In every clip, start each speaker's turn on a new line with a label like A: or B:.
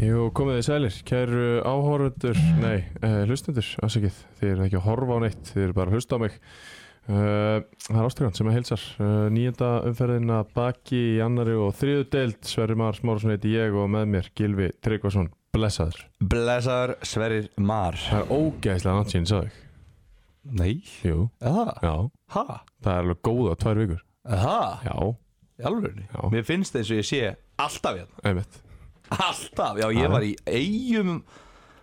A: Jú, komið þið sælir, kæru áhorfundur, nei, uh, hlustundur, afsakið, þið eru ekki að horfa á neitt, þið eru bara að hlusta á mig. Uh, það er Ástríðan sem er heilsar, uh, nýjenda umferðina baki í annari og þriðu deild, Sverri Már Smárasson heiti ég og með mér Gilvi Tryggvason, blessaður.
B: Blessaður Sverrir Mar
A: Það er ógæðislega nátt síðan, sagði ég.
B: Nei
A: Jú,
B: Aha,
A: já,
B: ha,
A: það er alveg góða tvær vikur.
B: aha,
A: Já,
B: í alvörunni
A: Já.
B: Mér finnst eins og ég sé alltaf hérna
A: einmitt.
B: Alltaf, já ég var í eigum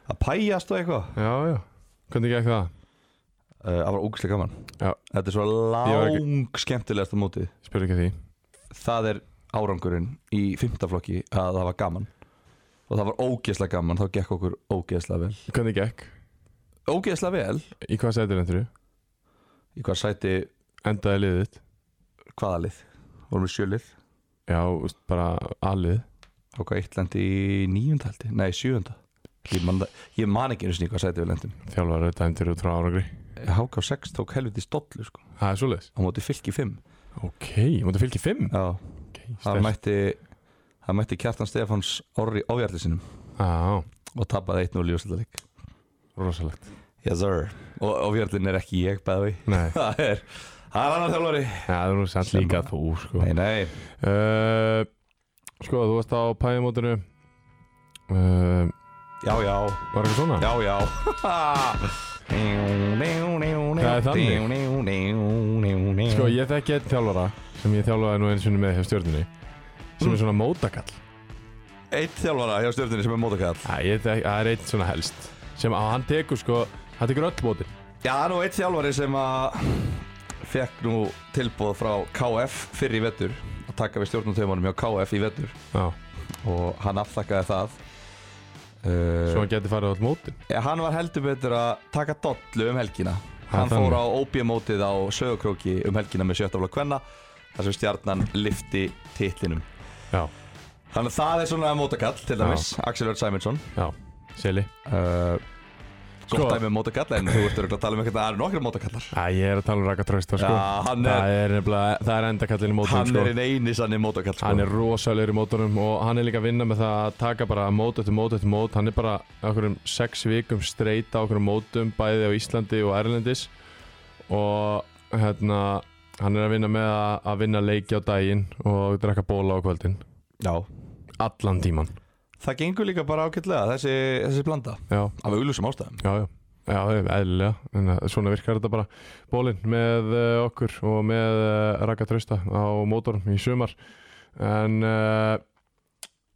B: að pæjast og eitthvað
A: Já, já, hvernig gekk það?
B: Uh, Það var ógæslega gaman
A: Já.
B: Þetta er svo
A: var ekki-
B: lang skemmtilegasta mótið
A: Ég spyr ekki að því.
B: Það er árangurinn í fymtaflokki að það var gaman Og það var ógeðslega gaman, þá gekk okkur ógeðslega vel
A: Hvernig gekk?
B: Ógeðslega vel,
A: Í hvað sætir endur þú?
B: í hvað sæti
A: Endaði liðið þitt?
B: hvaða lið? Vorum við sjölið
A: Já, úst, bara alið.
B: Þá hvað eitt lendi í níunda heldig Nei, sjöunda Ég man, það- ég man ekki einu sinni í hvað sæti við lendum
A: Þjálfar er dæmdur út frá árangri
B: HK6 tók helviti stollu sko
A: Það er svoleiðis
B: á móti fylki 5
A: Ok, mútið fylgið 5
B: Já,
A: okay,
B: það
A: sterkt.
B: mætti það mætti Kjartan Stefáns orri ofjarli sinum
A: Á,
B: og tapaði 1-0 ljósleik
A: rosalegt
B: Yes sir og ofjarlin er ekki ég bæði
A: Nei,
B: það er það er annar þjálfari
A: það er nú samt
B: Slemma.
A: líka þú sko
B: Nei, nei,
A: uh, Sko, þú varst á pæðimótinu uh,
B: já, já,
A: Var eitthvað svona?
B: já, já Það
A: er
B: þannig
A: Sko, ég þekki einn þjálfara sem ég þjálfaði nú einu sinni með hjá stjórninni sem er svona mótakall
B: Eitt þjálfara hjá stjórnirni sem er mótakall
A: Æ, ég þekki, Það er einn svona helst sem á, hann tekur sko hann tekur öll mótin
B: Já, það er nú eitt þjálfari sem að fekk nú tilbúð frá KF fyrir í vettur að taka við stjórnumtöfumanum hjá KF í vettur
A: Já,
B: og hann aftakkaði það
A: svo
B: uh,
A: hann geti farið öll mótin
B: ja, Hann var heldur betur að taka dollu um helgina Hann
A: þannig.
B: fór á OB-mótið á sögurkróki um helgina með sjöttafla kvenna þar sem stjarnan lifti titlinum
A: Já,
B: Þannig að það er svona mótakall til dæmis, Axel Örn Sæminsson
A: já, seli
B: uh,
A: Eh, Sko-
B: Gótt dæmi um mótakall en þú ert örugglega að tala um eitthvað það eru nokkra mótakallar
A: Æ, ég er að tala um Raka Trausta sko
B: Já, hann er-
A: Það er nefnilega, það er endakallin í mótin
B: Hann
A: sko
B: er einn eini sannig mótakall sko.
A: Hann er rosalegur í mótunum og hann er líka að vinna með það að taka bara mót eftir mót eftir mót Hann er bara okkur um sex vikum streyta okkur um mótum bæði á Íslandi og Erlendis og hérna hann er að vinna með að, að vinna leiki á daginn og drekka bóla á kvöldin
B: Já,
A: Allan tíman
B: Það gengur líka bara ágætlega þessi, þessi blanda
A: Já,
B: af auðlúsum ástæðum
A: já, já Já, eðlilega, en að- svona virkar þetta bara bólinn með eh, okkur og með uh, Raka Trausta á mótorum í sumar en uh,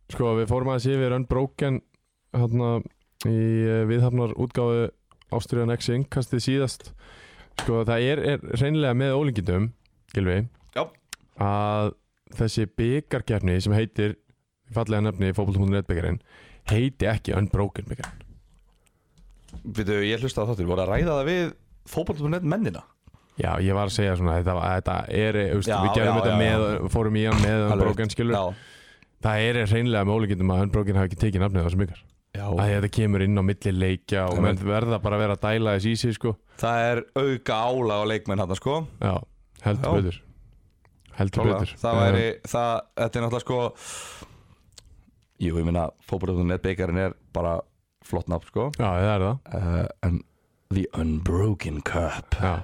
A: sko við fórum aðeins yfir Unbroken hérna í uh, viðhafnar útgáfu Ástriðan X innkastið síðast sko það er, er reynilega með ólingindum Gilvi
B: Já.
A: að þessi byggarkefni sem heitir fallega nefni fótboll.net byggarinn heiti ekki Unbroken byggarinn
B: Vitu, ég hlusta á þáttur, voru að ræða það við fótboll.net mennina
A: Já, ég var að segja svona þetta, var- þetta er, you know,
B: Já,
A: við gerum
B: já,
A: þetta
B: já,
A: með, fórum í hann með
B: Alveg
A: Unbroken, skilur
B: Já,
A: Það er hreinlega með ólíkindum að Unbroken hafi ekki tekið nafnið á þessum ykkar
B: já.
A: Það þetta kemur inn á milli leikja og
B: Ég
A: menn verða bara að vera að dæla þess í sig, sko
B: Það er auka álag á leikmenn hann sko
A: Já, heldur
B: Já.
A: betur Heldur
B: Klálega.
A: betur
B: Það væri, það, þetta er náttúrulega sko Jú, ég minna fótboll.net beikarinn er bara flott nafn sko
A: Já, það er það
B: uh, En The Unbroken Cup
A: Já,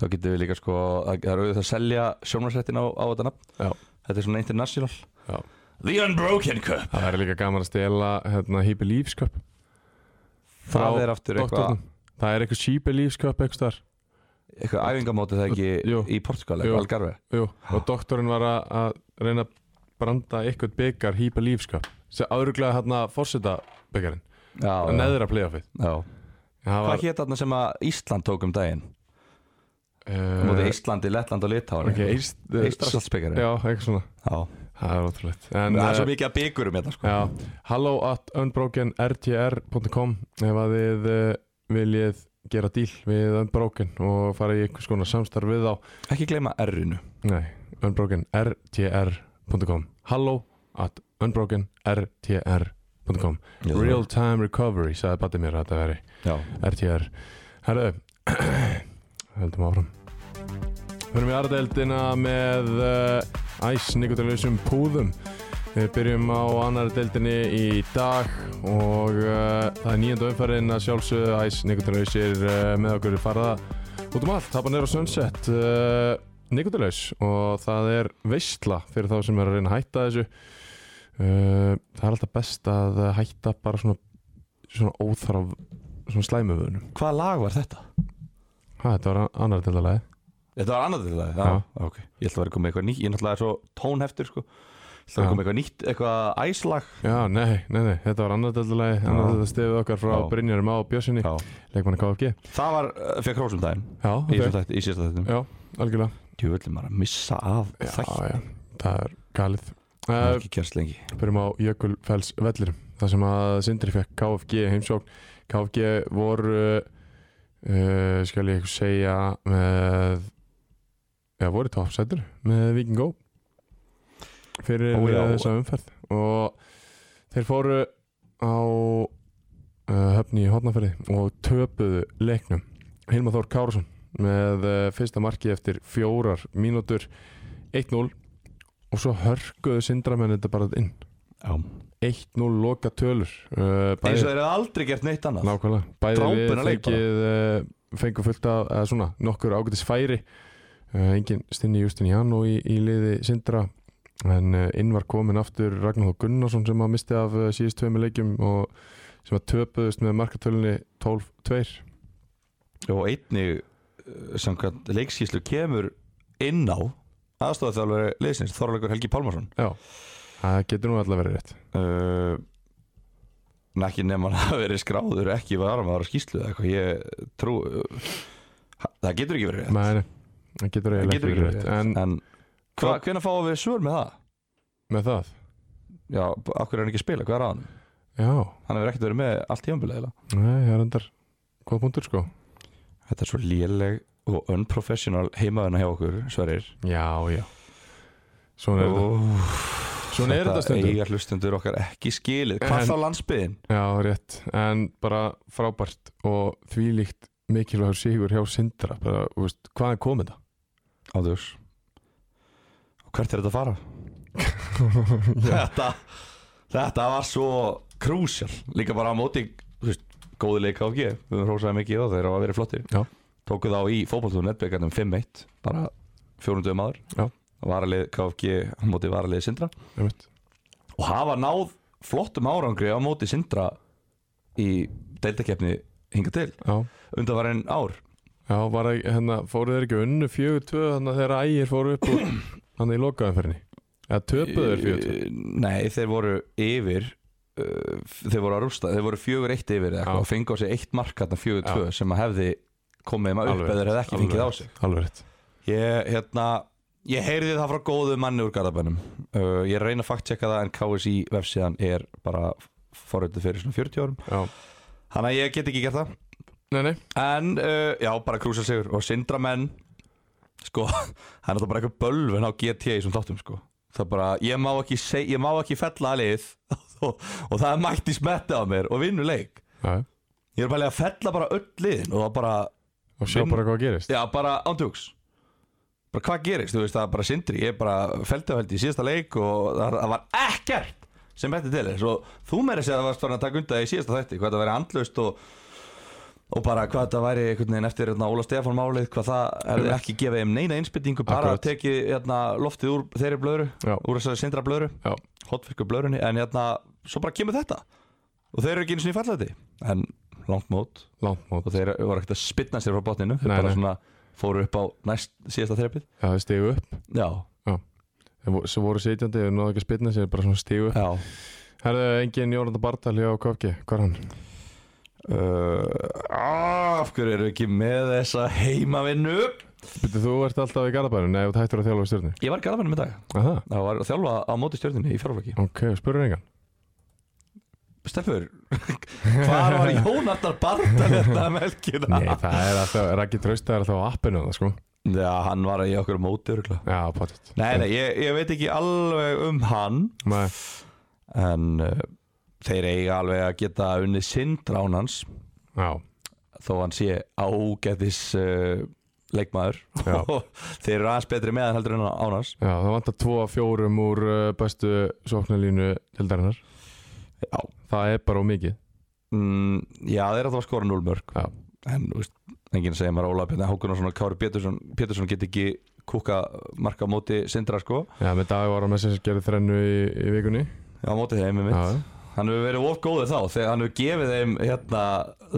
B: Þá getum við líka sko, það það er auðvitað að selja sjónvarsrættin á, á þetta nafn
A: Já.
B: Þetta er svona international
A: Já.
B: The Unbroken Cup
A: það væri líka gaman að stela hérna, Hípi Lífsköp
B: Það er aftur eitthvað
A: Það er eitthvað Hípi Lífsköp eitthvað þar
B: eitthvað æfingamóti það ekki
A: Jú.
B: í Portugal
A: Jú.
B: eða Algarve
A: Jú, og doktorinn var að, að reyna að branda eitthvað byggar hýpa lífskap sem áðuruglega hérna fórseta byggarinn
B: já,
A: að
B: já,
A: neðra playoffið
B: já.
A: Það
B: hvað
A: var,
B: hétt þarna sem að Ísland tók um daginn uh,
A: uh,
B: móti Íslandi, Lettland og Litári
A: ok, Eist, Eist
B: Íslandsbyggari
A: Já, eitthvað svona Það er ótrúlegt en,
B: það er svo
A: eh,
B: mikið að byggurum hérna sko.
A: Já, hello at unbrokenrtr.com ef að þið uh, eh, viljið gera díl við Unbroken og fara í einhvers konar samstarf við þá
B: Ekki gleyma R-inu
A: Nei, Unbroken rtr.com Hello at Unbroken rtr.com Real time recovery, sagði Batti mér að þetta veri
B: Já,
A: RTR Herðu Heldum áfram Förum í aðradeldina með uh, æs nikotinlausum púðum Við byrjum á annar deildinni í dag og uh, það er nýjönda umferðin að sjálfsögðu æs nikotinlausir uh, með okkur farða út um allt, hafa neyra sunset uh, nikotinlaus og það er veistla fyrir þá sem er að reyna að hætta þessu uh, Það er alltaf best að uh, hætta bara svona, svona óþarf svona slæmuvöðunum
B: hvaða lag var þetta?
A: Ha, þetta var annar dildalagi
B: Þetta var annað til það, já,
A: Já.
B: ok Ég ætla að vera að koma með eitthvað nýtt, ég náttúrulega er svo tónheftur sko Ég ætla að
A: Já.
B: vera að koma með eitthvað nýtt, eitthvað æslag
A: Já, nei, nei, nei, þetta var annar dildalagi annar
B: Já.
A: dildalagi stefið okkar frá
B: Já.
A: Brynjarum á Bjössinni
B: Já.
A: leikmanni KFG
B: Það var, uh, fekk rósum daginn
A: Já,
B: Í, þessum
A: ok,
B: þætti- í síðasta þættinum
A: já, algjörlega
B: Djúvöldum maður að missa af þætt
A: Já, já, það er galið
B: Það er
A: Uh,
B: ekki gerst lengi
A: Byrjum á Jökulfells vellir þar sem að Sindri fekk KFG heimsókn KFG voru uh, skal ég ykkur segja með já, voru toppsætur með Viking Go fyrir
B: Ó,
A: oh,
B: já.
A: þessa umferð og þeir fóru á uh, höfni í Hotnaferði og töpuðu leiknum Hilmar Þór Kárasson með uh, fyrsta marki eftir fjórar mínútur 1-0 og svo hörkuðu sindramenn þetta bara inn
B: Já.
A: 1-0 loka tölur uh,
B: Eins og
A: bæði,
B: þeir eru aldrei gert neitt annað
A: nákvæmlega bæði
B: Drápin
A: við
B: að leik
A: fengið uh, fengu fullt af eða svona, nokkur ágætis færi uh, engin stinni Justin Jan og í, í liði Sindra en uh, inn var komin aftur Ragnar Þór Gunnarsson sem að misti af uh, síðust tveimur leikjum og sem að töpuðust með markatölunni 12-2
B: Og einnig, uh, samkvæmt leikskíslu kemur inn á aðstofðarþjálfari liðsins, Þorleikur Helgi Pálmarsson
A: já, það getur nú alltaf verið rétt
B: uh, en ekki nema að hafa verið skráður ekki var að skýslu eða eitthvað ég trú uh, það getur ekki verið rétt
A: Nei, nei, það getur
B: það
A: eiginlega ekki verið
B: getur ekki verið
A: rétt
B: rétt
A: en
B: en hva, hvenær fáum við svör með það?
A: með það,
B: já, af hverju er hann ekki að spila, hvað er að hann?
A: já,
B: hann hefur ekkert verið með allt tímanbíla
A: nei, það er endar hvað punktur sko
B: þetta er svo léleg og unprofessional heimaðina hjá okkur, sverir
A: Já, já Svona er þetta Svona er þetta stundum
B: eiga hlustendur okkar ekki skilið hvað
A: En-
B: þá landsbyðin?
A: Já, rétt En bara frábært og þvílíkt mikilvægur sigur hjá Sindra bara, þú veist, Hvaðan kom þetta?
B: ándurs og hvert er þetta að fara?
A: já,
B: þetta, þetta var svo krúsjál Líka bara á móti þú veist, góði leik KFG Við höfum hrósaði mikið á þeir hafa verið flottir
A: Já.
B: Tóku þá í fótballtúru netbyggarnum 5-1 Bara fjórunduðu maður
A: Já.
B: Varalið KFG á móti varalið Sindra
A: einmitt.
B: Og hafa náð flottum árangri á móti Sindra Í deildakefni hinga til
A: já,
B: Undarvarinn ár
A: já var, það- hérna, fóruð þeir ekki unnu 4-2 þannig að þeirra ægir fóru upp úr þannig í lokaðanferðinni Eða töpuðu þeir 4-2
B: Eh, Nei, þeir voru yfir uh, Þeir voru að rústa Þeir voru fjögur eitt yfir eða eitthvað
A: Já.
B: og fengu á sig eitt mark þarna fjögur tvö sem að hefði komið maður upp
A: Alveg
B: eða þeir hefði ekki
A: alveg
B: fengið á
A: rétt,
B: sig
A: Alveg rétt
B: Ég, hérna, ég heyrði það frá góðu manni úr Garðabænum uh, Ég reyna að fakttjekka það en KSI vefsíðan er bara forröndið fyrir svona 40 árum
A: Já,
B: Þannig að ég get ekki gert það
A: nei, nei
B: En, uh, já, bara krúsa sigur og sindra menn Sko, það er náttúrulega bara eitthvað bölvin á GT í þessum þáttum, sko Það er bara, ég má ekki, seg, ég má ekki fella að lið og, og það er mætti smetta á mér og vinnu leik
A: já, já.
B: Ég er bara að fella bara öll liðin og það bara,
A: Og sjá
B: Vinn-
A: bara hvað gerist
B: já, bara ándjóks Bara hvað gerist, þú veist, það er bara sindri Ég er bara feldi og feldi í síðasta leik og það, það var ekkert sem betti til þess og þú meiri sér að það varst farin að taka undan það í síðasta þætti, hvað þetta væri andlaust og og bara hvað þetta væri einhvern veginn eftir hérna, Óla Stefán málið, hvað það hefði ekki gefið um neina innspytningu, bara
A: Akkurat.
B: tekið hérna, loftið úr þeirri blöðru
A: Já.
B: úr þessari sindra blöðru,
A: Já.
B: hotfyrku blöðrunni en hérna, svo bara kemur þetta og þeir eru ekki einu sinni fallandi en langt mót
A: Langt mót
B: og þeir voru ekkert að spytna sér frá botninu þeir
A: Nei,
B: bara
A: nei.
B: svona fóru upp á næst síðasta þrepið
A: Já, þeir stigu upp
B: já,
A: Þeir vo- Svo voru sitjandi, þeir náðu ekki að spilna sér bara svona stigu upp
B: já.
A: Herðu, engin Jórnanda Bardal hjá KFG, hvað er hann?
B: Uh, af hverju eru ekki með þessa heimavinnu
A: Býttu, þú ert alltaf í Garabæðinu, nei, þú ert hættur að þjálfa í stjórnu.
B: ég var í garðabænum í dag
A: Aha,
B: það var að þjálfa á móti stjórninni í fjárflokki
A: ok, spurur engan.
B: Steffur, hvað var Jónardar Bartal þetta um helgina?
A: Nei, það er alltaf, Raggi Trausta er alltaf á appinu það sko
B: Já, hann var í okkur móti örgulega
A: Já, potið
B: Nei, nei, ég, ég veit ekki alveg um hann
A: Nei,
B: En uh, þeir eiga alveg að geta unnið sindrán hans
A: já,
B: Þó hann sé ágætis uh, leikmaður
A: Já.
B: Þeir eru aðeins betri með hann heldur en án hans
A: já, það vantar tvo af fjórum úr uh, bestu sóknarlínu tildarinnar
B: Já,
A: Það er bara ómikið
B: mm, já þeir eru að það skora 0 mörg
A: Já.
B: En þú veist, enginn segir maður Óla Pétur Hákunarsson og Kári Pétursson Pétursson get ekki kúka marka á móti sindra sko
A: Já, með dag var að með sem gerði þrennu í, í vikunni
B: Já, á móti þeim er mitt
A: Já,
B: Hann hefur verið of góður þá þegar hann hefur gefið þeim hérna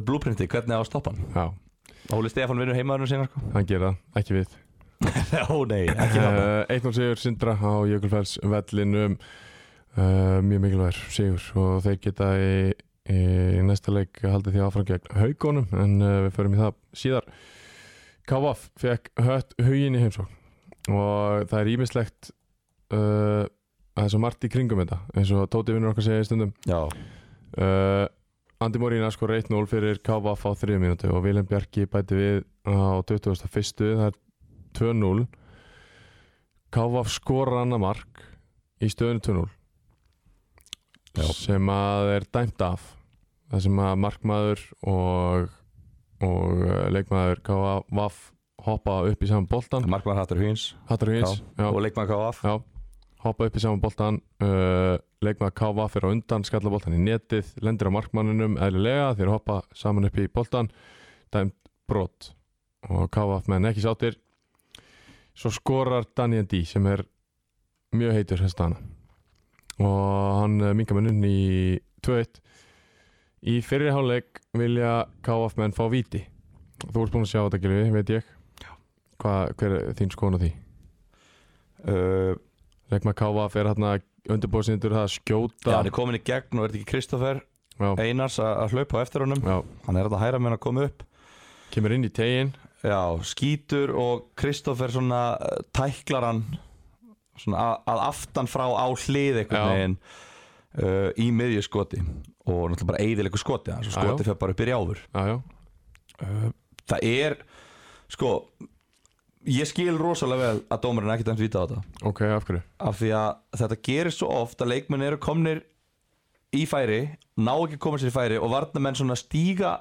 B: blúprinti, hvernig á að stoppa hann
A: já,
B: Óli Stefán vinnur heimaðurinn sinna sko
A: hann gerði það, ekki við
B: Ó nei, ekki það
A: Eh, 1-0 sigur Sindra á Jökulfells vellinum uh, mjög mikilvægur sigur og þeir geta í, í næsta leik haldið því áfram gegn haugunum en uh, við förum í það síðar Kavaf fekk hött hugin í heimsókn og það er ímislegt uh, það er svo margt í kringum þetta eins og Tóti vinnur okkar segja í stundum
B: Já,
A: uh, Andi Morína skor 1-0 fyrir KVF á 3 mínútu og Vilhelm Bjarki bæti við á 21. það er 2-0 KVF skor annar mark í stöðinu 2-0
B: Já.
A: sem að er dæmt af það sem að markmaður og, og uh, leikmaður KVF hoppa upp í saman boltan
B: Markmann Hattur Hvíns
A: Hattar Hins já,
B: og leikmann KF
A: Já, hoppa upp í saman boltan uh, leikmaður KV fyrir á undan skalla boltan í netið, lendir á markmanninum eðlilega þeir hoppa saman upp í boltan dæmt brot og KV menn ekki sáttir svo skorar Daniel D sem er mjög heitur þess dana og hann eh, mingar munnin í 2-1 í fyrri hálfleik vilja KV menn fá víti þú ert búin að sjá þetta Gilvi, veit ég Hvað, hver er þín skoðun á því?
B: uh,
A: Leikma Káfa fyrir hérna undirbúðsindur það að skjóta
B: Já, hann er komin í gegn og er þetta ekki Kristoffer
A: já,
B: Einars að- að hlaupa á eftir honum
A: já,
B: Hann er þetta hæra með hann að koma upp
A: kemur inn í tegin
B: Já, skítur og Kristoffer svona uh, tæklar hann svona að, að aftan frá á hlið
A: Já.
B: einhvern veginn uh, í miðju skoti og náttúrulega bara eiðilegu skoti hans og
A: Já, já.
B: skoti fyrir bara upp í rjáfur
A: Já, já,
B: Það er, sko ég skil rosalega vel að dómarinn ekkert að víta á þetta
A: ok, af hverju
B: af því að þetta gerir svo oft að leikmenn eru komnir í færi ná ekki að koma sér í færi og varnamenn svona stíga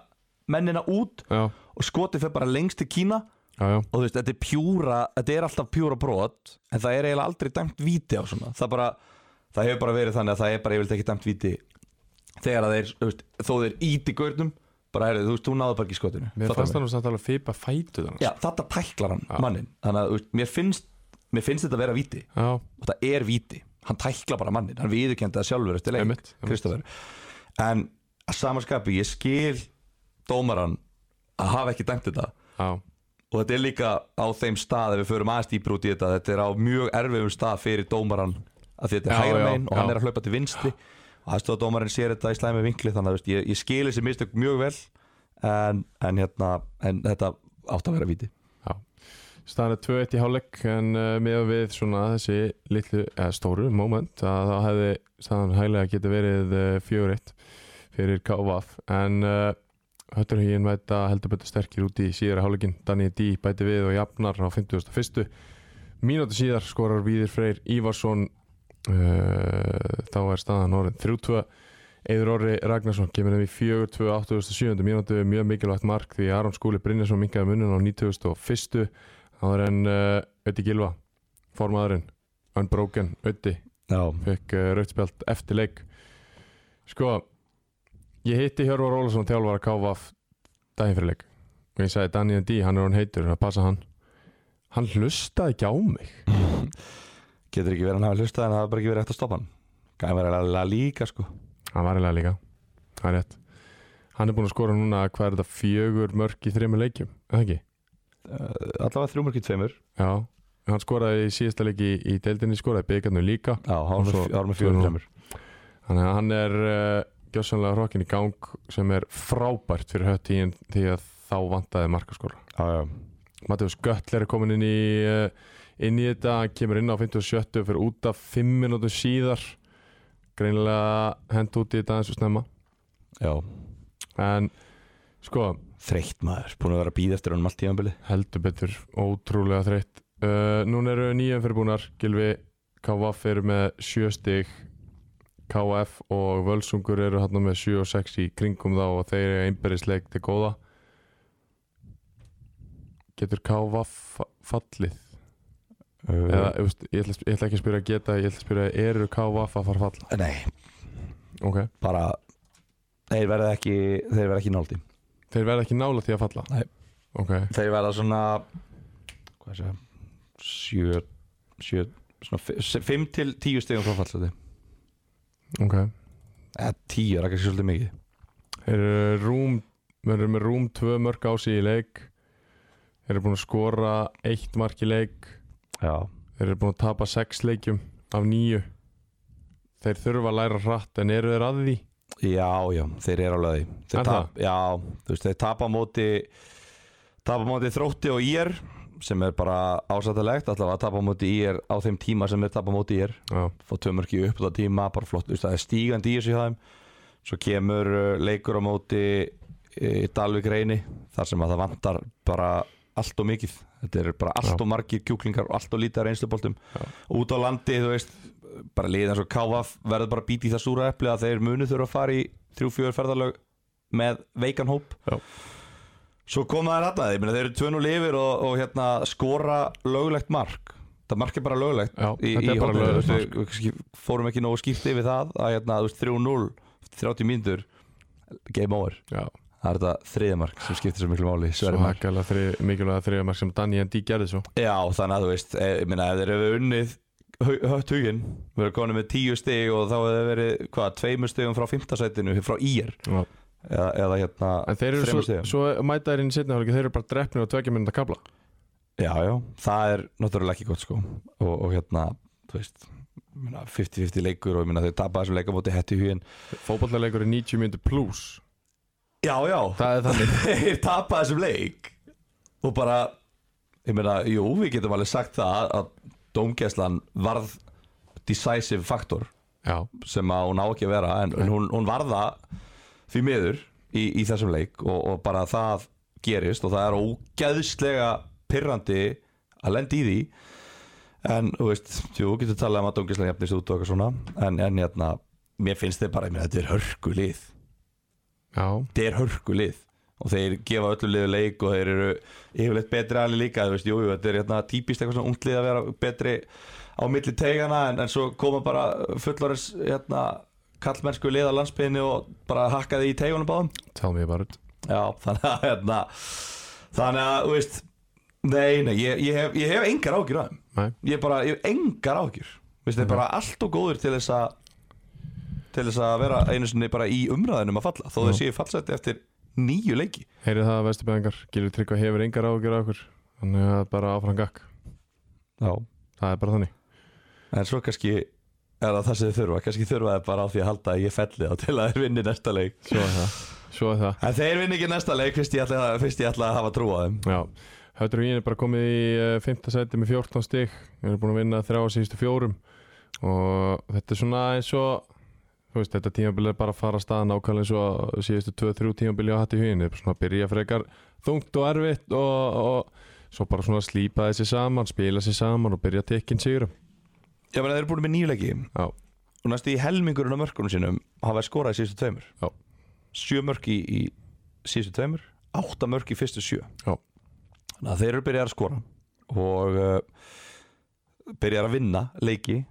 B: mennina út
A: Já,
B: og skotið fyrir bara lengst til Kína
A: já, já,
B: og þú veist, þetta er pjúra, þetta er alltaf pjúra brot en það er eiginlega aldrei dæmt víti á svona það bara, það hefur bara verið þannig að það er bara yfirleitt ekki dæmt víti þegar að þeir, þú veist, þó þeir íti gaurnum, bara heyrðu, þú veist, þú náðu bara ekki skotinu
A: mér
B: Fattar
A: fannst
B: mig?
A: það nú samt alveg fýpa fætu þannig
B: Já, þetta tæklar hann,
A: Já.
B: mannin þannig að, þú veist, mér finnst, mér finnst þetta að vera víti
A: Já,
B: og það er víti, hann tækla bara mannin hann viðurkendi það sjálfur eftir leik
A: Einmitt, einmitt.
B: Kristófer en að samanskapi, ég skil dómaran að hafa ekki dæmt þetta
A: já,
B: og þetta er líka á þeim stað ef við förum aðeins dýpra út í þetta þetta er á mjög erfiðum stað fyrir dómaran að þetta er
A: Já,
B: hægra
A: já,
B: megin og hann
A: já.
B: er að hlaupa til vinstri og aðstofa dómarin sér þetta í slæmi vinkli þannig að þú veist, ég, ég skil þessi mistök mjög vel en, en, hérna, en þetta átt að vera víti
A: staðan er 2-1 í hálfleik en uh, með við svona þessi litlu, eða stóru moment að þá hefði staðan hæglega geti verið uh, 4-1 fyrir KVF en uh, Hötturhugin mæta heldur betur sterkir út í síðara hálfleikin Danny D bæti við og jafnar á 51. Mínúti síðar skorar Víðir Freyr Ívarsson uh, þá er staðan orðin 3-2 Eður Orri Ragnarsson kemur þeim í 4-2 87. mínútu, mjög mikilvægt mark því Aron Skúli Brynjarsson minkaði munnun á 91. áður en uh, Ötti Gilva, formaðurinn Unbroken, Ötti
B: Já,
A: fekk uh, rauðspjald eftir leik sko ég hitti Hjörvar Ólason þjálfara KVF daginn fyrir leik og ég sagði Daniel D, hann er hann heitur, það passa hann hann hlustaði ekki á mig
B: getur ekki verið að hann hafa hlustað en það hafa bara ekki verið eftir að stoppa hann gæði verið að líka sko
A: hann var eiginlega líka, það er rétt hann er búinn að skora núna hvað er þetta fjögur mörk í þreymur leikjum, er það ekki?
B: uh, allavega þrjúmörkið tveimur
A: Já, hann skoraði í síðasta leiki í deildinni skoraði byggarnu líka
B: Já,
A: Og svo-
B: hann var með fjórum
A: Tvö-
B: tveimur
A: Þannig að hann er uh, gjössanlega hrokkin í gang sem er frábært fyrir hött í því að þá vantaði markaskóla.
B: Já, já,
A: Matheus Göttler er komin inn í, eh, uh, inn í þetta, hann kemur inn á 57 fyrir út af 5 minútur síðar greinilega hend út í þetta eins og snemma
B: Já,
A: en sko,
B: þreytt maður, búin að vera að býða eftir honum allt tímanbili
A: heldur betur ótrúlega þreytt uh, núna eru nýjum fyrirbúnar Gilvi KVF eru með sjö stig KF og Völsungur eru hann með 7 og 6 í kringum þá og þeir eru einberðisleik til góða getur KVF fallið eða,
B: uh,
A: þú veist, ég, ætla, ég ætla ekki að spyrja að geta ég ætla að spyrja eru KVF að fara falla
B: Nei,
A: ok,
B: bara þeir verða ekki, þeir verða ekki náldi
A: þeir verða ekki nála því að falla
B: Nei.
A: ok,
B: Þeir verða svona hvað sé sjö, sjö svona fi- s- fimm til tíu stegum frá fallseti
A: ok
B: eða Eh, tíu er ekki svolítið mikið
A: Þeir eru rúm Þeir eru með rúm tvö mörg á sig í leik Þeir eru búin að skora eitt mark í leik
B: Já,
A: Þeir eru búin að tapa sex leikjum af nýju Þeir þurfa að læra hratt en eru þeir að því?
B: já, já þeir eru alveg að því
A: Er
B: þeir tap, Já, þú veist, þeir tapa á móti tapa á móti þrótti og ír sem er bara ásættilegt allavega að tapa á móti ír á þeim tíma sem er tapa á móti ír
A: Já,
B: fá tvö mörki upp á það tíma, bara flott þú veist, það er stígandi í þessu hjá þeim svo kemur uh, leikur á móti uh, Dalvik reyni þar sem að það vantar bara allt og mikið þetta eru bara allt
A: Já.
B: og margir kjúklingar og allt og lítið af reynsluboltum
A: Já.
B: út á landi, þú veist bara liðan svo KF verður bara bítið í það súra epli að þeir munu þurfa að fara í þrjú, fjör ferðalög með veikan hóp
A: Já.
B: svo koma þær alltaf, ég meina þeir eru tvön og lifir og, og hérna skora löglegt mark það mark er bara löglegt
A: Já,
B: í,
A: þetta
B: í
A: er bara
B: hópnum, þú
A: löglegt
B: veist, við- við kannski fórum ekki nógu skýrt yfir það að hérna, þú veist, 3-0 eftir 30 mínútur game over,
A: já
B: það er þetta þriðamark sem skiptir svo miklu máli,
A: Svo
B: Sverrir Mar.
A: hækkalega þri, mikilvæga þriðamark sem Danny and D gerði svo
B: Já, þannig að þú veist, eh, ég meina ef þeir eru unnið hau- hött huginn, við erum konið með 10 stig og þá hefur verið, hvað, tveimur stigum frá fymtasætinu, frá IR
A: Já.
B: eða, eða hérna,
A: En þeir eru
B: Þremur
A: svo,
B: stigum.
A: svo mæta þeir inn í setna hálfleik Þeir eru bara drefnir á tvekja minna kabla
B: já, já, það er náttúrulega ekki gott sko og, og hérna, þú veist ég meina, 50-50 leikur og ég meina þau tapa þessum leikamóti hætti huginn
A: Fótballleikur er 90 minnir pluss
B: Já, já,
A: Það er þannig
B: þeir tapa þessum leik og bara ég meina, jú, við getum alveg sagt það að dómgæslan varð decisive faktor
A: Já,
B: sem að hún á ekki að vera en, en hún, hún varða því miður í, í þessum leik og, og bara það gerist og það er ógeðslega pirrandi að lendi í því en þú veist, jú, getur talað um að dómgæslan jafnist út og eitthvað svona en, en hérna, mér finnst þið bara, ég meina, þetta er hörku lið
A: já,
B: þetta er hörku lið og þeir gefa öllu liðu leik og þeir eru yfirleitt betri aðli líka þú veist, jú, jú, þetta er hérna típist eitthvað svona ungt lið að vera betri á milli tegana en, en svo koma bara fullorins hérna kallmennsku lið á landsbyðinni og bara hakka því í tegunum báðum
A: tell me about it
B: já, þannig að hérna þannig að, þú veist nei, nei, ég, ég, hef, ég hef engar ágjur að þeim
A: Nei.
B: ég bara, ég hef engar ágjur Vist, þeir bara allt og góður til þess að til þess að vera einu sinni bara í umræðinum að falla þó þeir séu fallseti eftir nýju leiki
A: Heyrið það að vesturbæðingar, Gilvi Tryggva hefur engar ágjur af okkur Þannig að bara áfram gakk
B: já.
A: Það er bara þannig
B: en svo kannski er það það sem þau þurfa kannski þurfa þeir bara á því að halda að ég felli þá til að þeir vinni næsta leik
A: Svo er það, Svo er það.
B: en þeir vinni ekki næsta leik fyrst ég ætla, fyrst ég ætla að hafa trú á þeim
A: Já, Höttur og ég er bara komið í eh, fimmta sæti með 14 stig Við erum búin að vinna þrjá á síðustu fjórum Og þetta er svona eins og Þú veist, þetta tímabil er bara að fara að staða nákvæmlega eins og síðustu 2-3 tímabil ég á hatt í hugin Þetta er svona að byrja frekar þungt og erfitt og, og svo bara svona slípa þessi saman, spila þessi saman og byrja tekinn sigurum
B: ég meina þeir eru búin með nýju leiki
A: Já,
B: og næstu í helmingurinn af mörkunum sínum hafa þeir skorað í síðustu tveimur
A: Já.
B: sjö mörk í, í síðustu tveimur átta mörk í fyrstu sjö
A: Já.
B: þannig að þeir eru byrjar að skora og uh, byrjar að vinna leiki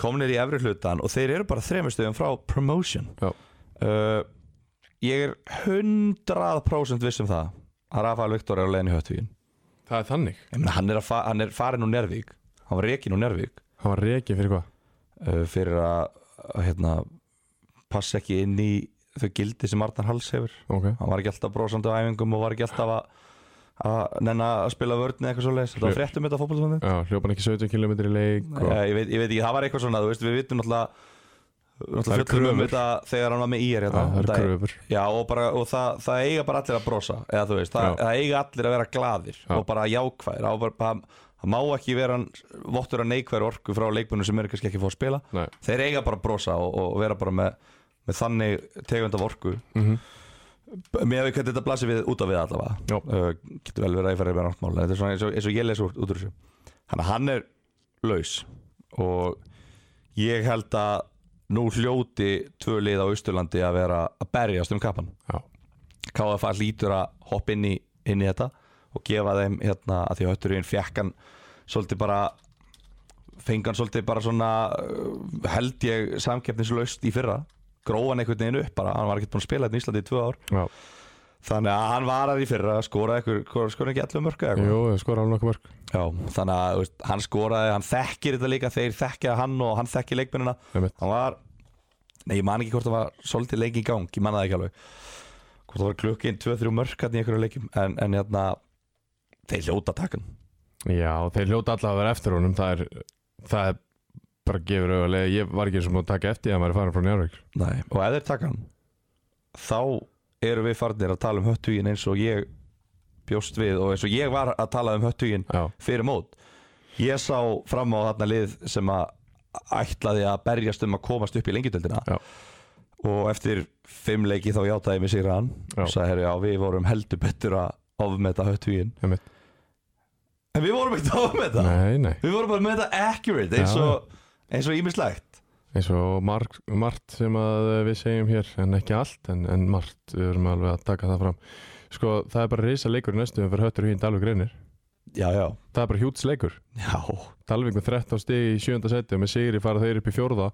B: komnir í efri hlutan og þeir eru bara þremur stöðum frá promotion
A: Já.
B: uh, ég er 100% viss um það að Rafael Viktor er á leiðin í höttvíin
A: það er þannig
B: ég meina hann er, að fa- hann er farin úr Nervík hann var rekin úr Nervík
A: Hann var reikið fyrir hvað?
B: uh, fyrir að, að hérna, passa ekki inn í þau gildi sem Arnar Hals hefur
A: Ok,
B: hann var ekki alltaf brosandi á æfingum og var ekki alltaf að, að nenn að spila vörðni eitthvað svo leiðis, þetta var fréttum hérna þetta fótbollsvöndin
A: já, hljópan ekki 17 km í leik og...
B: Eh, ég, veit- ég veit ekki, það var eitthvað svona, þú veist, við vitum náttúrulega
A: Það
B: náttúrulega
A: eru
B: fjöldum um
A: kröfur.
B: þetta þegar hann var með ír
A: Já,
B: hérna,
A: það er
B: þetta er-
A: kröfur
B: Já og, bara, og það, það eiga bara allir að brosa eða þú veist, það,
A: Já.
B: það eiga allir að vera glaðir
A: Já.
B: og bara jákvæðir og bara, bara, það má ekki vera hann- vottur að neikværi orku frá leikmennum sem eru kannski ekki að fá að spila
A: Nei.
B: þeir eiga bara að brosa og, og vera bara með, með þannig tegund af orku
A: Mhm.
B: með að við hvernig þetta blasir við út af við allavega
A: Já.
B: uh, getur vel verið að ég fara yfir nátt mál en þetta er svona eins og, eins og ég les úr, út úr þessu þannig að hann er laus og ég held að nú hljóti tvö lið á Austurlandi að vera að berjast um kappan
A: Já.
B: KFA lítur að hoppa inn í, inn í þetta og gefa þeim hérna að því að hötturinn fekk hann svolítið bara fengan svolítið bara svona uh, held ég samkeppnislaust í fyrra gróðan einhvern veginn upp bara, hann var ekkert búinn að spila hérna í Íslandi í tvö ár
A: Já.
B: þannig að hann var að í fyrra að skora eitthvað, skora ekki allir mörg
A: Jú, það skora alveg nokkuð mörg
B: Já, þannig að þú veist, hann skoraði, hann þekkir þetta líka, þeir þekkja hann og hann þekkir leikmennina
A: Einmitt.
B: Hann var, nei ég man ekki hvort það var svolítið lengi í gang, ég man það ekki alveg Hvort það var klukkin 2-3 mörk hann í einhverju leikum En, en hérna, þeir hljóta takkan
A: Já, þeir hljóta allavega að vera eftir honum það er, það er bara gefur auðvitað ég var ekki eins og múið að taka eftir því að hann væri farin frá Njárvík
B: Nei Og ef þeir taka hann, þá eru við farnir að tala um höttugin eins og ég bjóst við Og eins og ég var að tala um höttugin
A: Já,
B: fyrir mót Ég sá fram á þarna lið sem að ætlaði að berjast um að komast upp í lengjudöldina
A: Já.
B: og eftir fimm leiki þá játaði ég mig sigra hann
A: Já.
B: og sagði, herru, já, við vorum heldur betur að ofmeta höttvíin
A: Einmitt.
B: En við vorum ekkert að ofmeta
A: nei, nei
B: Við vorum bara að meta accurate eins
A: Já.
B: og, eins og ímislegt
A: eins og marg, margt sem að eh, við segjum hér, en ekki allt en, en margt, við erum alveg að taka það fram sko, það er bara reysa leikur í næstu fyrir höttur hýnd alveg greinir,
B: Já, já,
A: það er bara hjúts leikur
B: já
A: Dalvik með 13 stig í 7. seti og með sigri fara þeir upp í fjórða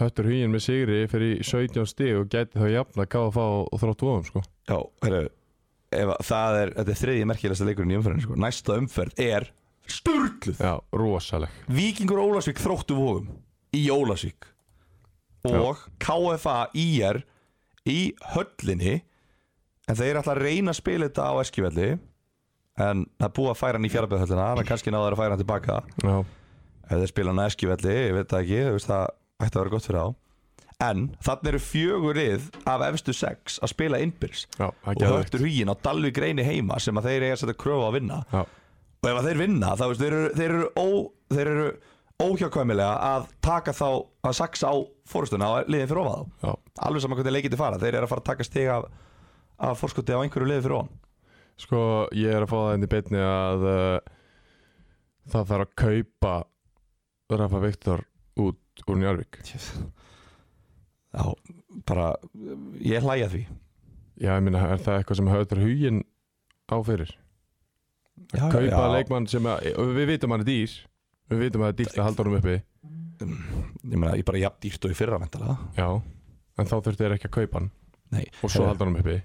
A: höttur hýn með sigri fyrir 17 stig og gæti þá jafna KFA og, og þrótt ofum sko.
B: Já, herru ef að- Það er, þetta er þriðji merkilegsta leikurinn í umferðin sko. Næsta umferð er Sturluð
A: já, rosaleg
B: Víkingur Ólasvík þróttu vóðum í Ólasvík og KFA IR í höllinni en þeir ætla að reyna að spila þetta á Eskifjalli en það er búið að færa hann í fjárabæðhöllina þannig að kannski náður að færa hann tilbaka
A: já,
B: ef þeir spila hann á Eskifjalli, ég veit það ekki þú veist, það ætti að vera gott fyrir þá en þannig eru fjögur rið af efstu sex að spila innbyrgs
A: já, það
B: og
A: gerði
B: höftur hugin á Dalvík reyni heima sem að þeir eiga að setja kröfu á að vinna
A: já,
B: og ef að þeir vinna þá veist, þeir eru, þeir eru, ó, þeir eru óhjákvæmilega að taka þá að saksa á fórstuna á liðin fyrir ofan þá
A: já,
B: alveg saman hvernig leikið til fara, þeir eru að fara að taka stig af, af fórskoti á einhverju liðin fyrir ofan
A: sko, ég er að fá það inn í beinni að uh, það þarf að kaupa Rafa Viktor út úr Njárvík
B: já, bara ég hlæja því
A: Já, ég minna, er það eitthvað sem höfður hugin á fyrir? Kaupa leikmann sem, að, og við vitum hann er dýr Við vitum að það er dýrt að halda honum uppi
B: ég meina, ég bara jafn dýrt og í fyrra mentala
A: Já, en þá þurftu þeir ekki að kaupa hann
B: Nei,
A: Og svo halda honum uppi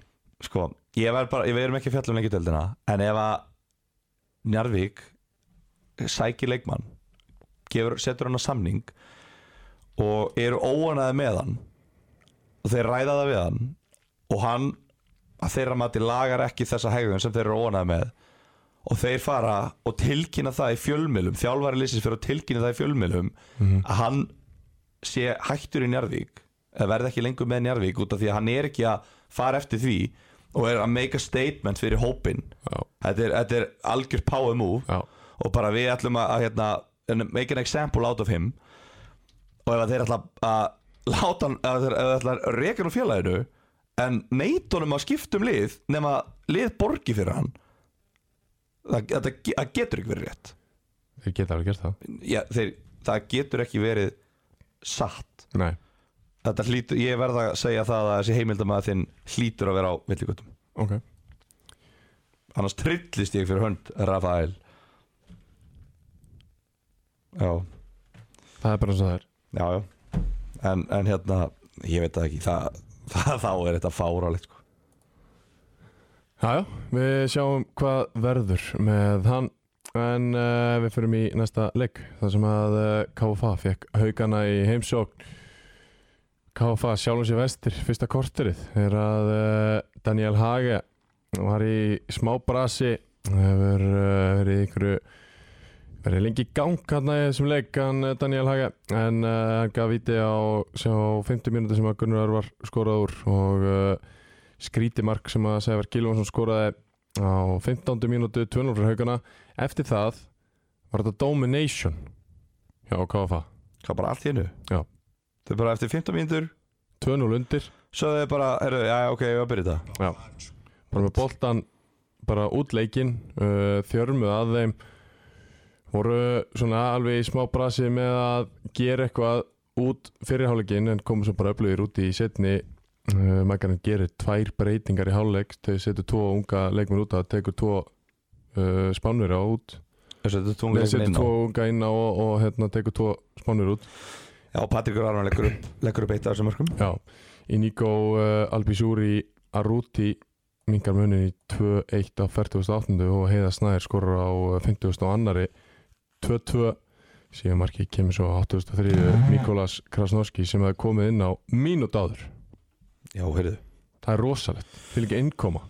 B: sko, ég verð bara, ég verðum ekki að fjalla um leikjutöldina en ef að Njarvík sækir leikmann gefur, setur hann á samning og eru óanaði með hann og þeir ræða það við hann og hann að þeirra mati lagar ekki þessa hegðun sem þeir eru óanaði með og þeir fara og tilkynna það í fjölmilum þjálfari lýsins fyrir að tilkynna það í fjölmilum að hann sé hættur í Njarðvík eða verði ekki lengur með Njarðvík út af því að hann er ekki að fara eftir því og er að make a statement fyrir hópin
A: Já,
B: þetta er, þetta er algjör power move
A: já,
B: og bara við ætlum að, að hérna, make an example out of him og ef að þeir ætla að láta hann, ef þeir, ef þeir ætla að reka hann úr félaginu en neyta honum að skipta um lið nema lið borgi fyrir hann það, það, það getur ekki verið rétt
A: þeir geta alveg gert það
B: Já, þeir, það getur ekki verið satt
A: Nei,
B: þetta hlýtur, ég verða að segja það að þessi heimildamæða þinn hlýtur að vera á villigötum
A: ok
B: annars trillist ég fyrir hönd Rafael já,
A: Það er bara eins og það er
B: já, já en, en hérna, ég veit það ekki það, það, þá er þetta fáralegt sko.
A: Jájá, við sjáum hvað verður með hann en uh, við fyrir í næsta leik þar sem að uh, KFA fekk haugana í heimsókn KFA sjálfum sér vestir fyrsta korterið er að uh, Daniel Hage var í smábrasi hefur uh, verið í einhverju verið lengi í gang hann í þessum leik hann eh, Daniel Hage en uh, hann gaf viti á sjá, 50 mínúti sem að Gunnar Örvar skorað úr og uh, skríti mark sem að Sævar Gilvansson skoraði á 15. mínútu 2-0 fyrir haugana eftir það Var þetta Domination? Já, hvað var það?
B: hvað bara allt í hennu
A: Já.
B: þau bara eftir 15 mínútur
A: 2-0 undir
B: svo þau bara, herru, já, ok, ég var að byrja þetta
A: Já. bara með boltan bara út leikinn uh, þjörmuð að þeim voru svona alveg í smá brasi með að gera eitthvað út fyrirhálegin en komu svo bara öflugir út í setni uh, Maggarinn gerir tvær breytingar í háluleik þau setur tvo unga leikmenn út að tekur tvo uh, spánur á út
B: þessu þetta
A: Nei,
B: tungleik
A: setur
B: inn á
A: tvo unga inn á og, og hérna, tekur tvo spánur út
B: já, Patrikur Arman leggur upp, leggur upp eitt af þessum mörgum
A: Já, Inigo uh, Albizuri Arruti mingar munin í 2-1 á 48. og Heiða Snæðir skorur á eh, 50. og annari 2-2 síðan markið kemur svo á 83. Mikolas Krasnorski sem hefði komið inn á mínút áður
B: já, heyrðu,
A: það er rosalegt, fyrir ekki innkoma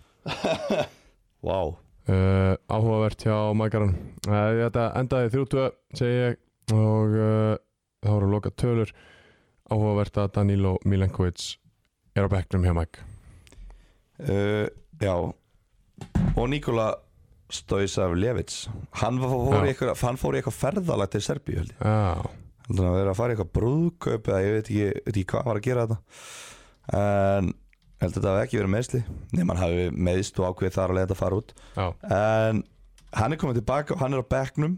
B: vá wow.
A: uh, áhugavert hjá Mækaran uh, þetta endaði 32 segi ég og uh, það voru loka tölur áhugavert að Danilo Milenkovic er á bekknum hjá Mæk
B: uh, já og Nikola Stoisav Levits hann fór, í
A: Já.
B: eitthvað, hann fór í eitthvað ferðalag til Serbíu held ég.
A: Já,
B: Þannig að vera að fara í eitthvað brúðkaup eða ég veit ekki, veit ekki hvað var að gera þetta en ég held að þetta hafi ekki verið meðsli nema hann hafi meðst og ákveð þar að leiða þetta að fara út
A: já,
B: en hann er komið tilbaka og hann er á bekknum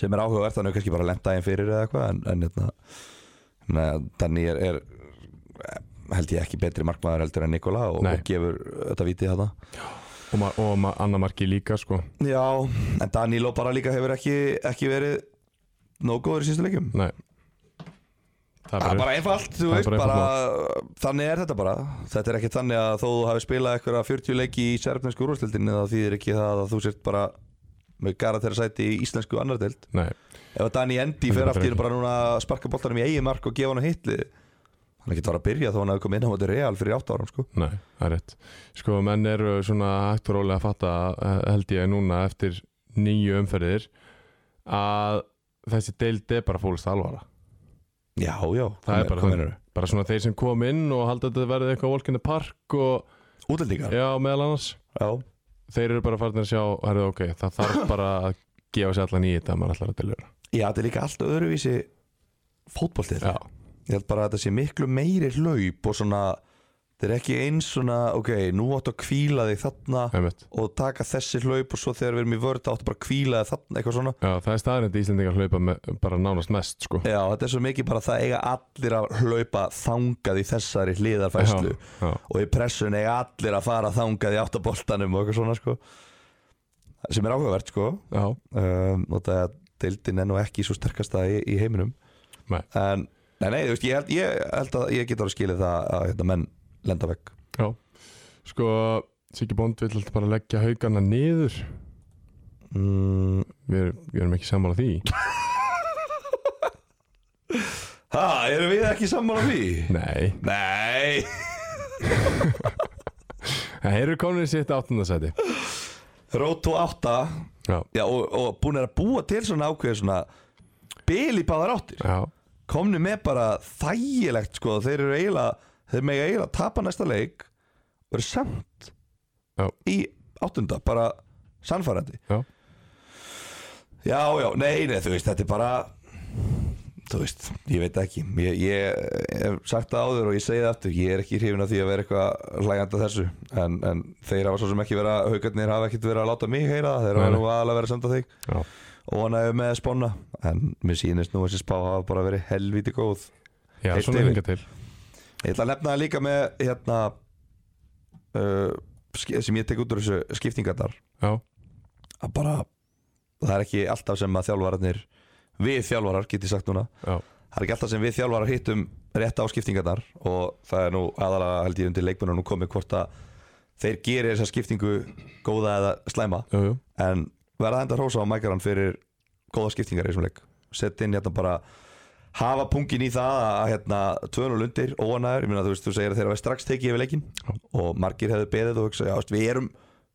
B: sem er áhugavert hann er kannski bara lent daginn fyrir eða eitthvað en, en hérna hérna, Danny er, er held ég ekki betri markmaður heldur en Nikola og,
A: Nei.
B: og gefur þetta vitið þetta
A: og, ma og ma annar marki líka sko
B: Já, en Danilo bara líka hefur ekki, ekki verið nóg góður í síðustu leikjum
A: Nei Það
B: Það
A: er
B: er
A: bara
B: Ah, bara einfalt, þú
A: Það er
B: veist,
A: bara
B: bara, þannig er þetta bara Þetta er ekki þannig að þó þú hafi spilað eitthvað 40 leiki í sérfnesku úrvarsdeildin eða þýðir ekki það að þú sért bara með gara þeirra sæti í íslensku annar deild
A: Nei,
B: Ef að Dani Endi
A: Heldur
B: fer aftur
A: betur
B: í bara núna að sparka boltanum í eigin mark og gefa hann hitli Hann er ekki bara að byrja þó hann hafi komið inn á móti real fyrir 8 árum sko
A: nei, það er rétt Sko, menn eru svona hægt og rólega að fatta eh, held ég núna eftir nýju umferðir að þessi deild er bara fólst alvara
B: Já, já,
A: Það er bara
B: hvað
A: þannig.
B: meinarðu?
A: Bara svona þeir sem kom inn og halda að þetta verði eitthvað volkinni park og
B: Útlendingar,
A: já, meðal annars
B: já,
A: Þeir eru bara farin að sjá, herrðu, ok, það þarf bara að gefa sér allan í þetta að maður ætlar að delur
B: já, þetta er líka allt öðruvísi fótboltið
A: Já,
B: ég held bara að þetta sé miklu meiri hlaup og svona, þetta er ekki eins svona, ok, nú áttu að kvíla þig þarna
A: einmitt
B: og taka þessi hlaup og svo þegar við erum í vörð þá áttu bara að kvíla þig þarna, eitthvað svona
A: Já, það er staðrind Íslendingar hlaupa með, bara nánast mest, sko
B: Já, þetta er svo mikið bara að það eiga allir að hlaupa þangað í þessari hliðarfæslu
A: Já, já.
B: og í pressun eiga allir að fara þangað í áttaboltanum og eitthvað svona sko sem er áhugavert sko
A: Já,
B: um, og það að deildin er nú ekki svo sterkasta í, í heiminum
A: Nei.
B: en nei, nei, þú veist, ég held, ég held að ég get ára skilið það að hérna, menn lenda vekk
A: Já, sko Siggi Bond vill alltaf bara leggja haugana niður
B: mm,
A: Við, erum- við erum ekki sammála því
B: ha, erum við ekki saman á því?
A: Nei,
B: nei,
A: það eru komin í sitt áttundasæti
B: rót og átta
A: Já,
B: já, og, og búin að búa til svona ákveð svona bil í báðar áttir
A: já,
B: komni með bara þægilegt sko, þeir eru eiginlega þeir mega eiginlega tapa næsta leik og eru samt
A: Já.
B: í áttunda, bara sannfærandi
A: Já.
B: já, já, nei, nei, þú veist, þetta er bara þú veist, ég veit ekki ég, ég hef sagt það áður og ég segi það aftur ég er ekki hrifin af því að vera eitthvað hlægjandi að þessu, en, en þeir hafa svo sem ekki vera, haugarnir hafa ekkert verið að láta mig heyra það, þeir
A: Nei,
B: hafa
A: nei.
B: nú aðalega verið að senda þig
A: já
B: og hann hefur með spána en mér sýnist nú að þessi spá hafa bara verið helvíti góð
A: Já,
B: Heilt
A: svona
B: yfir.
A: hinga til
B: ég ætla að nefna það líka með hérna uh, sk- sem ég tek út úr þessu skiptingarnar
A: Já,
B: að bara það er ekki alltaf sem að þjálfararnir við þjálfarar get ég sagt núna
A: já,
B: það er ekki alltaf sem við þjálfarar hittum rétt á skiptingarnar og það er nú aðalega held ég undir leikmennunum komið hvort að þeir gerir þessa skiptingu góða eða slæma
A: jú, jú
B: en verða enda hrósa á mækaran fyrir góða skiptingar í þessum leik sett inn hérna bara hafa pungin í það að hérna 200 undir óanæður, ég meina þú veist þú segir að þeirra var strax tekið yfir leikin
A: Já.
B: og margir hefðu beðið og hugsa, já veist, við erum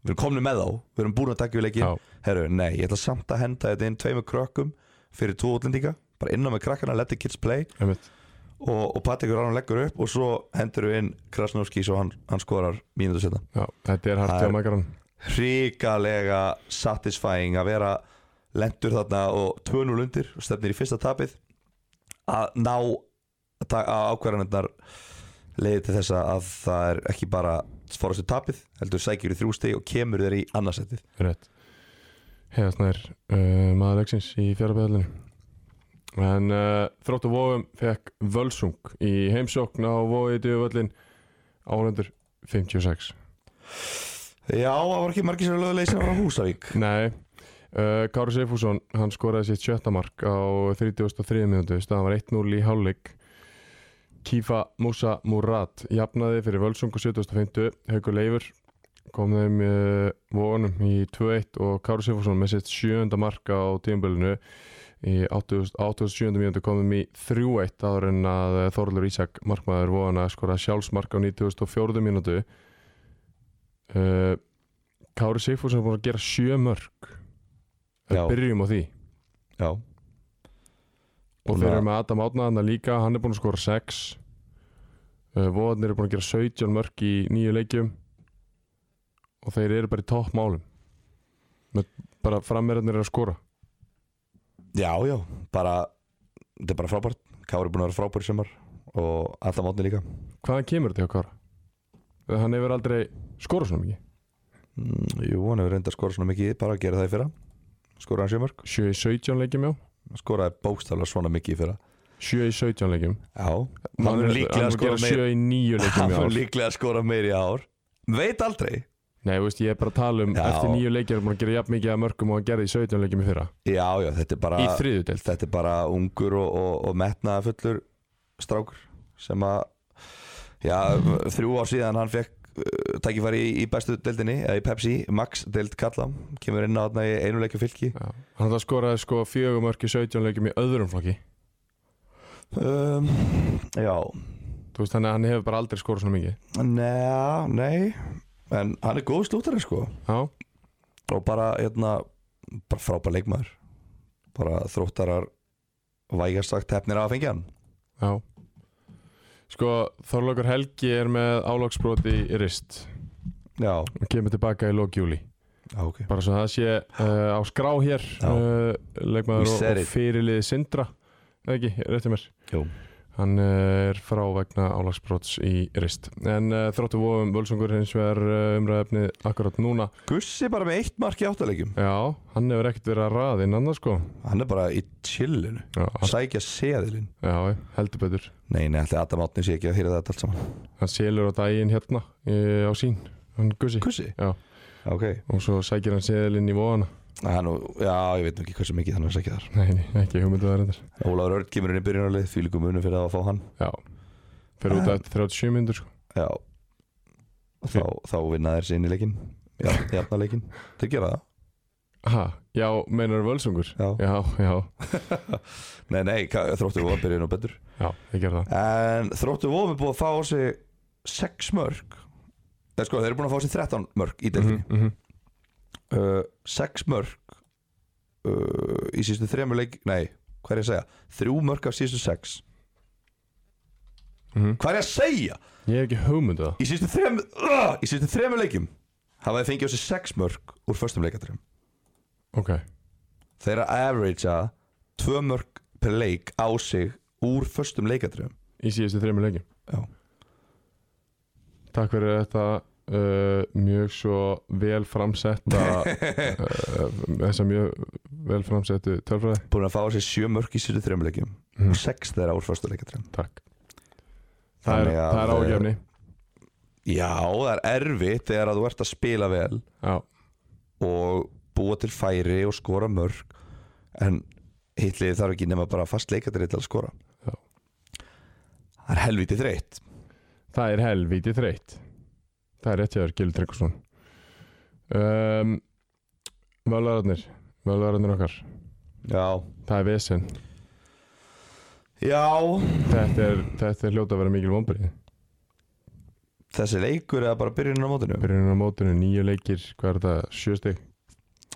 B: við erum komni með þá, við erum búin að taka yfir leikin
A: Já,
B: herru, nei, ég ætla samt að henda þetta inn tveimur krökkum fyrir tvo útlendinga bara inná með krakkana, let the kids play
A: einmitt
B: og, og Patrikur Ránum leggur upp og svo hendur við inn Krasnovski svo hann, hann skorar mínútu setna
A: Já, þetta er
B: Það
A: hart hjá
B: er-
A: mækaran
B: hrikalega satisfying að vera lendur þarna og tvönul undir og stefnir í fyrsta tapið að ná að ta- að ákvarðanirnar leiði til þess að það er ekki bara fórast við tapið, heldur sækir í þrjú stig og kemur þeir í annarsættið
A: Rétt Heiðasnær uh, maður leiksins í fjárabæðalinu En uh, þrótt og vóðum fekk völsung í heimsókn á vóðið djöfvöllin áhendur 56
B: Já, það var ekki margir sem lögðu leysin frá Húsavík
A: Nei, uh, Kári Seifússon hann skoraði sitt sjötta mark á 33. minútu, staðan var 1-0 í hálfleik Kífa Musa Murat jafnaði fyrir Völsung á 75. Haukur Leifur kom þeim uh, vonum í 2-1 og Kári Seifússon með sitt sjönda mark á tíumbölinu í 87. mínútu komum í 3-1 áður en að Þorlur Ísak markmaður vona að skora sjálfsmark á 94. mínútu uh, Kári Sigfússon er búin að gera sjö mörg
B: Já.
A: við byrjum á því
B: Já,
A: og
B: Búin
A: þeir
B: að-
A: eru með Adam Átnaðan líka hann er búin að skora 6 uh, Vóðarnir eru búin að gera 17 mörg í nýju leikjum og þeir eru bara í toppmálum með bara frammeirarnir eru að skora
B: já, já, bara þetta er bara frábært, Kári er búin að vera frábært sem var og alltaf átni líka
A: hvaðan kemur þetta hjá Kára? Uh, hann hefur aldrei skorað svona mikið
B: Mm, Jú, hann hefur reyndað að skora svona mikið bara að gera það í fyrra skoraði hann sjömörk,
A: 7 í 17 leikjum já
B: skoraði bókstaflega svona mikið í fyrra
A: 7 í 17 leikjum
B: Já, hann mun líklega að skora meir
A: 7 í 9
B: hann
A: leikjum
B: mun
A: já
B: líklega að skora meir í ár veit aldrei
A: Nei, þú veist, ég er bara að tala um
B: Já.
A: eftir nýju leikjum er hann búin að gera jafn mikið að mörgum og hann gerði í 17 leikjum í fyrra
B: Já, já, þetta er bara,
A: í þriðu deild
B: þetta er bara ungur og, og, og metnaða fullur strákur sem að já, þrjú ár síðan hann fekk uh, tækifæri í, í bestu deildinni eða í Pepsi, Max deild kalla kemur inn á þarna í einu leikju fylki
A: Já. Hann það skoraði sko fjögur mörg í 17 leikjum í öðrum flokki
B: um, Já,
A: Þú veist, þannig að hann hefur bara aldrei skorað svona mikið
B: neða, nei en hann er góð slútari sko
A: Já,
B: og bara, hérna, bara frábær leikmaður bara þróttarar vægast sagt hefnir af að fengja hann
A: já Sko, Þorlokar Helgi er með álagsbroti í rist
B: Já,
A: og kemur tilbaka í lókjúli
B: já ok
A: bara svo það sé uh, á skrá hér
B: Já.
A: uh, leikmaður
B: We
A: og, og
B: said it.
A: fyrirliði Sindra eða ekki, rétti mér
B: Jú.
A: Hann eh, er frá vegna álagsbrots í rist En uh, þróttu vofum Völsungur hins vegar uh, umræðefnið akkurat núna
B: Gussi bara með eitt mark í áttalegjum
A: Já, hann hefur ekkert verið að raða inn annars sko
B: Hann er bara í chillinu
A: Já, hann,
B: Sækja seðilinn
A: já heldur betur
B: Nei, nei, ætli Adam Átni sé ekki að hýra þetta allt saman
A: Hann selur á daginn hérna e, á sín Hann gussi
B: Gussi?
A: Já.
B: Ok
A: Og svo sækir hann seðilinn í vóðana
B: Nei, hann, og- Já, ég veit nú ekki hversu mikið hann er að sækja þar
A: Nei, nei, ekki hugmyndu það reyndar
B: Ólafur Örn kemur inn í byrjunarlið Því líkum unum fyrir að fá hann
A: Já, fyrir
B: Ah.
A: út að 37 myndur sko
B: Já Þá, þá vinna þær sinni leikinn Já, jafnarleikinn Þeir gera það
A: sko. Ha, já, meinar Völsungur
B: Já.
A: já, já,
B: Nei, nei, Ka- þróttu vóðum byrja nú betur
A: já ég ger það
B: En þróttu vóðum er búið að fá á sig 6 mörg Eða sko, þeir eru búin að fá á sig 13 mörg í delfinni
A: Mhm, mhm.
B: uh, sex mörg uh, í síðustu þremur leik nei, hvað er ég að segja þrjú mörg af síðustu sex
A: Mhm.
B: hvað er ég að segja
A: Ég hef ekki hugmyndu það
B: í síðustu þremur uh, í síðustu þremur leikum hafa þeir fengið á sig sex mörg úr förstum leikatrum
A: Ok,
B: þeir eru að averagea tvö mörg per leik á sig úr förstum leikatrum
A: í síðustu þreymur leikjum
B: Já.
A: Takk fyrir þetta uh, mjög svo vel framsetta uh, þessa mjög vel framsettu tölfræði
B: búin að fá á sig sjö mörg í síðustu þremur leikum
A: Mhm.
B: og sex þeirra úr förstum leikatrum
A: Takk Það er,
B: Þannig að- uh, eh,
A: það er ágefni
B: já, það er erfitt þegar að þú ert að spila vel
A: Já,
B: og búa til færi og skora mörg en hitlið þarf ekki nema bara fast leikadrið til að skora
A: Já.
B: það er helviti þreytt
A: það er helvíti þreytt Það er rétt hjá þér, Gildur Tryggvason um, Völvararnir Völvararnir okkar
B: já,
A: Það er vesen
B: já
A: Þetta er, þetta er hljóta að vera mikil vombrið
B: þessi leikur eða bara byrjunin á mótinu
A: Byrjunin á mótunum, nýju leikir, hvað er þetta, sjö stig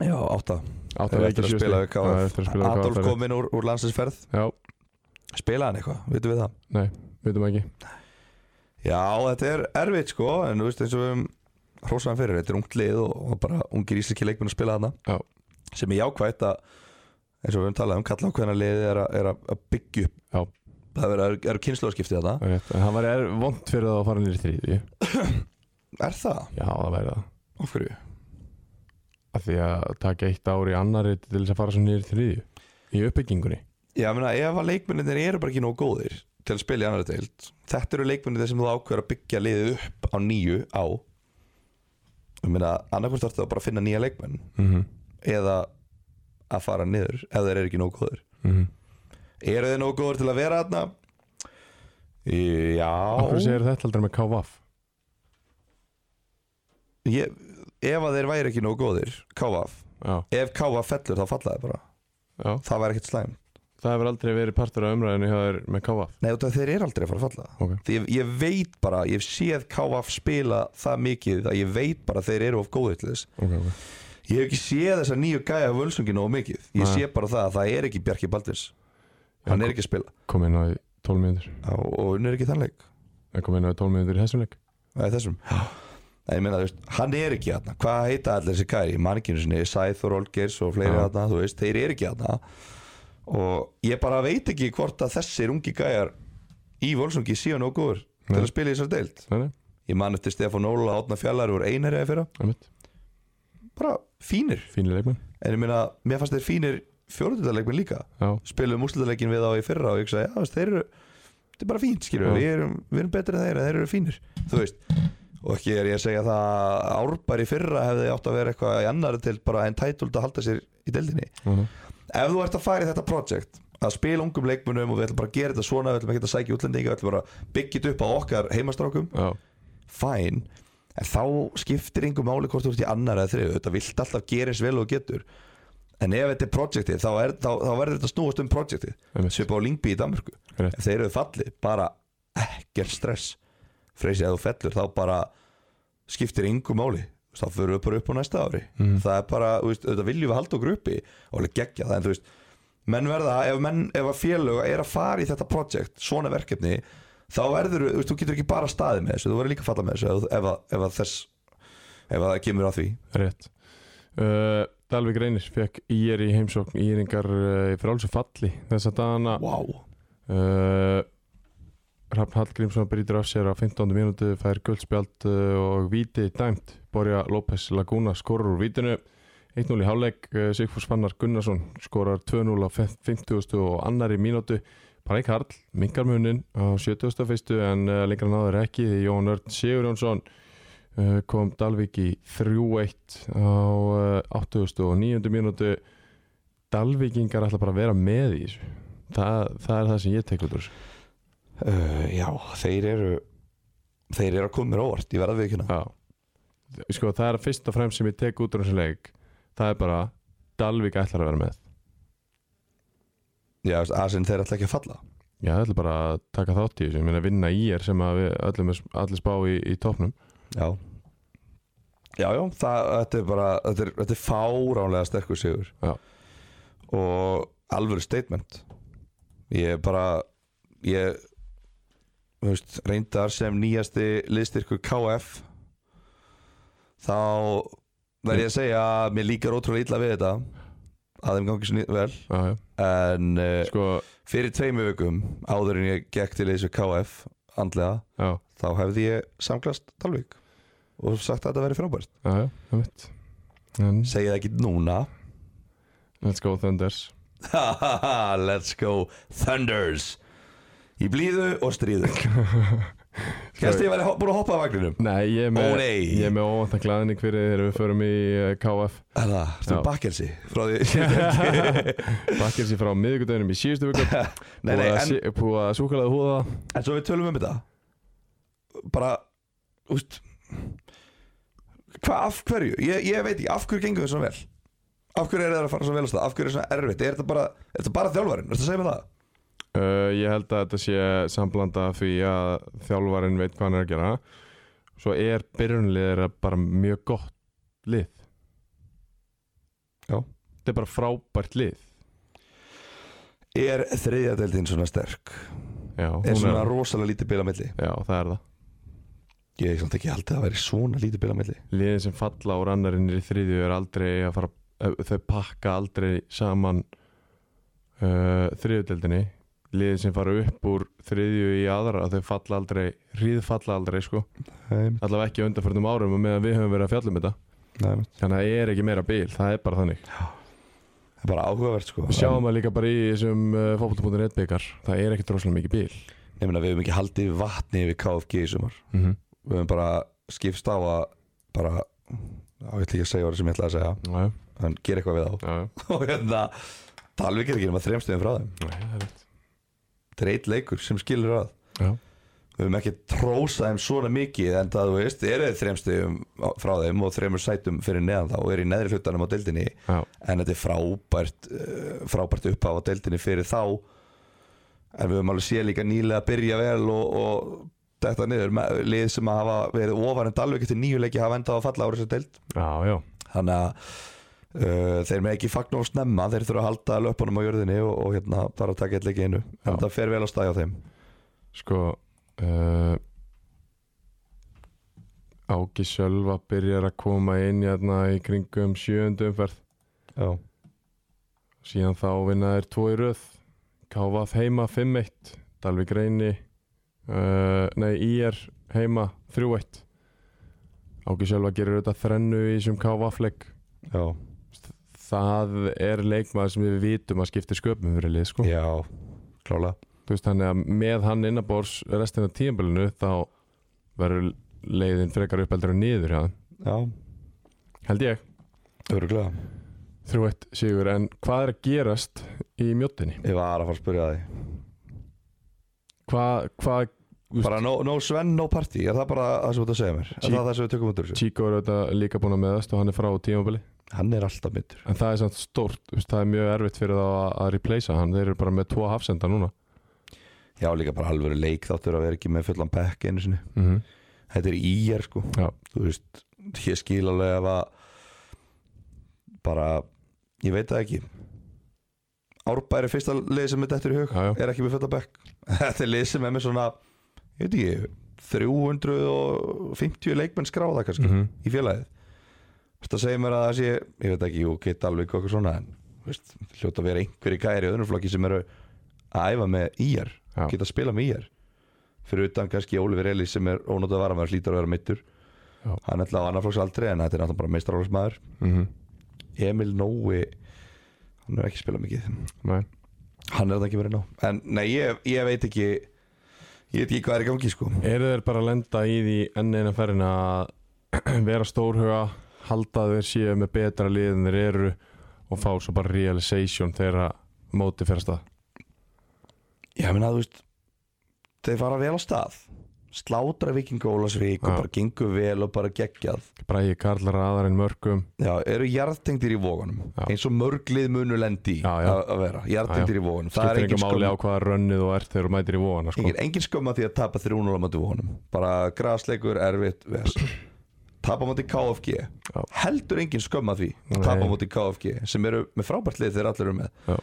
B: já, átta
A: Átta
B: Það er
A: leikir,
B: eftir að
A: sjö
B: spila við
A: stig Það er eftir að
B: KF
A: spila við
B: Adolf
A: KF rétt.
B: kominn úr, úr landsinsferð
A: Já,
B: spilaði hann eitthvað, vitum við það
A: veitum ekki
B: já, þetta er erfitt sko en þú veist eins og við höfum hrósað hann fyrir þetta er ungt lið og, og bara ungir íslenski leikmenn að spila þarna
A: Já.
B: sem er jákvætt að eins og við höfum talað um kalla á hvernig liðið er, að- er að að byggja upp
A: Já.
B: það er, er, er kynnslóðskipti þetta
A: það er rétt. En það væri er vond fyrir það að fara nýri þriði
B: er það?
A: Já, það væri það
B: af hverju?
A: Af því að taka eitt ár í annari til þess að fara svo nýri þriði Í uppbyggingunni
B: Já, ég meina, ef að leikmennir eru bara ekki nógu góðir til að spila í annar deild þetta eru leikmennir sem þú ákveður að byggja liðið upp á nýju á ég meina, annarkvæmst þarf það bara að finna nýja leikmenn
A: mm -hmm.
B: eða að fara niður ef þeir eru ekki nógu góðir
A: Mm -hmm.
B: eru þeir nógu góðir til að vera þarna?
A: Akkur
B: Já
A: segir þetta aldrei með KVaf
B: ég, ef að þeir væri ekki nógu góðir KVF,
A: Já,
B: ef KVF fellur þá falla þeir bara
A: já
B: það væri ekkert slæm
A: Það hefur aldrei verið partur af umræðinu hjá þér með KVaf
B: Nei, út af þeir eru aldrei að fara að falla
A: Ok.
B: Því ég, ég veit bara, ég hef séð KF spila það mikið að ég veit bara að þeir eru of góðið til þess
A: okay, okay.
B: Ég hef ekki séð þessa nýju gæja völsungin of mikið Ég
A: Nei.
B: sé bara það að það er ekki Bjarki Baldins
A: Já,
B: Hann er ekki að spila
A: Kom inn á í 12 mínútur
B: Já, og hún er ekki þannleik
A: Ég kom inn á í 12 mínútur í þessum leik
B: Það er þessum Nei, ég meina, þú veist, hann er ekki aðna Hvað heita allir þessi gæri? Manninginu sinni, Sæþór, Olgeirs og fleiri
A: Já.
B: aðna Þú veist, þeir eru ekki aðna Og ég bara veit ekki hvort að þessir ungi gæjar í völsungi séu nóg góður til
A: Nei.
B: að spila í þessar deild
A: Nei, nei,
B: Ég man eftir Stefán Óla átna fjallar úr einherja fyrir
A: einmitt
B: bara fínir
A: Fínir leikmenn
B: en ég meina, mér fannst þeir fínir fjórðutarleikminn líka
A: Já,
B: spilum úrslutaleikin um við á í fyrra og ég sagði, já, þú veist, þeir eru þetta er bara fínt, skilur við,
A: Já.
B: erum, við erum betri en þeir en þeir eru fínir, þú veist og ekki er ég að segja það að árbar í fyrra hefði átt að vera eitthvað í annari til bara en tætult að halda sér í deildinni
A: mhm.
B: ef þú ert að fara í þetta projekt að spila ungum leikmunum og við ætlum bara að gera þetta svona við ætlum ekki að sækja útlendinga, við ætlum bara að byggja þetta upp á okkar heimastrákum
A: já,
B: fæn en þá skiptir yngur máli hvort þú ert í annar eða þriðu þetta vilt alltaf gera eins vel og þú getur en ef þetta er projektið þá, er, þá, þá verður þetta að snúast um projektið
A: einmitt
B: svipa á Lingby í Danmörku
A: Rétt.
B: ef þeir eru fallið, bara ekkert stress freysi ef þú fellur þá bara skiptir yngur máli þá fyrir við bara upp á næsta ári
A: Mhm.
B: það er bara, þú veist, þetta viljum við halda okkur uppi og alveg gegja það, en þú veist menn verða, ef, menn, ef að félög er að fara í þetta projekt, svona verkefni þá verður, þú veist, þú getur ekki bara staðið með þessu, þú verður líka að falla með þessu ef, ef, að- ef að þess, ef að það kemur að því
A: Rétt uh, Dalvik Reynir fekk ír í heimsókn íringar uh, frá alls og falli þess að dana
B: wow.
A: uh, Rafn Hallgrímsson brýtur af sér á 15. mínútu fær guldspjald uh, og víti dæmt Borja López Laguna skorur úr vítinu 1-0 í hálfleik uh, Sigfús Fannar Gunnarsson skorar 2-0 á 50. og annari mínútu Parik Harl, minkar munin á 71. en uh, lengra náður ekki því Jón Örn Sigurjónsson uh, kom Dalvik í 3-1 á uh, 89. mínútu Dalvíkingar ætla bara að vera með í þessu það, það er það sem ég tek út úr þessu.
B: uh, já, þeir eru þeir eru að koma mér á óvart, ég verða við ekki
A: Já Sko það er fyrst og fremst sem ég tek út úr þessu leik Það er bara Dalvík ætlar að vera með
B: já, aðsinn þeir ætla ekki að falla
A: Já, það ætla bara að taka þátt í þessu Ég meina vinna í er sem að við öllum allir spá í, í topnum
B: Já Já, já, það, þetta er bara þetta er, þetta er fáránlega sterkur sigur
A: Já.
B: og alvöru statement ég er bara ég þú veist, reyndar sem nýjasti liðstyrkur KF þá verð ég að segja að mér líkar ótrúlega illa við þetta að þeim gangi svo ný- vel
A: Já, já
B: en uh,
A: Sko,
B: fyrir tveimu vikum áður en ég gekk til þessu KF andlega
A: já,
B: þá hefði ég samklast Dalvík og sagt að þetta veri frábært
A: já, já, það mitt En,
B: segið ekki núna
A: let's go Thunders
B: let's go Thunders í blíðu og stríðu kannski ég væri ho- búin að hoppa af vagninum
A: Nei, ég er
B: Ó,
A: með
B: nei.
A: Ég er með óvæntan glæðning fyrir þegar við förum í eh, KF
B: er það, ertu
A: Já.
B: bakkelsi frá því
A: Bakkir sér frá miðvikudeginum í síðustu viku
B: nei, nei, en,
A: Búið að súkulega húða
B: en svo við tölum um þetta bara úst, hvað, af hverju ég, ég veit ekki, af hverju gengur þau svona vel af hverju er það að fara svona vel á stað af hverju er það svona erfitt, er þetta bara, er þetta bara þjálfarinn, ertu að segja mér það
A: Uh, ég held að þetta sé samblanda af því að þjálfarin veit hvað hann er að gera svo er byrjunliðir bara mjög gott lið
B: Já.
A: Þetta er bara frábært lið
B: Er þriðjadeldin svona sterk?
A: Já, hún
B: Er svona rosalega lítið bil á milli?
A: Já, það er það
B: Ég hef samt ekki haldið að það væri svona lítið bil á milli
A: Liðin sem falla úr annarinn í þriðju er aldrei að fara eh, þau pakka aldrei saman uh, þriðudeldinni liðið sem fara upp úr þriðju í aðra þau falla aldrei, ríðfalla aldrei sko
B: Nei,
A: allavega ekki á undanförnum árum og meðan við höfum verið að fjalla um þetta
B: nei,
A: þannig að það er ekki meira bíl, það er bara þannig
B: það er bara áhugavert sko
A: við sjáum það líka bara í þessum uh, fótbolta.net byggar það er ekki droslega mikið bíl
B: Ég meina, við höfum ekki haldið vatni yfir KFG í sumar
A: mm -hmm.
B: Við höfum bara skipst á að bara, á, ég ætla ekki að segja orðið sem ég ætla að segja
A: já, já,
B: En gera eitthvað við
A: já, já.
B: þá Og hérna, Dalvik er ekki nema þremstöðum frá þeim
A: Nei, það er rétt.
B: Þetta er eitt leikur sem skilur að
A: já.
B: Við höfum ekki trósað þeim svona mikið En það, þú veist, eru þeir þremstöðum frá þeim Og þremur sætum fyrir neðan þá Og eru í neðri hlutanum á deildinni
A: Já.
B: En þetta er frábært, eh, frábært upphafa á deildinni fyrir þá En við höfum alveg séð líka nýlega að byrja vel og, og þetta niður með lið sem að hafa verið ofan en Dalvik eftir nýju leiki hafa endað að falla á þessu deild
A: já, já,
B: þannig að uh, þeir með ekki fagn og snemma þeir þurfa að halda löpunum á jörðinni og, og hérna bara taka eitt leiki einu
A: Já.
B: en það fer vel að stæja á þeim
A: sko uh, Áki Sjölva byrjar að koma inn hérna í kringum sjöundu umferð
B: Já,
A: síðan þá vinna þeir tvo í röð Kávaf heima 5-1 Dalvik Reyni uh, nei, IR heima 3-1 Áki Sjölva gerir þetta þrennu í sem Kávaf leik
B: já,
A: það er leikmaður sem við vitum að skipta sköpum fyrir lið sko.
B: já, klála
A: Þú veist, þannig að með hann innabors restina af tímabilinu þá verður leiðin frekar uppeldur og niður hjá þeim.
B: Já,
A: held ég,
B: öruglega
A: 3-1 sigur en hvað er að gerast í mjóttinni?
B: Ég var að fara að spyrja því
A: Hvað, hvað Úst.
B: Bara no, no Sven, no party, er það bara það sem þú ert að segja mér? Er
A: Sí.
B: það það sem við tökum út úr þessu?
A: Chico er auðvitað líka búin að meðast og hann er frá á tímabili
B: Hann er alltaf myndur
A: en það er samt stórt, þú veist, það er mjög erfitt fyrir þá að, að replacea hann, þeir eru bara með tvo hafsenda núna
B: Já, líka bara alvöru leik þáttur að vera ekki með fullan bekk einu sinni
A: mm -hmm.
B: Þetta er ír sko
A: Já.
B: Þú veist, ég skil alveg ef að bara, ég veit það ekki Árbær er fyrsta lið sem er dettur í hug
A: já, já,
B: er ekki með fullan bekk Þetta er lið sem er með svona ég veit ekki, 350 leikmenn skráða kannski
A: mm
B: í félagið Þetta segir mér að það sé, ég veit ekki, jú, geta alveg okkur svona en þú veist, hljóta að vera einhverjir gæri í öðrum flokki sem eru að æfa með íjar,
A: Já.
B: geta að spila með íjar fyrir utan kannski Ólifur Eli sem er ónótað varamæður, hlýtar að vera meittur
A: Já.
B: hann ætla á annarflokks aldrei en þetta er náttúrulega bara meistarálsmaður Emil Nói hann er ekki að spila mikið
A: Nei.
B: hann er þetta ekki verið nóg en nei, ég, ég veit ekki ég veit ekki hvað er í gangi sko
A: Eru þeir bara að lenda í því enn eina ferðin að vera stórhuga, halda að þeir séu með betra lið en þeir eru og fá svo bara realization þegar móti fyrir stað?
B: Já, minna, þú veist Þeir fara vel á stað Slátra viking og Ólasvík og
A: Já.
B: bara gengur vel og bara geggjað
A: Bræði Karl raðarinn mörgum,
B: Já, eru jarðtengdir í vóganum
A: Já.
B: eins og mörglið munu lendi í
A: Já, já.
B: að að vera, jarðtengdir í vóganum Það er
A: skiptir
B: engin
A: engum
B: skömm,
A: máli á hvaða rönnið og ert þegar þú mætir í vóana sko.
B: engin, engin skömm að því að tapa 3-0 á mæti vóganum bara grasleikur, erfitt, ves tapa á mæti KFG
A: Já.
B: heldur engin skömm að því
A: Nei.
B: að tapa á mæti KFG sem eru með frábært lið þeir allir eru með
A: Já.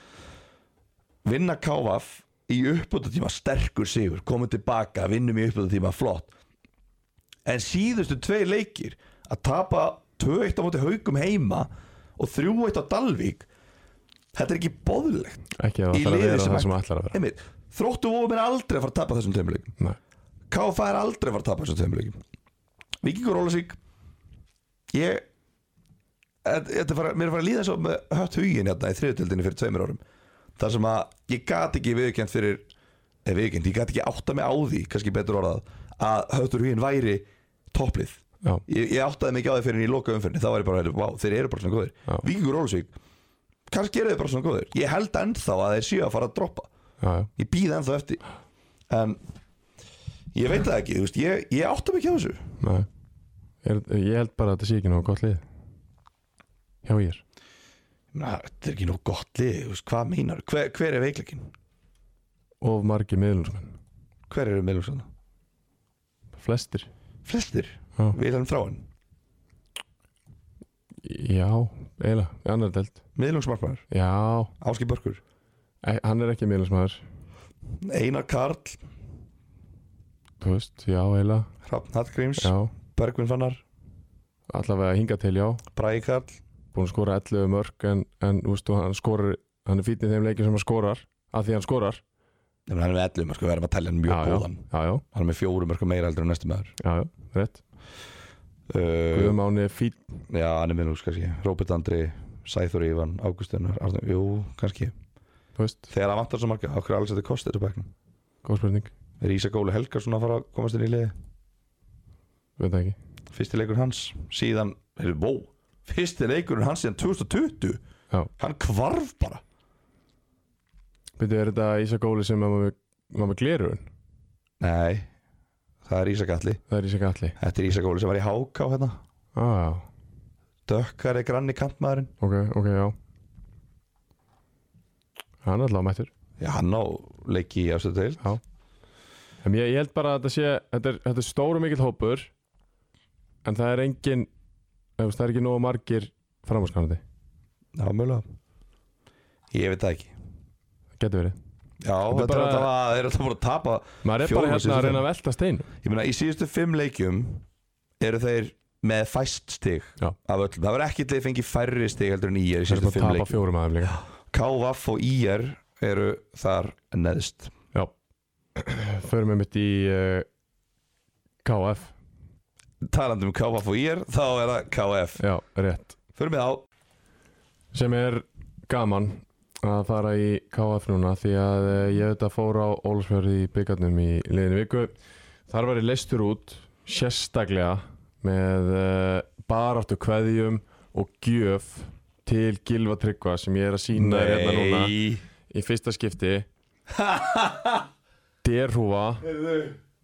B: vinna KF í uppbútatíma sterkur sigur, komum tilbaka vinnum í uppbútatíma, flott en síðustu tvei leikir að tapa 2-1 á móti haugum heima og 3-1 á Dalvík þetta er ekki boðlegt
A: Ekki að
B: Í
A: það ætlar að
B: liði
A: vera
B: sem
A: það sem
B: ætti-
A: ætlar að vera.
B: Einmitt, þróttu vofum er aldrei að fara að tapa þessum tveim leikum
A: Nei.
B: KFA er aldrei að fara að tapa þessum tveim leikum Víkingur Ólasík ég þetta þetta er fara, mér er að fara að líða svo með hött hugin hérna í þriðutöldinni fyrir tveimur árum þar sem að ég gat ekki viðkjönd fyrir eða viðkjönd, ég gat ekki átta mig á því kannski betur orðað að höttur hugin væri topplið
A: Já,
B: ég, ég áttaði mig ekki á því fyrir en ég loka umfyrinni þá var ég bara, heyrðu, vá, þeir eru bara svona góðir
A: Já.
B: Víkingur Ólusvík, kannski eru þeir bara svona góðir ég held ennþá að þeir séu að fara að droppa
A: já, já.
B: ég býð ennþá eftir en ég veit það ekki, þú veist, ég, ég áttaði mig ekki á þessu
A: Nei. Er, ég held bara að þetta sé ekki nógu gott lið. Já, ég er.
B: Na, þetta er ekki nú gott lið, þú veist, hvað meinar hver, hver er veikleikin,
A: Of margi miðlursmenn.
B: hver eru meðlumsana
A: Flestir.
B: flestir,
A: Já.
B: Vilhelm Þráin
A: Já, eiginlega. Annar delt.
B: meðlumsmarkmaður,
A: Já,
B: Áski Börkur
A: e- hann er ekki miðlursmaður.
B: Einar Karl,
A: Þú veist, já, eiginlega.
B: Hrafn Hallgríms
A: Já,
B: Bergvin Fannar,
A: allavega hinga til já
B: Bræði Karl
A: Búin að skora 11 mörg en, en ústu, hann skorar hann er fítið þeim leikið sem hann skorar af því hann skorar
B: Nefnir hann er með 11 mörg, við erum að tala hann mjög
A: já,
B: góðan
A: já, já,
B: Hann er með fjórum mörg meira heldur en næstu maður
A: já, já, rétt
B: uh,
A: Guðum áni fít
B: Já, hann er með nús kannski Róbert Andri, Sæþur Ívan, Águstunar Arnum, Jú, kannski
A: Þú veist,
B: Þegar hann vantar svo marga, okkur er alls þetta kostið þessu bæknum
A: góð spurning,
B: Er Ísa Góli Helgarsson að fara að komast inn í liði?
A: veit það ekki
B: Fyrsti leikur hans síðan, heyrðu, vó Fyrsti leikurinn hans síðan 2020
A: Já.
B: Hann kvarf bara
A: Byrju, er þetta Ísa Góli sem var með, var með glerun?
B: Nei, það er Ísa Galli
A: Það er Ísa Galli
B: Þetta er Ísa Góli sem var í Háká hérna
A: ah, já.
B: Dökkari granni kantmaðurinn
A: Ok, ok, já Hann er allavega mættur
B: Já, hann á leiki í afstöðu til
A: En ég, ég held bara að þetta sé Þetta er, þetta er stóru mikill hópur En það er engin ef þú veist, Það er ekki nógu margir framhúskanandi
B: Já, mögulega Ég veit það ekki
A: Getur verið
B: Já, þetta er
A: bara-
B: alltaf að þeir eru alltaf búin að tapa
A: Maður er
B: Fjórum
A: bara
B: síðustu
A: hérna að reyna
B: fimm.
A: að velta steinu
B: Ég meina, í síðustu fimm leikjum eru þeir með fæst stig
A: Já.
B: af öllum Það var ekki til að fengi færri stig heldur en IR í
A: Það er
B: síðustu
A: bara
B: fimm
A: að tapa
B: leikjum
A: fjórum aðeim líka
B: KVF og IR eru þar neðst
A: Förum við mitt í uh, KF
B: Talandi um KVF og IR, þá er það KF
A: Já, rétt
B: Förum við á
A: sem er gaman að fara í KF núna því að eh, ég auðvitað fór á Ólfsfjörði í byggarnum í liðinu viku þar var ég leistur út sérstaklega með uh, baráttu kveðjum og gjöf til Gilva Tryggva sem ég er að sína hérna núna í fyrsta skipti derhúfa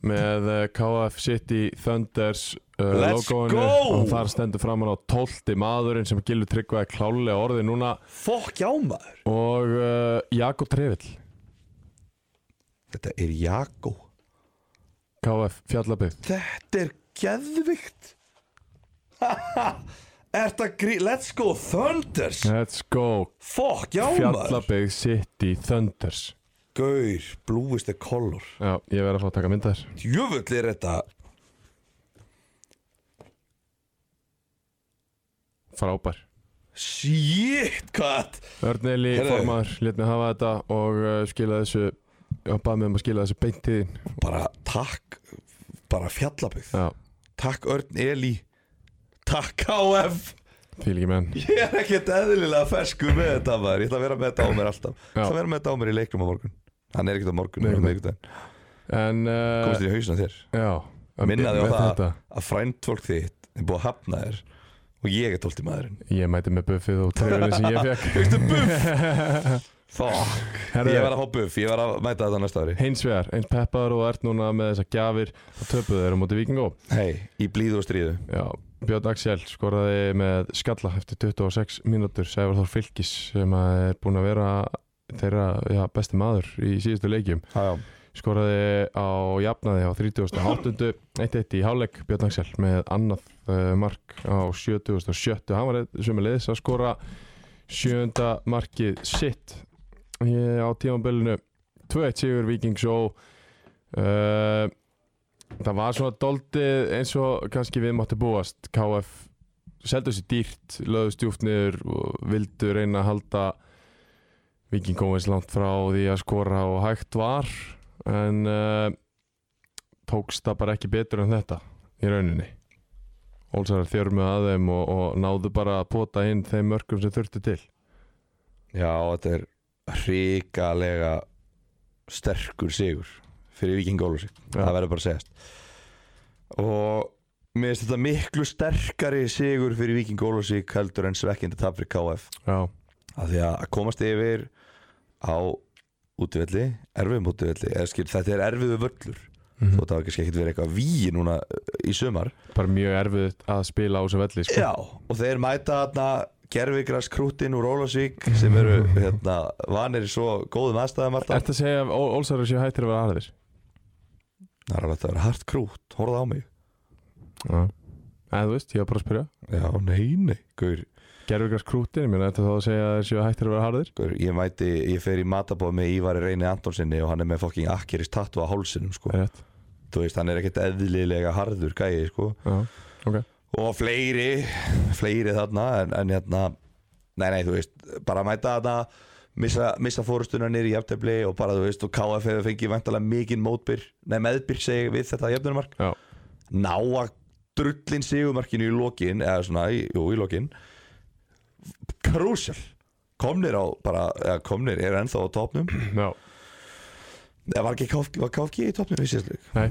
A: með eh, KF City Thunders uh,
B: Let's
A: logoinu
B: go!
A: og þar stendur framan á 12. maðurinn sem Gilvi Tryggva er klálega orðið núna
B: Fokk já maður
A: og uh, Jakob Trevill
B: Þetta er Jakko
A: KF Fjallabygg
B: Þetta er geðvikt Er þetta grí... Let's go Thunders
A: Let's go
B: Oh Fokk já maður
A: Fjallabygg City Thunders
B: Gaur, blue is the color
A: Já, ég verð að fá að taka myndar
B: Jöfull er þetta
A: frábær
B: Shit, hvað
A: Örn Eli,
B: Heyrðu.
A: formaður, let mig hafa þetta og uh, skila þessu og bað mig um að skila þessu beint til þín
B: Bara takk Bara fjallabygg
A: Já,
B: Takk Örn Eli Takk KF
A: fíl ekki menn
B: Ég er ekkert eðlilega fersku með þetta maður Ég ætla að vera með þetta á mér alltaf Ég ætla
A: Já.
B: að vera með þetta á mér í leiknum á morgun Hann er ekkert á morgun,
A: Nei,
B: hann er á
A: nei.
B: miðvikudaginn
A: En, uh,
B: Komst þér í hausna þér
A: já að
B: Minna þig á
A: með
B: það
A: þetta.
B: að frændfólk þitt er búið að hafna þér og ég er tólti maðurinn
A: Ég mæti með buffið og trefilið sem ég fekk
B: Veistu buff? Fuck
A: Herðu.
B: Ég var að fá buff, ég var að mæta þetta næsta ári
A: Hins vegar, eins peppaður og ert núna með þessar gjafir þá töpuðu þeir á móti vikingó
B: Hei, í blíðu og stríðu
A: Já, Björn Axel skoraði með skalla eftir 26 mínútur Sævar Þór Fylkis sem að er búinn að vera þeirra já, besti maður í síðustu leikjum
B: Já, já
A: skoraði á jafnaði á 38. 1-1 í hálfleik Björn Axel með annað uh, mark á 77. hann var sömulegis að skora sjönda markið sitt Ég á tímanbölinu 2-1 sigur Vikings og uh, það var svona doldið eins og kannski við mátti búast KF seldu sér dýrt löðu stjúft niður og vildu reyna að halda Viking komist langt frá því að skora og hægt var en uh, tókst það bara ekki betur en þetta í rauninni Ólsarar þjörmu að þeim og, og náðu bara að pota inn þeim mörgum sem þurfti til
B: Já, þetta er hrikalega sterkur sigur fyrir Viking Ólusi
A: Já.
B: það verður bara að segjast og mér finnst þetta miklu sterkari sigur fyrir Viking Ólusi heldur en svekkindi tap fyrir KF
A: Já,
B: af því að komast yfir á útivelli erfiðum útivelli, eða skil, þetta er erfiðu völlur
A: Mhm.
B: þótt að það hafi kannski ekkert verið eitthvað víi núna uh, í sumar
A: bara mjög erfitt að spila á þessu velli sko.
B: Já, og þeir mæta þarna gerfigras krútin úr Ólasvík sem eru hérna, vanir í svo góðum aðstæðum alltaf
A: Ertu að segja að Ó- Ólsarar séu hættir að vera aðeins?
B: Það er alveg að það er hart krút, horfðu á mig
A: Já En þú veist, ég var bara að spyrja
B: Já, nei, nei Gaur,
A: Gerfugars krútin, ég meina þetta þá að segja að þeir séu hættir að vera harðir
B: gaur, ég mæti, ég fer í matabóð með Ívari Reyni Antonsinni og hann er með fokking akkeris tattu á hálsinum, sko
A: Það er rétt
B: Þú veist, hann er ekkert eðlilega harður gæi, sko
A: Já, ok
B: Og fleiri, fleiri þarna en, en hérna, nei, nei, þú veist bara mæta þarna missa, missa fórustuna nýri í jafntefli og bara þú veist og KF hefur fengið vantalega mikinn mótbyr nei meðbyr segi ég, við þetta jafnumark
A: Já.
B: ná að drullin sigumarkinu í lokin eða svona, í, jú í lokin krúsjál komnir á bara, eða komnir er ennþá á topnum
A: Já,
B: eða var ekki KFG, var KFG í topnum í síðastleik
A: nei,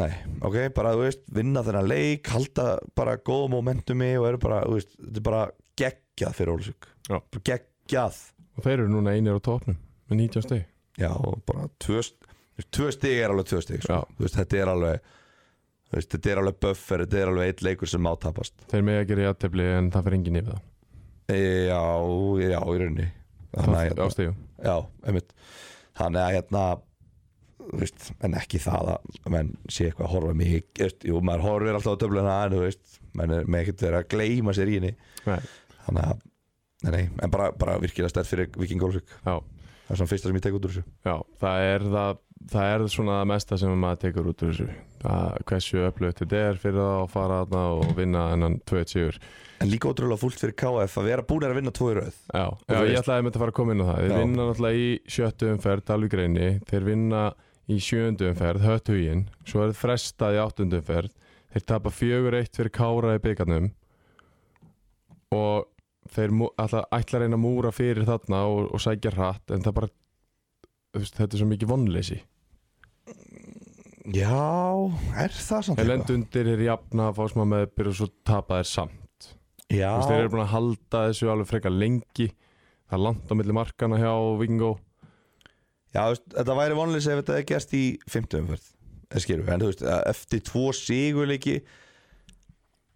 B: nei, ok, bara þú veist vinna þennan leik, halda bara góða momentumi og eru bara, þú veist þetta er bara geggjað fyrir Ólusvík
A: Já.
B: Bara geggjað
A: og þeir eru núna einir á topnum með 19 steg
B: Já, og bara tvö, st- þú veist, tvö stig er alveg tvö stig sko.
A: Já.
B: Þú veist, Þetta er alveg þú veist, Þetta er alveg buffer, þetta er alveg eitt leikur sem átapast
A: Þeir með að gera jafntefli en það fyrir enginn yfir það
B: Já, já, í rauninni Þannig að,
A: Það- á
B: hérna,
A: stegum
B: já, einmitt Þannig að hérna þú veist, en ekki það að menn sé eitthvað að horfa mikið þú veist, Jú, maður horfir alltaf á töfluna en þú veist, menn er með ekkert verið að gleyma sér í henni
A: Nei.
B: Þannig að, nei, nei, en bara, bara virkilega stærð fyrir Viking Golfsvík
A: Já,
B: Það er svona fyrsta sem ég tek út úr þessu
A: já, það er það það er svona það mesta sem maður tekur út úr þessu að hversu upplöðt þetta er fyrir það að fara aðna og vinna hennan 2-1 sigur
B: En líka ótrúlega fúlt fyrir KF að vera búin að vinna tvo í röð
A: Já,
B: þú
A: já ég
B: veist-
A: ætlaði með að fara að koma inn á það Þeir
B: Já.
A: vinna náttúrulega í sjöttu umferð Dalvíkreini, þeir vinna í sjöundu umferð, hötthugin svo er þeir frestað í áttundu umferð þeir tapa 4-1 fyrir Kára í byggarnum og þeir mú- ætla, ætla að reyna að múra fyrir þarna og, og sækja hratt en það bara, þú veist, þetta er svo mikið vonleysi
B: Já, er það samt
A: Þeir lendu undir er jafna að fá smá meðbyr og svo tapa þeir samt
B: Já,
A: Þú veist, þeir eru búin að halda þessu alveg frekar lengi það er langt á milli markana hjá Vingó
B: já þú veist, þetta væri vonleis ef þetta hefði gerst í fimmtumferð skilur, En þú veist, að eftir tvo sigurleiki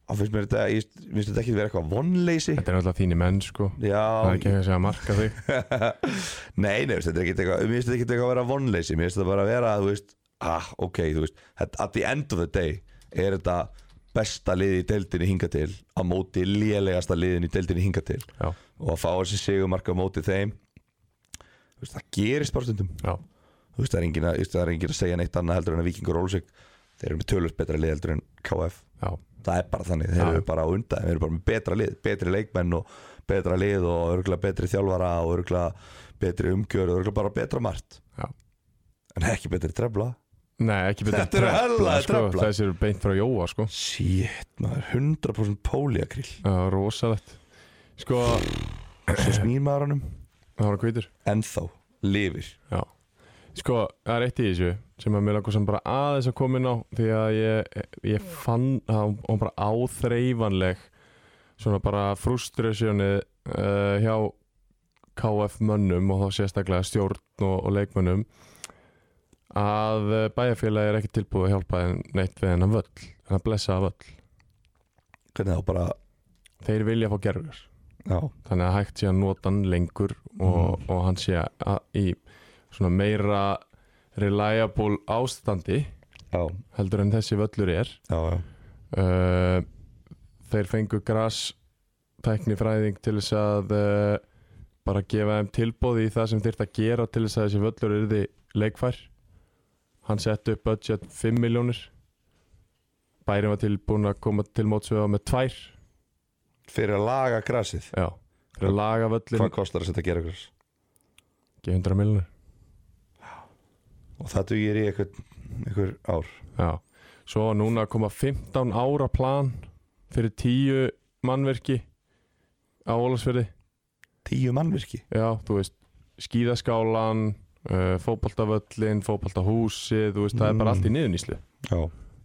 B: þá finnst mér þetta ég finnst þetta ekki vera eitthvað vonleisi
A: Þetta er náttúrulega þínir menn sko Það er ekki
B: Já,
A: eitthvað sem að marka þig
B: nei, nei, þú veist, þetta er ekki eitthvað Mér finnst þetta ekki eitthvað að vera vonleisi Mér finnst þetta bara að vera, þú veist Ah, ok, þú veist, at at the end of the day er þetta besta liði í deildinni hinga til á móti lélegasta liðin í deildinni hinga til
A: Já,
B: og að fá þessi sigumarka á móti þeim þú veist, það gerist bara stundum
A: já,
B: Þú veist, það, er engin að, þú veist, það er engin að segja neitt annað heldur en að Víkingur Ólsvík þeir eru með tölvöld betra lið heldur en KF
A: já,
B: það er bara þannig, þeir
A: Já.
B: eru bara á undan þeir eru bara með betra lið, betri leikmenn og betra lið og örgulega betri þjálfara og örgulega betri umgjör og örgulega bara betra margt
A: já
B: en ekki betri trefla
A: Nei, ekki betur
B: Þetta eru hella
A: sko,
B: trefla.
A: Þessi eru beint frá Jóa sko
B: shit, maður, 100% pólíakrill
A: Já, rosalegt Sko,
B: svo snýr maður honum
A: það var hvítur
B: ennþá, lifir
A: Já Sko, það er eitt í þessu sem að mér langar sem bara aðeins að koma inn á því að ég, ég fann að hún- hún bara áþreifanleg svona bara frustrationið uh, hjá KF mönnum og þá sérstaklega stjórn og, og leikmönnum að eh, bæjarfélagi er ekki tilbúið að hjálpa þeim neitt við hennan völl hennan blessaða völl
B: hvernig þá bara,
A: þeir vilja fá gerfur
B: já,
A: þannig að hægt sé að nota hann lengur og, og hann sé að í svona meira reliable ástandi
B: já,
A: heldur en þessi völlur er
B: já, já.
A: uh, þeir fengu gras tæknifræðing til þess að uh, bara gefa þeim tilbóð í það sem þyrfti að gera til þess að þessi völlur yrði leikfær hann sett upp budget 5 miljónir bærin var tilbúin að koma til mótsveða með tvær
B: fyrir að laga grasið
A: já, þeir laga völlin
B: hvað kostar þess að gera gras?
A: ekki 100 miljónir
B: og það dugir í einhver, einhver ár
A: Já, svo núna að koma 15 ára plan fyrir 10 mannverki á Ólasfjörði
B: tíu mannvirki
A: Já, þú veist, skíðaskálan uh, fótboltavöllin, fótboltahúsið þú veist, það er
B: Mm.
A: bara allt í niðurnýslu
B: já.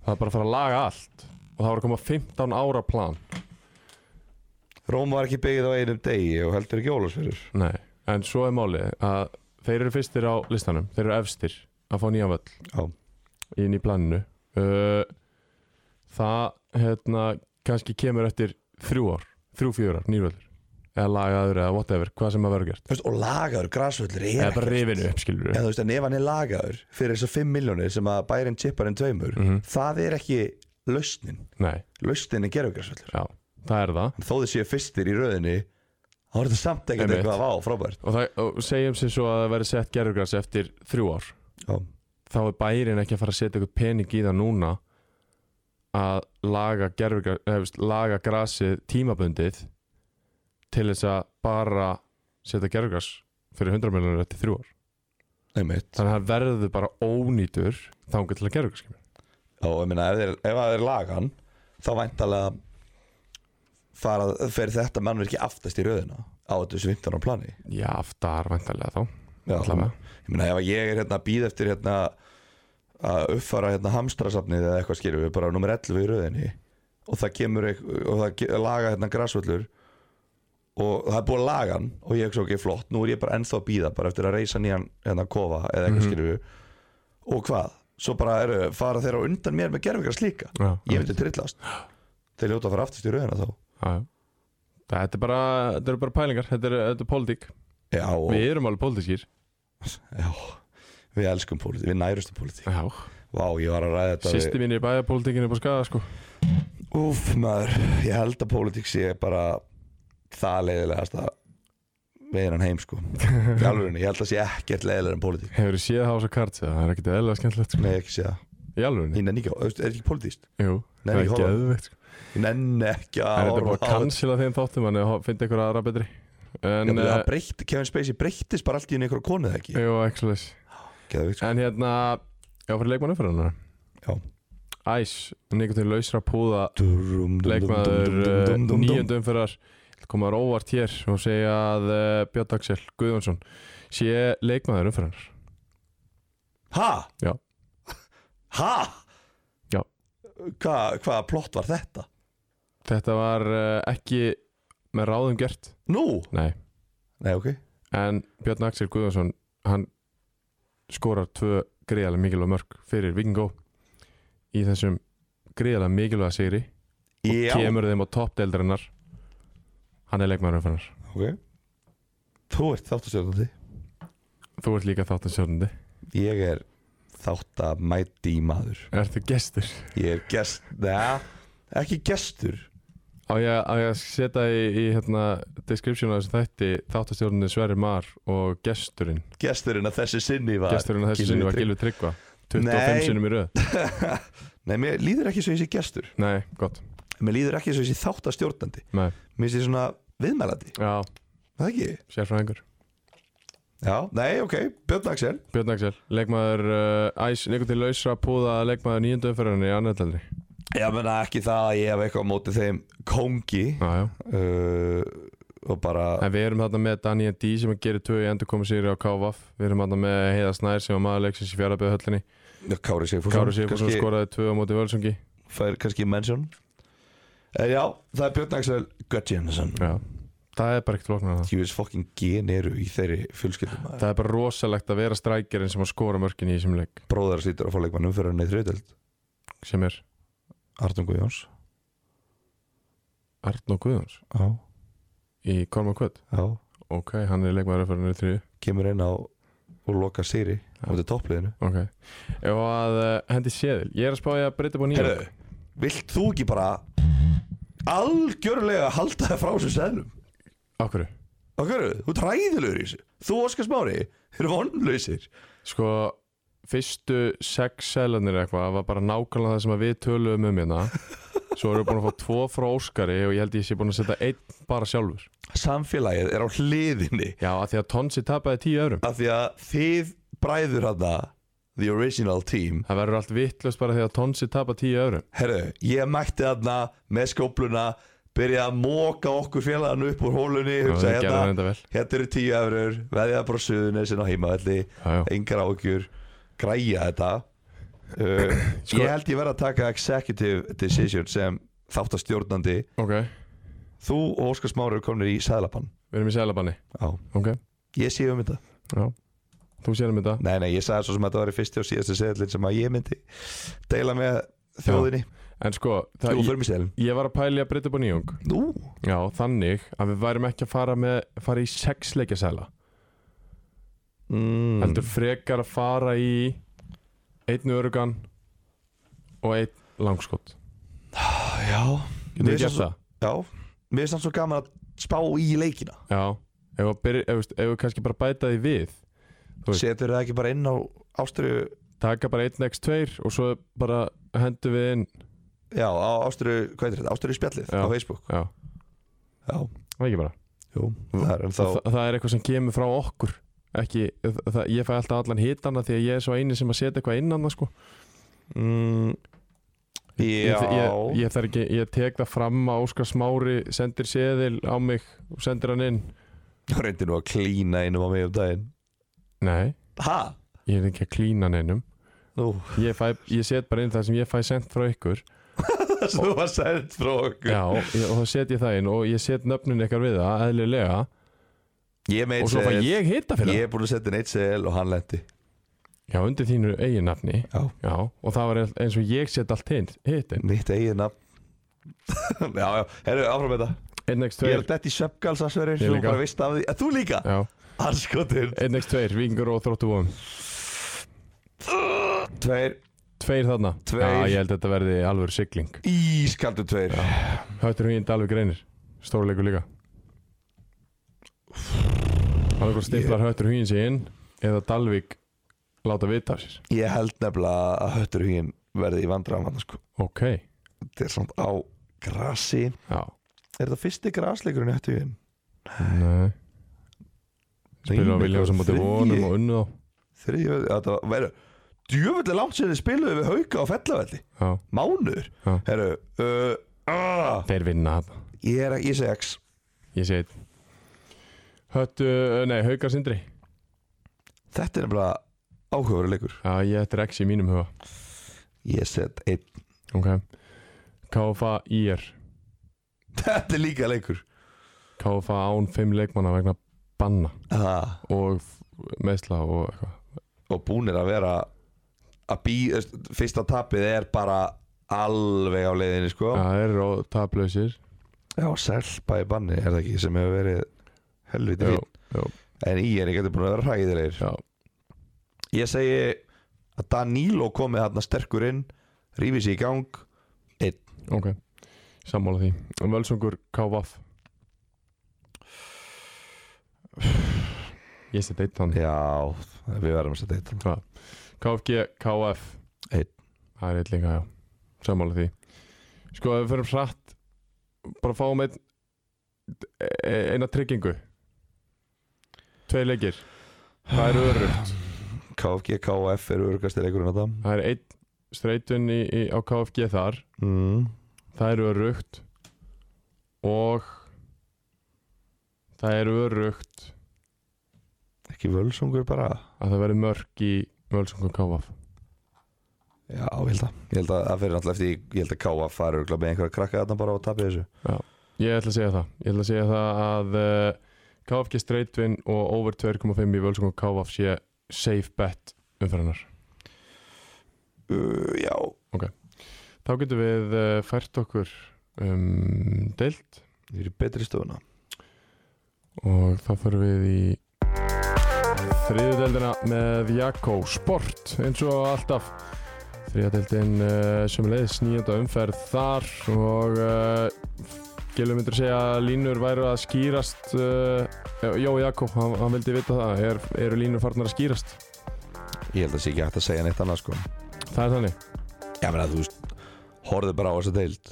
A: það er bara að fara að laga allt og það var að koma 15 ára plan
B: Róm var ekki byggð á einum degi og heldur ekki Ólafsfjörður
A: Nei, en svo er málið að þeir eru fyrstir á listanum, þeir eru efstir að fá nýjan völl
B: Já.
A: inn í planinu uh, það hérna kannski kemur eftir þrjú ár, þrjú fjör ár, nýrvöllur eða lagaður eða whatever, hvað sem að vera gert
B: Veist, og lagaður, grasvöldur er
A: eða bara
B: ekkert.
A: rifinu upp skilur
B: en sko. þú veist en ef hann er lagaður fyrir þessar 5 miljónir sem að bærin tippar en tveimur
A: Mhm.
B: það er ekki lausnin
A: nei,
B: lausnin er gerfugrasvöldur
A: já, það er það
B: þó þið séu fyrstir í röðinni þá er þetta samt ekkert
A: Einmitt.
B: eitthvað á frábært
A: og, það, og segjum sér svo að það verði sett gerðugræs eftir þrjú ár
B: já.
A: þá er bærin ekki að fara að setja eitthvað pening í það núna að laga, gerfugras- eða, þú veist, laga grasið tímabundið til þess að bara setja gerðugræs fyrir 100 miljonur eftir þrjú ár
B: einmitt
A: þannig að það verður bara ónýtur þangur til að gera ykkur
B: og ég meina ef, þeir, ef að þeir laga hann þá væntalega fara, fer þetta mannverki aftast í röðina á þessu 15 á plani
A: já, aftar vantarlega þá
B: Já,
A: Allavega.
B: ég meina ef að ég er hérna að býð eftir hérna að uppfara hérna hamstrasafnið eða eitthvað skilur við bara nummer 11 í röðinni og það kemur eitth- og það ge- laga hérna grassvöllur og það er búið að laga hann og ég hugsa ok flott, nú er ég bara ennþá að býða bara eftir að reysa nýjan hérna kofa eða eitthvað mm
A: Mhm.
B: við og hvað, svo bara eru, fara þeir á undan mér með gerfingar slíka
A: já,
B: ég myndi trillast þeir ljóta að fara aftast í röðina þá
A: já, já. þetta er bara, þetta er bara pælingar þetta er, þetta er pólitík,
B: já, og,
A: við erum alveg pólitískir
B: já, við elskum pólitík, við nærustum pólitík
A: já,
B: vá, ég var að ræða þetta við-
A: sýsti mín í bæjarpólitíkinni búið skada sko
B: Úf maður, ég held að pólitík sé bara það leiðilegast að veginn hann heim sko í alvörunni, ég held að sé ekkert leiðilegur en pólitík
A: hefur þið séð House of Cards eða það er ekkert eðlilega skemmtilegt sko.
B: Nei, ég ekki sé það,
A: í alveg,
B: ég nenni ekki á, er þetta ekki pólitíst?
A: jú,
B: Nei,
A: það
B: ég
A: er
B: horfa.
A: geðveikt sko.
B: Ég nenni ekki
A: Það
B: að
A: er þetta búið að
B: á þetta.
A: cancela þeim þáttum Þannig að finna ykkur aðra betri
B: Já,
A: En,
B: Það
A: uh,
B: breykt, Kevin Spacey breyttist bara allt í einhverju konu eða ekki
A: jú, ekki svoleiðis.
B: Sko. Geðvikt,
A: En hérna, já, fyrir leikmannu fyrir hann
B: Já.
A: Æs, nikotin lausra púða
B: sko
A: Leikmaður uh, níundum fyrir Komaður óvart hér og segja að uh, Björn Axel Guðjónsson Sé leikmaður umfyrir
B: Ha?
A: Já.
B: Ha?
A: Já.
B: Hva- Hvaða plott var þetta?
A: Þetta var uh, ekki með ráðum gert
B: Nú?
A: Nei,
B: Nei, ok
A: en Björn Axel Guðjónsson hann skorar tvö greiðalega mikilvæg mörg fyrir Vingó í þessum greiðalega mikilvæga sigri
B: Já,
A: kemur þeim á toppdeildarinnar hann er leikmaður umfannar
B: ok Þú ert þáttastjórnandi
A: þú ert líka þáttansjörnandi
B: Ég er þátt að mæti í maður
A: ertu gestur
B: Ég er gest, neða, ekki gestur
A: á ég, á ég að setja í, í hérna, description á þessu þætti þáttansjörnandi Sverri Mar og gesturinn
B: Gesturinn að þessi sinni var
A: gesturinn að þessu
B: Gylfi
A: sinni var
B: Tryggva.
A: Gilvi Tryggva 25
B: Nei.
A: sinnum í röð
B: Nei, mér líður ekki svo ég sé gestur
A: nei, gott
B: Mér líður ekki svo ég sé þátt að stjórnandi
A: nei.
B: Mér sé svona viðmælandi,
A: já,
B: er það ekki?
A: sérfræðingur
B: Já, nei, ok, Björn Axel
A: Björn Axel, leikmaður uh, æs, leikutin lausra púða leikmaður nýjöndu umferðinni í annaðlælri
B: Ég menna ekki það að ég hef eitthvað á móti þeim kongi
A: en
B: uh, Og bara,
A: við erum þarna með Daniel D sem að gera tvö í endur komið á KVF við erum þarna með Heiða Snær sem var maður leiksins í fjáraböðu höllinni
B: Já, Kári Sigfússon
A: Káru Sigfússon
B: kannski-
A: skoraði tvö á móti Völsungi
B: fær kannski mention en já, það er Björn Axel Gudjensson
A: já. það er bara ekkert flóknar en það
B: Júis fokkin gen eru í þeirri fjölskyldum
A: það er bara rosalegt að vera strækjarinn sem að skora mörkin í þessum leik
B: bróðar slítur að fá leikmann umferðinni í þriðdelt
A: sem er
B: Arnum Guðjóns
A: Arnó Guðjóns
B: já,
A: í Korma Kvöld
B: já,
A: ok, hann er leikmaður umferðinni í þrjú
B: kemur inn á og loka sýri á þetta toppliðinu
A: ok, ef að uh, hendi séðil ég er að spája að breyta búin í
B: Herðu, vilt þú ekki bara algjörlega halda það frá sem sennum
A: okkur
B: okkur, þú ert ræðilegur í þessu þú Óskar Smári, þeir eru vonlausir
A: Sko, fyrstu sex selanir eitthvað var bara nákvæmlega það sem að við töluðum um hérna Svo erum við búin að fá tvo frá Óskari og ég held ég sé búin að setja einn bara sjálfur
B: samfélagið er á hliðinni
A: Já, af því að Tonsi tapaði tíu öðrum
B: af því að þið bræður hana the original team
A: Það verður allt vittlust bara því að Tonsi tapaði tíu öðrum
B: herru, ég mætti hana með skópluna byrjaði að móka okkur félagann upp úr hólunni hugsa,
A: það gerði hann
B: hérna,
A: enda vel
B: hérna eru tíu efrur veðjaði bara suðunesin á heimavalli
A: Já, já.
B: engar ágjur, græja þetta uh,
A: Sko-
B: ég held ég verð að taka executive decision sem þáttastjórnandi
A: Ok,
B: þú og Óskar Smári eru komin í sæðlabann
A: við erum í selabanni
B: já,
A: Ok,
B: ég sé um þetta
A: já Þú sér um þetta
B: nei, nei, ég sagði svo sem að þetta var í fyrsti og síðasti seðlinn sem að ég myndi deila með þjóðinni
A: En sko, það,
B: og
A: ég,
B: förmiseðlinn
A: ég var að pæli að breyta upp á nýjung
B: nú,
A: Já, þannig að við værum ekki að fara, með, fara í sex leikja sela
B: mm.
A: heldur frekar að fara í einn örugan og einn langskott
B: Já
A: getur við gert það?
B: Já, mér finnst það svo gaman að spá í leikina
A: já, ef við, byrja, ef, við- ef við kannski bara bæta því við Þú veist.
B: Setur það ekki bara inn á ástriðu
A: taka bara einn x2 og svo bara hendur við inn
B: Já, á ástriðu, hvað er þetta? Ástriðu spjallið
A: Já.
B: á Facebook
A: já,
B: Já,
A: það er ekki bara
B: Jú, það er ennþá
A: Þa, það er eitthvað sem kemur frá okkur ekki, það, ég fæ alltaf allan hitana því að ég er svo eini sem að setja eitthvað innan það sko.
B: mm,
A: ég,
B: Já
A: ég, ég, þarf ekki, ég tek það fram að Óskar Smári sendir seðil á mig og sendir hann inn
B: Þú reyndi nú að klína einum á mig um daginn
A: nei,
B: Ha?
A: ég er ekki að klína neinum
B: Nú,
A: ég, fæ, ég set bara inn það sem ég fæ sendt frá ykkur
B: þú var sæðið frá okkur
A: já, og, og þá set ég það inn og ég set nöfnin ykkar við það, eðlilega
B: Ég meit
A: og svo fæ ég hita fyrir
B: Ég er búin að setja einn eitt segil og hann lendi
A: það já, undir þínu eigin nafni
B: Já
A: já, og það var eins og ég set allt hinn hitt inn,
B: Mitt eigin nafn Já, já, herru, áfram með það
A: 1x2
B: Ég er dætt í
A: Ég
B: söpgalsasverðin Þú
A: líka.
B: bara veist af því að Þú líka
A: já
B: Anskotin
A: 1x2, vikingur og þróttuvóðum
B: Tveir
A: Tveir þarna
B: Tveir.
A: Já, ég held að þetta verði alveg sigling
B: Ískaldu tveir
A: Höttur hún í alveg greinir Stórleikur líka Alveg stimplar höttur hún sig inn Eða Dalvik láta vita af sér
B: Ég held nefnilega að höttur hugin verði í vandræðamann sko.
A: Ok,
B: Þetta er samt á grasi
A: já
B: Er þetta fyrsti grasleikurinn í höttur hugin?
A: Nei Spilur á Viljáðs á móti vonum og unnu þá
B: Þriðju, þetta verður Djöfulli langt sér þið spiluðu við hauka á fellavelli
A: Já,
B: Mánuður
A: já
B: Herru uh, uh,
A: Þeir vinna þarna
B: Ég er ekki sex
A: Ég sé einn Höttu, eh, nei, Haukar Sindri
B: Þetta er nefnilega áhugaverið leikur
A: Já, ég ættir X í mínum huga
B: Ég set einn
A: Ok KFA IR
B: Þetta er líka leikur
A: KFA án 5 leikmanna vegna banna
B: ha.
A: og meðsla og eitthvað
B: Og búnir að vera að bí, Fyrsta tapið er bara alveg á leiðinni sko
A: Já, þeir eru taplausir
B: Já, selpa í banni er það ekki sem hefur verið helviti
A: Já,
B: fín En í henni getur búin að vera hræðilegir
A: já,
B: Ég segi að Danilo komið þarna sterkur inn Rífið sér í gang
A: ok Sammála því Völsungur KVF Ég seti eitt hann
B: Já, við verðum að setja eitt
A: KFG, KF
B: Einn.
A: Það er eitt líka, já Sammála því Sko, ef við förum hratt Bara fáum einn e- Eina tryggingu Tvei leikir Það er örugt
B: KFG, KF eru örgastir leikurinn að það
A: Það er einn streitun í, í, á KFG þar
B: mm.
A: Það er örugt og það er örugt
B: Ekki völsungur bara
A: að það verður mörg í Völsungur KVF.
B: Já, ég held að Ég held að það fyrir náttúrulega eftir í- Ég held að KF fara örgulega með einhverja krakka þarna bara og tapja þessu
A: Ég ætla að segja það. Ég ætla að segja það að uh, KFG streitvin og over 2.5 í Völsungur KVF sé safe bet umferðanar.
B: uh, Já
A: Þá getum við uh, fært okkur um, deilt
B: Ég er í betri stofuna
A: og þá förum við í þriðu deildina með Jakko Sport eins og alltaf þriðadeildin uh, sem leiðis nýjönda umferð þar og uh, Gilum myndur segja að línur væru að skýrast uh, Jó Jakko, hann, hann vildi vita það er, eru línur farnar að skýrast
B: Ég held að sé ekki hægt að segja neitt annað sko
A: það er þannig
B: Já, meina, þú veist Horðu bara á þessa deild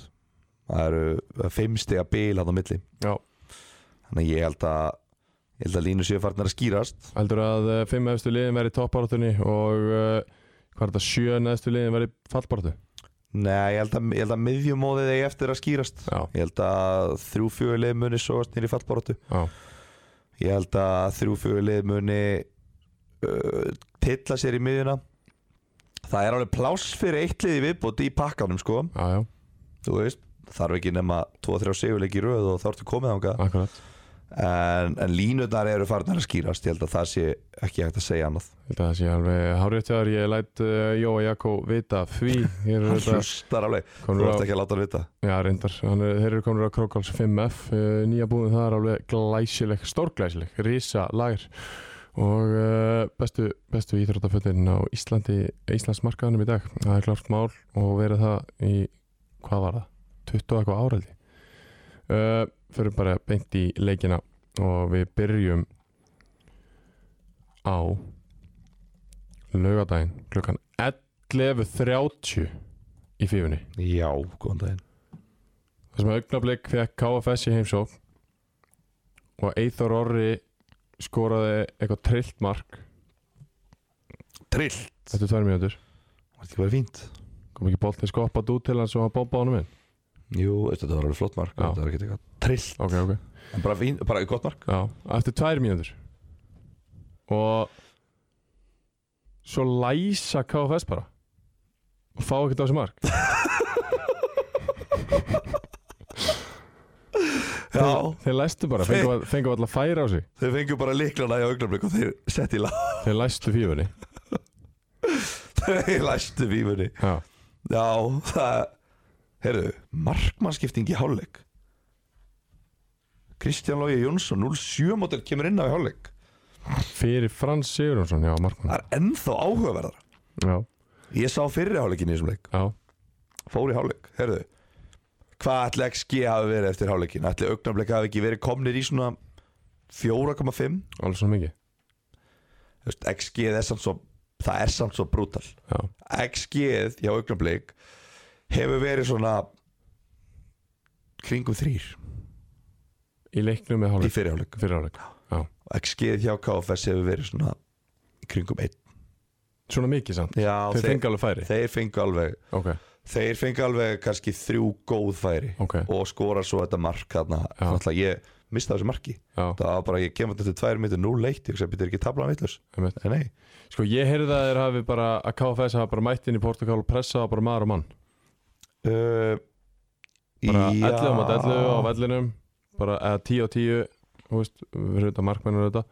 B: Það eru fimm stiga bil hann á milli
A: Já.
B: Þannig að ég held að Ég held að línu séu farnar að skýrast
A: heldur að uh, fimm efstu liðin væri í toppáráttunni og uh, hvað er þetta, sjö neðstu liðin væri í fallbáráttu
B: Nei, ég held að, ég held að miðjumóðið eigi eftir að skýrast
A: Já,
B: Ég held að þrjú fjögur leið muni sóast nýri fallbaróttu
A: já,
B: Ég held að þrjú fjögur leið muni uh, tilla sér í miðjuna Það er alveg pláss fyrir eitt liði viðbútt í pakkanum sko
A: já, já,
B: Þú veist, þarf ekki nema 2-3 sigurleiki í röð og þá ertu komið þangað
A: akkurat
B: en, en línurnar eru farnar að skýrast Ég held að það sé ekki hægt að segja annað
A: Þetta sé alveg háréttjáður, ég læt uh, Jóa Jakko vita af því Hér eru
B: Hann
A: þetta
B: hlustar alveg, þú
A: konur á,
B: ert ekki að láta hann vita
A: já reyndar, hann er, þeir eru konur á Krókáls 5F uh, Nýja búin það er alveg glæsileg, stórglæsileg, rísa lagir Og uh, bestu, bestu íþróttafötin á Íslandi, Íslands markaðanum í dag Það er klart mál og verið það í, hvað var það, 20 og eitthvað áreldi uh, Förum bara beint í leikina og við byrjum á laugardaginn klukkan 11.30 í fífunni
B: Já, góðan daginn
A: þar sem augnablík fekk KFS í heimsók og Eithor Orri skoraði eitthvað trillt mark
B: Trill
A: eftir tvær mínútur
B: Var þetta ekki verið fínt?
A: kom ekki boltið skoppað út til hans og hann bópaði honum inn
B: Jú, veistu, þetta var alveg flott mark
A: Já.
B: Þetta var ekki eitthvað trill
A: ok, ok,
B: En bara, fín, bara gott mark
A: já, eftir tvær mínútur og svo læsa KFS bara og fá ekkert á þessu mark
B: Já,
A: þeir læstu bara, fengu, fengu alltaf færa á sig
B: þeir fengu bara líklana í augnablik og þeir setti í lag
A: þeir læstu fífunni
B: Þeir læstu vífunni
A: já,
B: Já, það Herðu, markmannskipting í hálfleik Kristján Lógi Jónsson 07 mótel kemur inn á í hálfleik
A: fyrir Frans Sigurjónsson já,
B: Það
A: markmann
B: er ennþá áhugaverðar
A: já,
B: Ég sá fyrri hálfleikin í þessum leik
A: já,
B: Fór í hálfleik, herðu Hvað ætli XG hafi verið eftir hálfleikin? Ætli augnablik hafi ekki verið komnir í svona 4,5
A: alveg svo mikið
B: Þú veist, XG er samt svo Það er samt svo brútal
A: já,
B: XG hjá augnablik hefur verið svona kringum þrýr
A: í leiknum með
B: í
A: hálfleik
B: fyrirháleik
A: fyrir hálfleik, já,
B: XG hjá KFS hefur verið svona kringum einn
A: svona mikið samt
B: Já,
A: þeir
B: þeir,
A: fengu alveg færi
B: þeir fengu alveg
A: ok,
B: þeir fengu alveg kannski þrjú góð færi
A: ok,
B: og skora svo þetta mark þarna,
A: Já.
B: náttúrulega ég mista þessu marki
A: já,
B: það var bara, ég kemur þetta til tvær mitur 0-1 ég hugsaði, betur ekki tablan vitlaus
A: einmitt
B: en nei,
A: Sko ég heyrði að þeir hafi bara að KFS hafi bara mætt inn í Portugal og pressaði bara maður og mann
B: uh,
A: bara 11 á
B: já.
A: mát 11 á vellinum bara eða 10 á 10 þú veist, við erum þetta markmennur þetta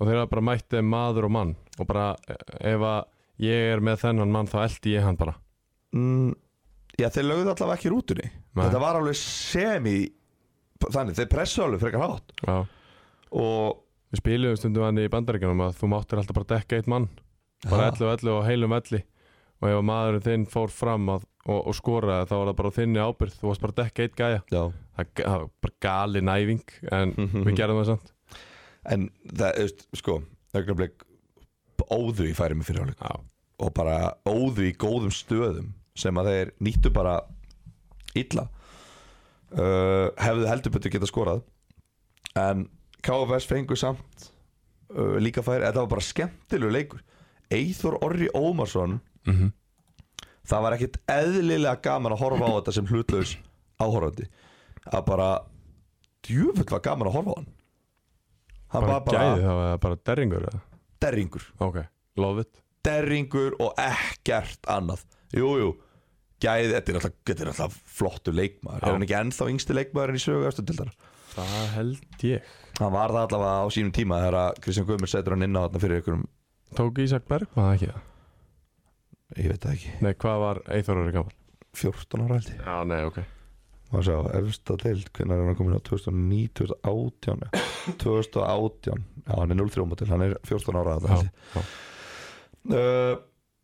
A: og þeir hafi bara mætt þeim maður og mann og bara eh, ef að ég er með þennan mann þá eldi ég hann bara
B: mm, Já, þeir lögðu allavega ekki í rútunni
A: Nei.
B: Þetta var alveg semi Þannig, þeir pressu alveg frekar hátt
A: Já.
B: Og
A: Við spilum stundum hann í bandaríkjunum að þú máttir alltaf bara dekka eitt mann bara 11 og 11 og heilum 11 og ef að maðurinn þinn fór fram að, og, og skoraði þá var það bara á þinni ábyrð þú varst bara að dekka eitt gæja
B: Já
A: það, það var bara gali næving en við gerðum það samt
B: En það, þú veist, sko Ögnablik óðu í færi með fyrirháleik
A: Já.
B: Og bara óðu í góðum stöðum Sem að þeir nýttu bara Illa uh, Hefðu heldur betur geta skorað En KFS fengu samt uh, Líka færi, þetta var bara skemmtilegu leikur Eithor Orri Ómarsson
A: mm -hmm.
B: það var ekkert eðlilega gaman að horfa á þetta sem hlutlaus áhorfandi að bara djöfull var gaman að horfa á hann hann
A: bara
B: var bara
A: gæði það var bara derringur eða?
B: derringur
A: ok, love it
B: derringur og ekkert annað jújú, jú. gæði þetta er alltaf, þetta er alltaf flottu leikmaður
A: Já.
B: er hann ekki ennþá yngsti leikmaðurinn í sögu eftirdildar
A: það held ég
B: hann var það allavega á sínum tíma þegar að Kristján Guðmur setur hann inn á þarna fyrir ykkurum
A: tók Ísak Bergman það ekki það?
B: ég veit það ekki,
A: nei, hvað var Eithor Orri gammal?
B: 14 ára held ég
A: já, nei, ok
B: maður sjá, efsta deild, hvernig er hann komin á 2009, 2018 já. 2018, já hann er 0-3 mótil, hann er 14 ára að
A: já,
B: það
A: já.
B: uh,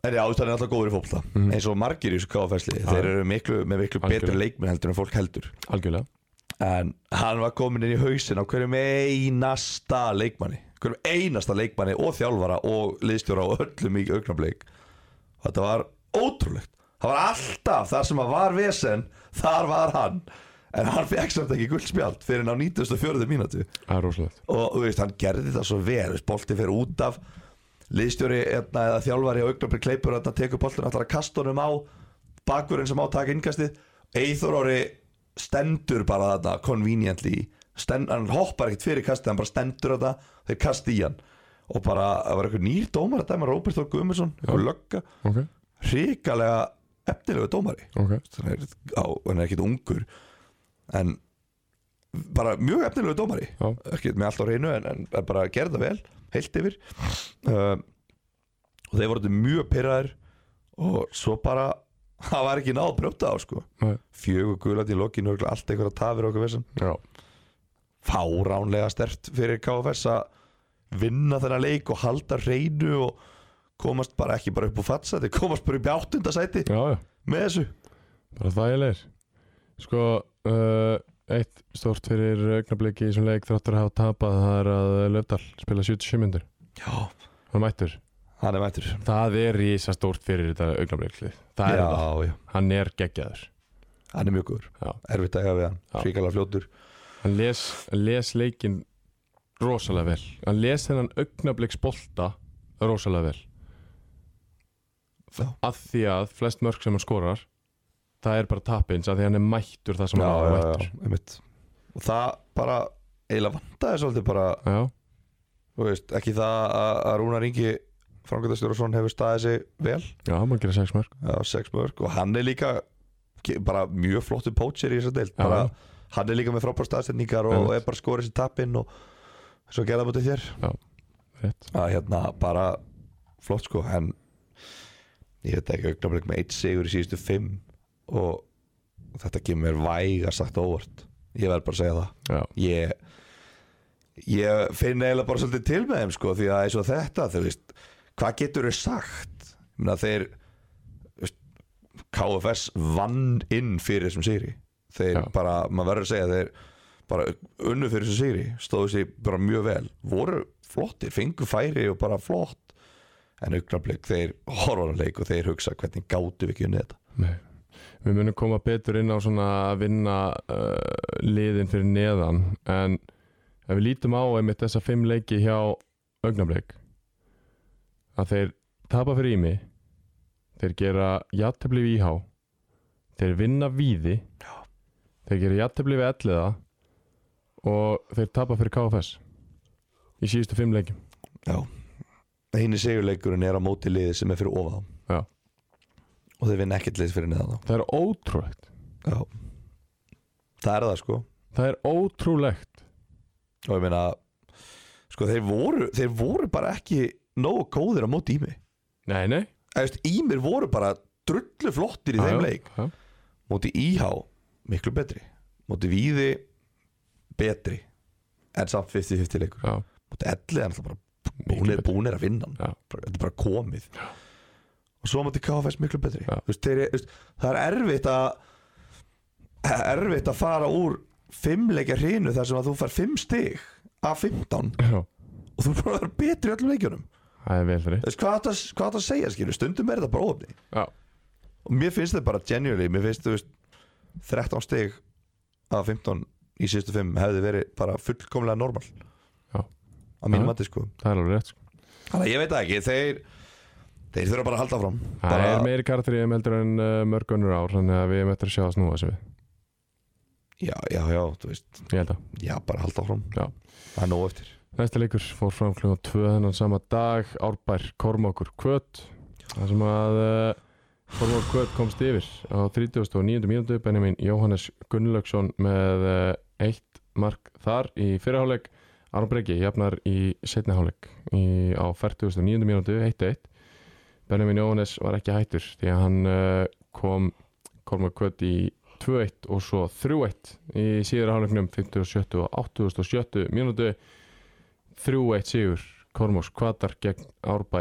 B: en já, það er alltaf góður í fólkta
A: Mhm.
B: eins og margir í þessu KFS-li,
A: Já.
B: þeir eru miklu, með miklu betri
A: Algjörlega.
B: leikmenn heldur en fólk heldur
A: algjörlega
B: en hann var komin inn í hausin á hverjum einasta leikmanni hverjum einasta leikmanni og þjálfara og liðstjóra og öllum í augnablik og þetta var ótrúlegt það var alltaf þar sem að var vesen þar var hann en hann fekk samt ekki guldspjald fyrir hann á 94. mínútu
A: það er rosalegt
B: og þú veist, hann gerði það svo vel bolti fyrir út af liðstjóri hérna, eða þjálfari á augnabli kleipur að tekur boltin allar að kasta honum á bakurinn sem átaka innkastið Eithor orri stendur bara þetta conveniently Stend, hann hoppar ekkert fyrir kastið, hann bara stendur þetta þeir kasti í hann og bara, það var eitthvað nýr dómar að dæma Róbert Þór Guðmundsson og lögga,
A: ok,
B: hrikalega efnilegu dómari
A: ok
B: hann er, á, hann er ekkert ungur en bara mjög efnilegu dómari
A: Já.
B: ekkert með allt á reynu en, en, en bara gerði það vel heilt yfir um, og þeir voru þetta mjög pyrraðir og svo bara það var ekki náð að brjóta á sko
A: Nei.
B: fjögur gulat í lokinu örugglega allt einhverja tafir og okkur vissan
A: já,
B: fáránlega stert fyrir KFS að vinna þennan leik og halda reynu og komast bara ekki bara upp úr fatsæti komast bara upp í áttundasæti
A: já, já
B: með þessu
A: bara þægilegir sko, uh, eitt stort fyrir augnabliki í þessum leik þráttur að hafa tapað það er að Löfdal spila 77 myndir
B: já,
A: hann er mættur
B: hann er mættur
A: það er rísa stórt fyrir þetta augnabliklið það er
B: já,
A: það
B: já,
A: hann er geggjaður
B: hann er mjög góður
A: Já.
B: erfitt að eiga við hann,
A: Já.
B: hrikalega fljótur
A: hann les, les leikin rosalega vel hann les þennan augnabliksbolta rosalega vel
B: Já.
A: að því að flest mörg sem hann skorar það er bara tapins að því hann er mættur það sem hann er mættur
B: einmitt Og það bara eiginlega vantaði svolítið bara
A: já, já.
B: þú veist, ekki það að, að Rúnar Ingi Frangatastjórason hefur staðið sig vel
A: já, maður gera sex mörg
B: á sex mörg og hann er líka ke- bara mjög flottu pótsir í þessar deild
A: Já.
B: bara, hann er líka með frábár staðstendingar og, og
A: Einmitt.
B: er bara skorið sér tappinn og svo gerða mútið þér
A: rétt
B: að hérna bara flott sko en ég veit ekki augnablik með eitt sigur í síðustu fimm og þetta kemur mér vægast sagt óvart ég verð bara að segja það
A: já,
B: ég, ég finn eiginlega bara svolítið til með þeim sko því að eins og þetta þú veist, hvað getur þau sagt Ég meina, þeir þú veist, KFS vann inn fyrir þessum sigri þeir
A: Já.
B: bara, maður verður að segja þeir bara unnu fyrir þessum sigri stóðu sér bara mjög vel voru flottir, fengu færi og bara flott en augnablik þeir horfa á leik og þeir hugsa hvernig gátu við ekki unni þetta
A: nei Við munum koma betur inn á svona að vinna uh, liðin fyrir neðan en ef við lítum á einmitt þessa fimm leiki hjá augnablik að þeir tapa fyrir ími þeir gera játtöfli við íhá þeir vinna víði Já. þeir gera játtöfli við elliða og þeir tapa fyrir KFS í síðustu fimm leikim
B: eini sigurleikurinn er á móti liði sem er fyrir ofan þá.
A: Já.
B: og þeir vinna ekkert liðs fyrir neðan þá
A: það er ótrúlegt
B: Já Það er það sko
A: það er ótrúlegt
B: Og ég meina Sko þeir voru, þeir voru bara ekki Nógu góðir á móti Ími
A: Nei, nei
B: Eða, veist, Ímir voru bara drullu flottir
A: Já,
B: í þeim
A: já,
B: leik
A: já.
B: Móti Íhá miklu betri Móti Víði betri En samt 50-50 leikur
A: Já,
B: Móti Elli er náttúrulega bara
A: Miklu
B: búnir,
A: betri.
B: búnir að vinna hann.
A: Já.
B: Bara- Þetta er bara komið Og svo móti KFS miklu betri
A: Já.
B: Þú veist, þeir, þú veist, Það er erfitt að Erfitt að fara úr Fimmleikja hrinu þar sem að þú fær fimm stig Af 15
A: já,
B: og þú er bara að vera betri í öllum leikjunum
A: það er vel fyrir
B: Þú veist, hvað áttu að, hvað áttu að segja skilur stundum er þetta bara óöfni
A: Já,
B: og mér finnst þetta bara genuinely mér finnst þú veist 13 stig af 15 í síðustu 5 hefði verið bara fullkomlega normal
A: Já.
B: á mínu
A: Já.
B: mati sko
A: það er alveg rétt sko.
B: þannig að ég veit það ekki þeir þeir þurfa bara að halda fram
A: Það
B: bara,
A: er meiri karakter í þeim heldur en uh, mörg önnur ár þannig að við erum eftir að sjá það snúa þessu við
B: já, já, já, þú veist
A: Ég held að
B: já, bara halda fram
A: Já.
B: það er nóg eftir
A: Næsta leikur fór fram klukkan 2 þennan sama dag Árbær Kormákur Kvöt Það sem að uh, Kormákur Kvöt komst yfir á 39. mínútu Benjamin Jóhannes Gunnlaugsson með uh, eitt mark þar í fyrirháleik Aron Breki jafnar í setniháleik í, á 49. mínútu 1-1 Benjamin Jóhannes var ekki hættur því að hann uh, kom Kormákur Kvöt í 2-1 og svo 3-1 í síðara hálfleiknum 57. og 87. mínútu 3-1 sigur Kormos Kvatar gegn Árbæ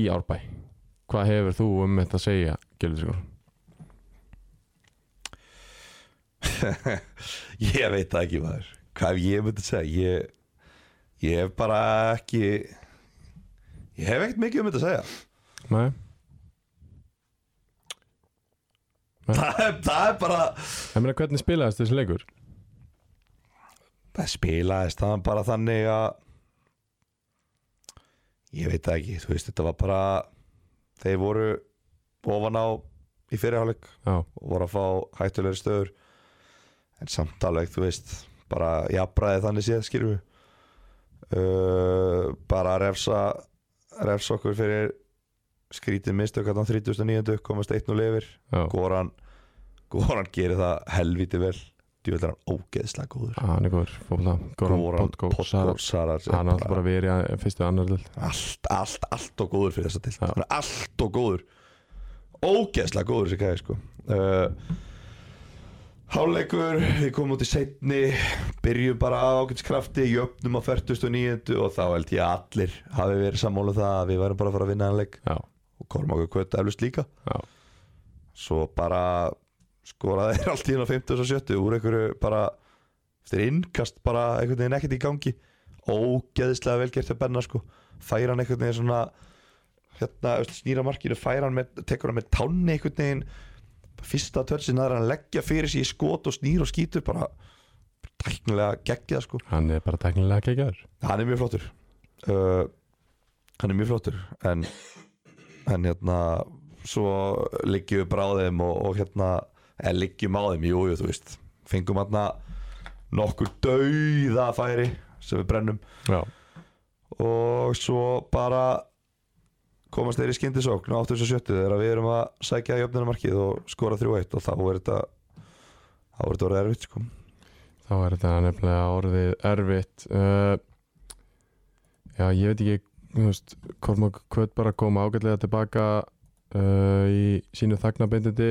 A: í Árbæ hvað hefur þú um þetta að segja Gjöldur Sigur?
B: ég veit það ekki maður hvað hef ég myndi að segja ég, ég hef bara ekki ég hef ekkert mikið um þetta að segja
A: Nei,
B: það er, það er bara
A: ég meina hvernig spilaðist þessi leikur?
B: það spilaðist það bara þannig að ég veit það ekki, þú veist þetta var bara þeir voru ofan á í fyrirháleik
A: Já,
B: og voru að fá hættulegri stöður en samt alveg, þú veist bara jafnbræði þannig séð, skilur við uh, bara að refsa refsa okkur fyrir skrítið mistök að hann 39. komast 1-0 yfir
A: já,
B: Goran Goran gerir það helviti vel djúvel er hann ógeðslega góður
A: Ah, hann er góður fókbalta Goran Potko Sarac
B: Sarac er
A: hann átti
B: bara
A: bara verið að fyrstu annar til
B: allt, allt, allt og góður fyrir þessa dild
A: Já.
B: hann er allt og góður ógeðslega góður þessi gæði sko uh, Háleikur við komum út í setni byrjum bara á ákveldskrafti jöfnum á 49 og þá held ég að allir hafi verið sammála um það að við værum bara að fara að vinna hann leik
A: Já,
B: og Kormákur kvöta eflust líka
A: já,
B: svo bara skoraði þeir allt í hérna 50 og 70 úr einhverju bara eftir innkast bara einhvern veginn ekkert í gangi ógeðislega vel gert að benna sko færa hann einhvern veginn svona hérna þú veist, snýra markinu færa hann með, tekur hann með tánni einhvern veginn fyrsta törn sinna er hann að leggja fyrir sig í skot og snýr og skýtur bara tæknilega geggjað sko
A: Hann er bara teknilega kekjaður
B: hann er mjög flottur uh, hann er mjög flottur en, en hérna svo liggjum við bara á þeim og, og hérna, eða liggjum á þeim jú, jú, þú veist, fengum hérna nokkur dauða færi sem við brennum
A: Já,
B: og svo bara komast þeir í skyndisókn á 87 þegar við erum að sækja jöfnumarkið og skora 3-1 og þá er þetta þá er þetta orðið erfitt sko
A: þá er þetta nefnilega orðið erfitt uh, Já, ég veit ekki þú veist, Kormák Kvöt bara kom ágætlega tilbaka uh, í sínu þagnabindindi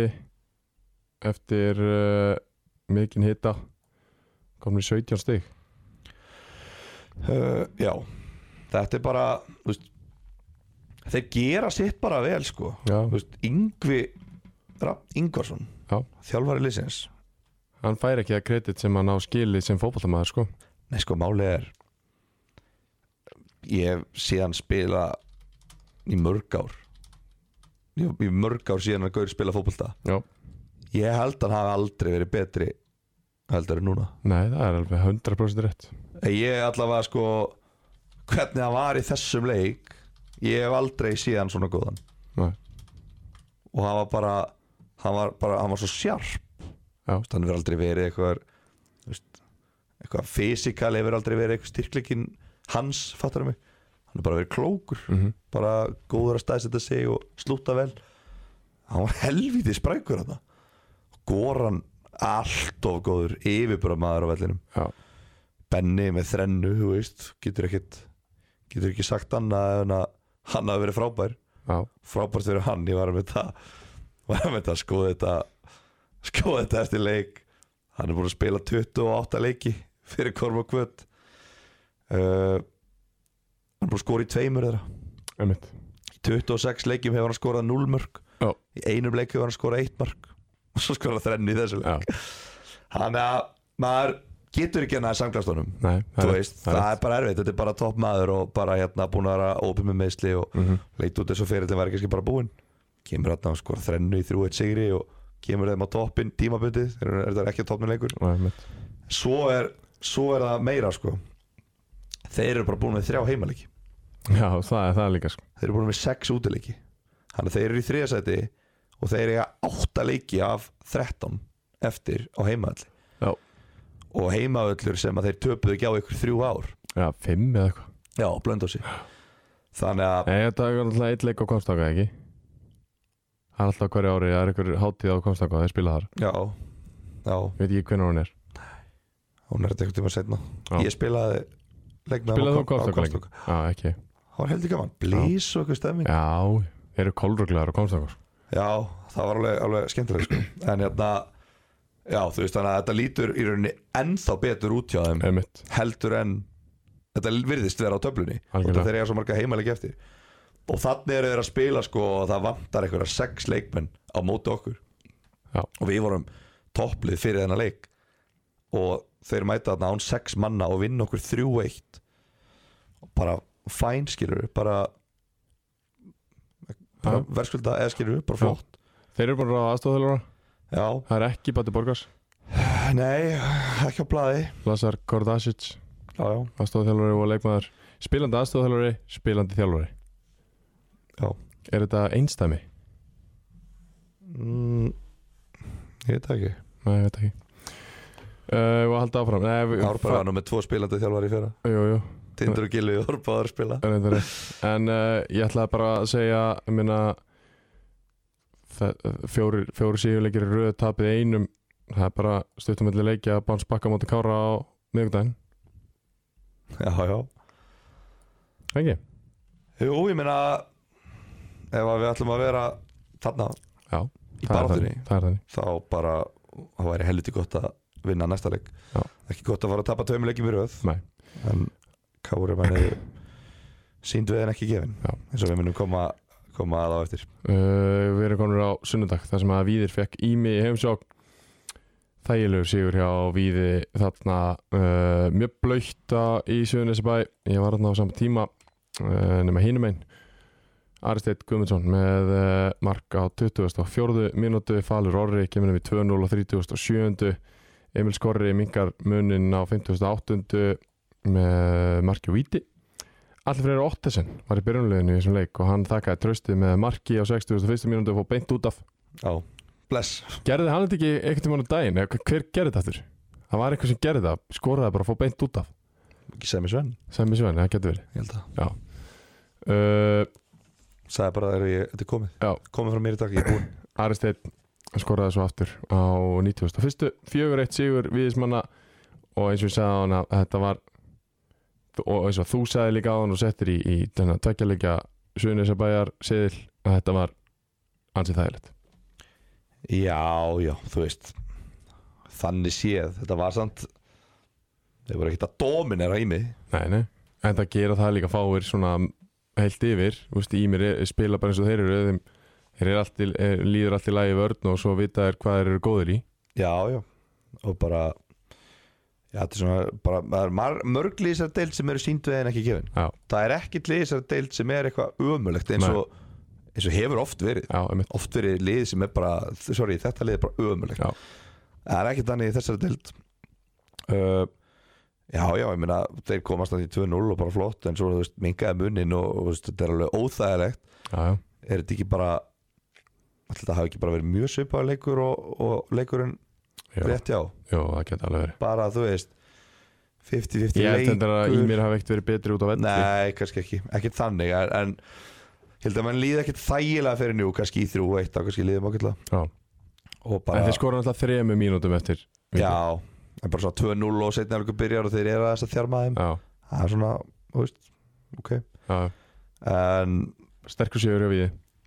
A: eftir uh, mikinn hita komin í 17 stig
B: uh, já, þetta er bara þú veist, þeir gera sitt bara vel sko
A: Já,
B: Þú veist, Yngvi Rafn Yngvarsson
A: Já.
B: þjálfari liðsins
A: hann fær ekki að kredit sem hann á skili sem fótboltamaður sko
B: Nei sko, málið er Ég hef síðan spila í mörg ár Ég hef í mörg ár síðan að Gaur spila fótbolta
A: Já.
B: Ég held að hann hafi aldrei verið betri heldur en núna
A: Nei, það er alveg 100% rétt
B: En Ég allavega sko hvernig hann var í þessum leik ég hef aldrei síðan svona góðan
A: Nei.
B: og hann var bara hann var, bara, hann var svo sjarp
A: Já.
B: Þú veist, hann hefur aldrei verið eitthvað þú veist, eitthvað fysikal hefur aldrei verið eitthvað styrkleikin hans fattar mig, hann er bara verið klókur
A: mm
B: bara góður að staðsetja sig og slúta vel hann var helvítið sprækur hann Goran allt of góður yfirbúra maður á vellinum
A: Já,
B: Benni með þrennu, þú veist getur ekkit getur ekki sagt annað en að hann hafi verið frábær
A: já,
B: frábært fyrir hann, ég var með það var með það skoða þetta skoða þetta eftir leik hann er búin að spila 28 leiki fyrir Korma Kvöt uh, hann er búin að skora í tveimur þeirra
A: einmitt
B: í 26 leikjum hefur hann skorað 0 mörg
A: Já.
B: í einum leik hefur hann skorað 1 mörg og svo skorað þrennu í þessu leik
A: Já,
B: hann að maður getur ekki hann að samklast honum
A: nei,
B: þú
A: rétt,
B: veist,
A: er
B: það
A: rétt.
B: er bara erfitt, þetta er bara topp maður og bara hérna búin að vera opið með meðsli og
A: Mhm.
B: leit út eins og fyrir þeim var ekki bara búinn kemur hérna og skora þrennu í 3-1 sigri og kemur þeim á toppin tímabundið þeir eru þetta ekki á toppin leikur
A: Nei, einmitt.
B: svo er, svo er það meira sko þeir eru bara búin með þrjá heimaleiki
A: Já, það er það er líka sko
B: þeir eru búin með sex útileiki þannig að þeir eru í þriðasæti og þeir eru átta leiki af 13 eftir á heimavalli
A: Já.
B: og heimavallur sem að þeir töpuðu ekki á ykkur þrjú ár
A: Já, fimm eða eitthvað
B: já, blöndósi þannig að
A: Nei, þetta er alltaf eitt leik á komstaka, ekki? Það er alltaf hverju ári, það er einhver hátíð á komstaka, þeir spila þar
B: Já, já,
A: Ég veit ekki hvernig hún er
B: hún er þetta einhvern tíma setna
A: Já.
B: Ég spilaði leikna
A: Spilaðu þú komstaka lengi? Já, ekki
B: Það var heldur gaman, blís og eitthvað stemming
A: Já, þeir eru kólruglegar á komstaka sko.
B: Já, það var alveg, alveg skemmtileg sko. En hérna, já þú veist þannig að þetta lítur í rauninni ennþá betur út hjá þeim
A: Einmitt,
B: Heldur en, þetta virðist vera á töflunni
A: Algjörlega.
B: Þetta þeir eiga svo marga heimalegi eftir Og þannig eru þeir að spila sko og það vantar einhverja sex leikmenn á móti okkur
A: Já.
B: Og við vorum topplið fyrir þennan leik Og þeir mæta þarna án sex manna og vinna okkur 3-1 Og bara fæn skilur við, bara, bara
A: Já.
B: verðskulda eða skilur við, bara
A: Já.
B: flott
A: Þeir eru bara á aðstofþjálfara
B: Já,
A: Það er ekki Bati Borgars
B: nei, ekki á blaði
A: Lazar Kordasic,
B: Já, já,
A: aðstofþjálfari og leikmaður Spilandi aðstofþjálfari, spilandi þjálfari
B: Já.
A: Er þetta einstæmi?
B: mm, ég veit það ekki
A: Nei, ég veit ekki Uh, og að halda áfram Nei, við-
B: Árbæður var nú með tvo spilandi þjálfari í fyrra
A: Jú, jú,
B: Tindur og Gilvi og Árbæður spila
A: Reyndar rétt. En uh, ég ætlaði bara að segja ég meina, þe- fjórir fjóri síðuleikir í röðu tapið í einum það er bara stuttum milli leikja að báns bakka móti kára á miðvikudaginn
B: Já, já
A: ekki?
B: Jú, ég meina ef að við ætlum að vera þarna
A: Já, það
B: í
A: er
B: baráttunni
A: þannig- það er þannig
B: þá bara, það væri helviti gott að vinna næsta leik
A: Já.
B: ekki gott að fara að tapa tveim leikum í röð
A: Nei.
B: en Kári manni sínd við en ekki gefin
A: Já.
B: eins og við munum koma, koma að á eftir
A: uh, Við erum komin á sunnudag þar sem að Víðir fekk ími í heimsók þægilegur sigur hjá Víði þarna uh, mjög blöyta í Suðunisabæ ég var þarna á sama tíma uh, nema hinum einn Aristeit Guðmundsson með uh, mark á 24. mínútu Falur Orri kemur við 2-0 og 37. Emil Skorri minkar munin á 58. með marki og víti Allir fyrir Ottesen var í byrjunleginu í þessum leik og hann þakkaði trösti með marki á 61. mínútu og fór beint út af
B: Já, bless
A: Gerði hann þetta ekki einhvern tímann á daginn? Eða Hver gerði þetta aftur? Það var einhver sem gerði það, skoraði bara og fór beint út af
B: Ekki segja mér svenn,
A: Sæmi Svenni, það getur verið
B: ég held að
A: uh,
B: Sæði bara þegar ég, þetta er komið
A: Já.
B: Komið frá mér í dag, ég er búinn
A: Ari Steinn skoraði svo aftur á 91. 4-1 sigur viðismanna og eins og ég sagði á hann að þetta var og eins og þú sagði líka á hann og settir í, í þennan tveggjarleika Suðunisabæjar seðil að þetta var ansið þægilegt
B: Já, já, þú veist Þannig séð, þetta var samt Þeir voru ekkert að dominera í mig
A: Nei, nei, en það gera það líka fáir svona heilt yfir, þú veist, Ímir er, spila bara eins og þeir eru þeim, þeir er allt í, er, líður allt í lagi vörn og svo vita þeir hvað þeir eru góðir í
B: Já, já, og bara Já, þetta er svona bara, það er mar- mörg lýsar deild sem eru sínd við en ekki gefin
A: Já,
B: Það er ekkit lýsar deild sem er eitthvað ömulegt eins
A: Nei.
B: og, eins og hefur oft verið
A: já, einmitt
B: Oft verið lið sem er bara, sorry, þetta lið er bara ömulegt
A: Já.
B: Það er ekkit þannig í þessari deild uh, Já, já, ég meina þeir komast að því 2-0 og bara flott en svo, þú veist, mingaði munin og, og þú veist, þetta er alveg óþægilegt
A: Já, já,
B: er þetta ekki bara ætli þetta hafi ekki bara verið mjög svipaður leikur og, og leikurinn
A: já,
B: rétt já
A: já það geta alveg verið
B: bara þú veist 50-50
A: Ég held þetta að
B: leikur
A: Ímir hafi ekkert verið betri út á velli
B: nei, kannski ekki, ekkert þannig en, en ég held að mann líði ekkert þægilega fyrir njú kannski í þrjú eitt, þá kannski líðum ákveðlega
A: Já.
B: og
A: En
B: bara,
A: þeir skora alltaf þremu mínútum eftir víti.
B: já en bara svona 2-0 og setna alveg byrjar og þeir eru að þess að þjarma þeim
A: já,
B: það er svona, þú veist, ok
A: já.
B: en,
A: Sterkur sigur hjá við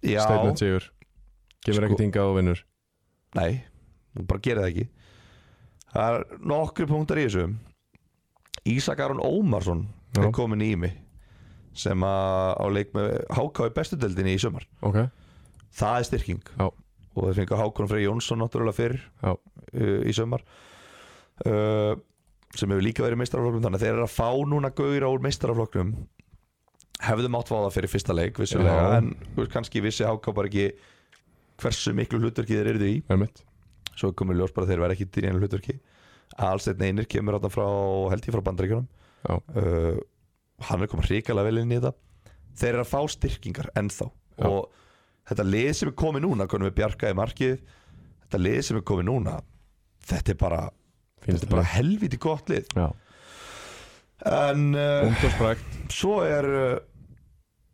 B: já,
A: Statement sigur Kemur
B: Sko-
A: ekkert hingað og vinnur
B: Nei, þú bara gerir það ekki Það er nokkri punktar í þessu Ísak Aron Ómarsson
A: Já.
B: er komin í mig sem að á leik með HK í bestu deildinni í sumar
A: Ok,
B: Það er styrking
A: Já.
B: og þeir fengu Hákon Frey Jónsson náttúrulega fyrr
A: Já.
B: uh, í sumar uh, sem hefur líka verið meistaraflokkum þannig að þeir eru að fá núna gauðir úr meistaraflokkum hefðu mátt fá það fyrir fyrsta leik vissulega
A: Já.
B: en þú veist, kannski vissi HK bara ekki hversu miklu hlutverki þeir eru í
A: einmitt
B: svo komur ljós bara að þeir verða ekki í einu hlutverki Alsteinn Einir kemur áttan frá held ég frá bandaríkjunum
A: Já.
B: uh, hann er komin hrikalega vel inn í þetta þeir eru að fá styrkingar ennþá
A: Já.
B: og þetta lið sem er komið núna konum við Bjarka í markið þetta lið sem er komið núna þetta er bara, þetta er bara helviti gott lið
A: Já,
B: en uh,
A: ungdómsbrækt
B: svo er uh,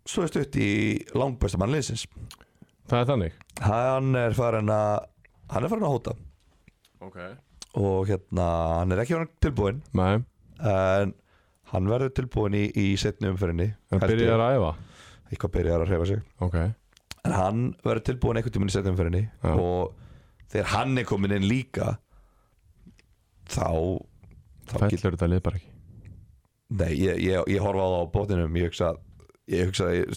B: svo er stutt í langbæsta mann liðsins
A: Það er þannig
B: hann er farin að hann er farin að hóta
A: Ok
B: og hérna hann er ekki farin tilbúinn
A: Nei,
B: en hann verður tilbúin í, í setni umferinni
A: hann byrjar að æfa
B: eitthvað byrjar að hrefa sig
A: Ok,
B: en hann verður tilbúin einhvern tíminn í setni umferinni
A: Já.
B: og þegar hann er komin inn líka þá, þá get,
A: fellur þetta lið bara ekki
B: nei, ég, ég, ég horfa á það á bótinum ég hugsa, ég hugsa ég,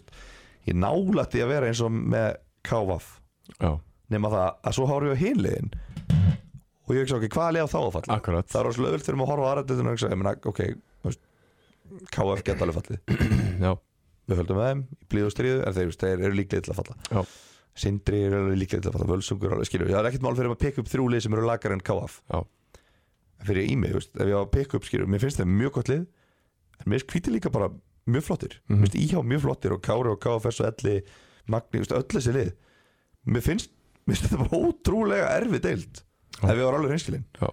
B: ég nálætti að vera eins og með KVF
A: Já,
B: nema það að svo horfa ég á hinliðin og ég hugsa ok, hvað leið á þá að falla
A: akkurat
B: það er rosalega öll þegar maður horfa á aðra deildina og hugsa, ég meina, ok, þú veist, KF geta alveg fallið
A: Já,
B: við höldum með þeim í blíðu og stríðu en þeir, þeir eru líklega til að falla
A: Já.
B: Sindri eru alveg líklega til að falla Völsungur alveg skilur við. það er ekkert mál fyrir að peka upp þrjú lið sem eru lagar en KF
A: Já.
B: En fyrir í mig, þú veist, ef ég á að peka upp skilur við, mér finnst þeim mjög gott lið en mér kvíti líka bara mjög flottir
A: Mhm.
B: mm -hmm. íhjá mjög flottir og Kári og KFS og Elli Magni, þú veist, öll þessi lið mér finnst, mér finnst þetta bara ótrúlega erfið deild
A: Já.
B: ef ég var alveg reynskilin
A: Já.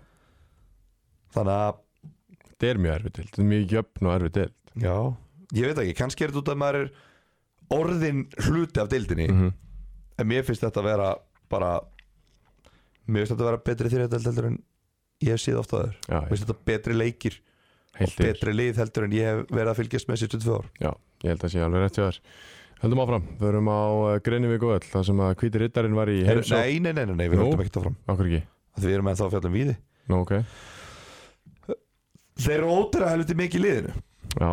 B: þannig að
A: þetta er mjög erfitt Þetta er mjög jöfn og erfitt deild
B: Já, ég veit ekki, kannski er þetta út að maður er orðin hluti af deildinni
A: Mhm.
B: en mér finnst þetta að vera bara mér finnst þetta að vera betri þriðadeild heldur en ég hef séð ofta aður
A: Já,
B: mér finnst þetta betri leikir
A: heilt
B: og
A: yfir
B: betri lið heldur en ég hef verið að fylgjast með síðustu tvö ár
A: Ég held að sé alveg rétt hjá þér Höldum áfram, förum á Greinivík og öll þar sem að hvíti rittarinn var í
B: Heru,
A: heimsók
B: nei, nei, nei, nei, nei, við
A: Nú?
B: höldum ekkert áfram
A: Okkur ekki
B: Af því við erum ennþá að fjalla um víði
A: Nú, ok
B: Þeir eru ótrúlega helviti mikið í liðinu
A: Já,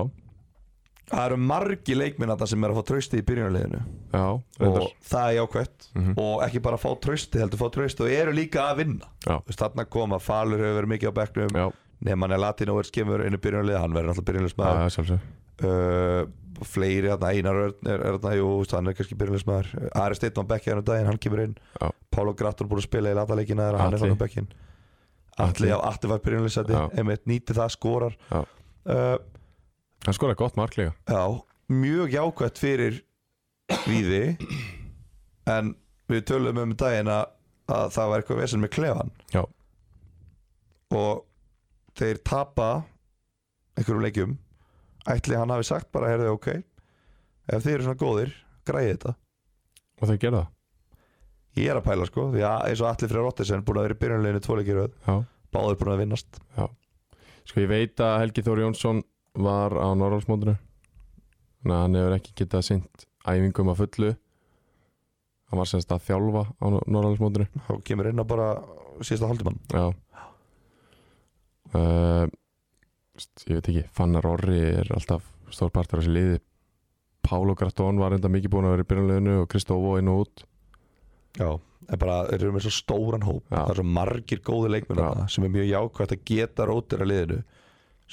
B: Það eru margi leikminna sem er að fá trausti í byrjunarliðinu
A: já, reyndar
B: og það er jákvætt
A: Mhm.
B: og ekki bara fá trausti heldur fá trausti og eru líka að vinna
A: Já.
B: Þú veist, þarna kom að Falur hefur verið mikið á bekknum
A: Já,
B: nema hann er latin og er skemur inn í byrjunarlið hann verður náttúrulega
A: það
B: byrjunarliðsmaður
A: er sjálfsög
B: uh, fleiri, þarna, Einar Örn er, er, þarna, jú, þú veist, hann er kannski byrjunarliðsmaður Ari Steitman bekkið hann um daginn, hann kemur inn
A: Já.
B: Pálo Grattur búin að spila í latalegina þegar hann er
A: Atli.
B: hann á bekkinn Alli,
A: Atli.
B: já, Atli var byrjunleysandi
A: Já.
B: einmitt nýti það, skorar
A: Já.
B: Uh,
A: Hann skoraði gott mark líka
B: já mjög jákvætt fyrir Víði en við tölum um daginn að, að það var eitthvað vesinn með klefan
A: Já.
B: og þeir tapa einhverjum leikjum ætli hann hafi sagt bara, heyrðu, ok ef þið eru svona góðir, græði þetta
A: og þeir gerða
B: ég er að pæla sko, því að eins og Atli Freyr Rottesen búin að vera í byrjunleginu tvoleikir
A: það Já.
B: báður búin að vinnast
A: Sko ég veit að Helgi Þór Jónsson var á Norrálsmóndinu þannig að hann hefur ekki getað sint æfingum að fullu hann var semst að þjálfa á Norrálsmóndinu
B: þá kemur inn að bara síðasta haldumann
A: Já uh, st- Ég veit ekki Fannar Orri er alltaf stórpartur af þessi liði Pálo Gratón var enda mikið búinn að vera í byrjunleginu og Kristófo inn og út
B: Já, en bara þeir eru með svo stóran hóp
A: Já.
B: það er svo margir góði leikmenn
A: Já.
B: þarna sem er mjög jákvæmt að geta rótir að liðinu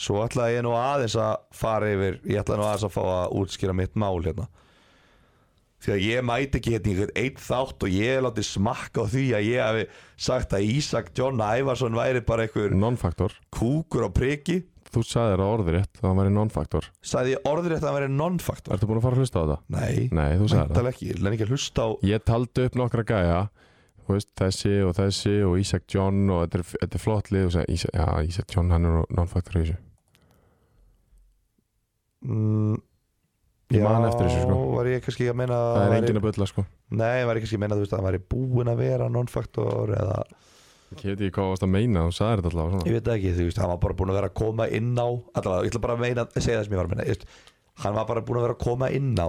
B: svo ætlaði ég nú aðeins að fara yfir ég ætlaði nú aðeins að fá að útskýra mitt mál hérna því að ég mæti ekki hérna í einhvern einn þátt og ég láti smakka á því að ég hafi sagt að Ísak John Ævarsson væri bara einhver
A: Non-faktor
B: kúkur á priki
A: Þú sagðir að orðið rétt að hann væri non-faktor
B: sagði ég orður þetta að hann væri non-faktor
A: Ertu búinn að fara að hlusta á þetta?
B: Nei,
A: Nei, þú sagðir það
B: mæntalega ekki, ég lenni ekki að hlusta á
A: Ég taldi upp nokkra gæja þú veist, þessi og þessi og Isaac John og þetta er, þetta er flott lið og sagði, Isaac, já, Isaac John hann er nú non-faktor í þessu
B: mm,
A: Ég man eftir þessu, sko.
B: Já, var ég kannski að meina að
A: Það er
B: væri-
A: enginn að bulla sko
B: Nei, var ég kannski að meina þú veist að hann væri búinn að vera non-faktor eða
A: Ég veit ekki hvað þú varst að meina, þú sagðir þetta allavega
B: ég
A: svona
B: veit það ekki, þú veist, hann var bara búinn að vera að koma inn á allavega, ég ætla bara að meina að segja það sem ég var að meina ég veist, hann var bara búinn að vera að koma inn á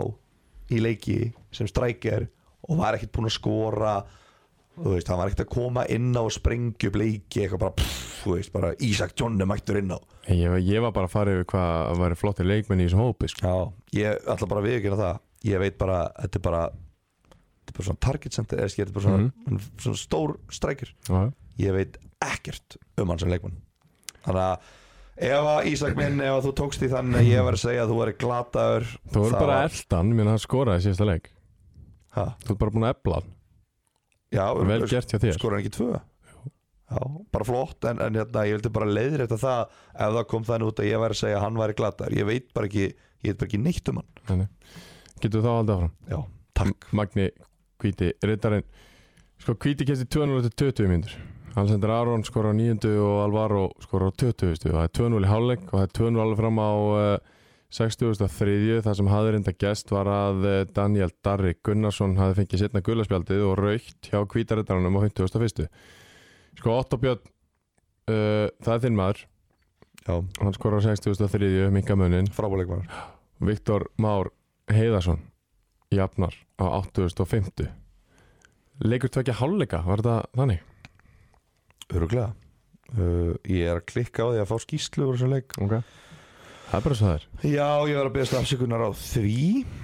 B: í leiki sem strækir og var ekkert búinn að skora þú veist, hann var ekkert að koma inn á og sprengja upp leiki eitthvað bara, pff, þú veist, bara Ísak Jónne mættur inn á
A: ég, ég var bara að fara yfir hvað væri flottir leikmenn í þessum hópi sko.
B: Já, ég ætla bara að viðkynna það ég veit bara, þetta er bara þetta er bara svona target center, eða skil, þetta er bara svona, svona stór strækir
A: Já,
B: ég veit ekkert um hann sem leikmann þannig að ef að Ísak minn ef að þú tókst í þann að ég var að segja að þú væri glataður
A: Þú
B: þá-
A: verður bara eldan, minna hann skoraði í síðasta leik
B: Ha,
A: Þú ert bara búin að ebla hann,
B: já,
A: vel gert hjá þér
B: skora hann ekki tvö já, bara flott en, en hérna, ég vildi bara leiðir eftir það ef það kom þannig út að ég væri að segja að hann væri glataður ég veit bara ekki, ég veit bara ekki neitt um hann
A: Nei, nei. Getur þá haldið áfram
B: já, takk
A: Magni Kvíti, reytarinn Sko Kvíti kemst í 220 mínútur Alexander Aron skora á 9. og Alvaro skora á 20. og það er 2-0 í hálfleik og það er 2-0 alveg fram á uh, 63. Það sem hafði reynda gest var að uh, Daniel Darri Gunnarsson hafði fengið setna gulaspjaldið og raukt hjá Kvítarittarunum á 51. Sko Otto Björn, uh, það er þinn maður
B: já,
A: hann skora á 63. minkamunin
B: frábúleikmann
A: Viktor Már Heiðarsson jafnar á 8.50 leikur tvekja hálfleika var þetta þannig?
B: öruglega uh, ég er að klikka á því að fá skýslu úr þessum leik
A: Okay. það er bara svo það er
B: já, ég var að beðast afsökunar á því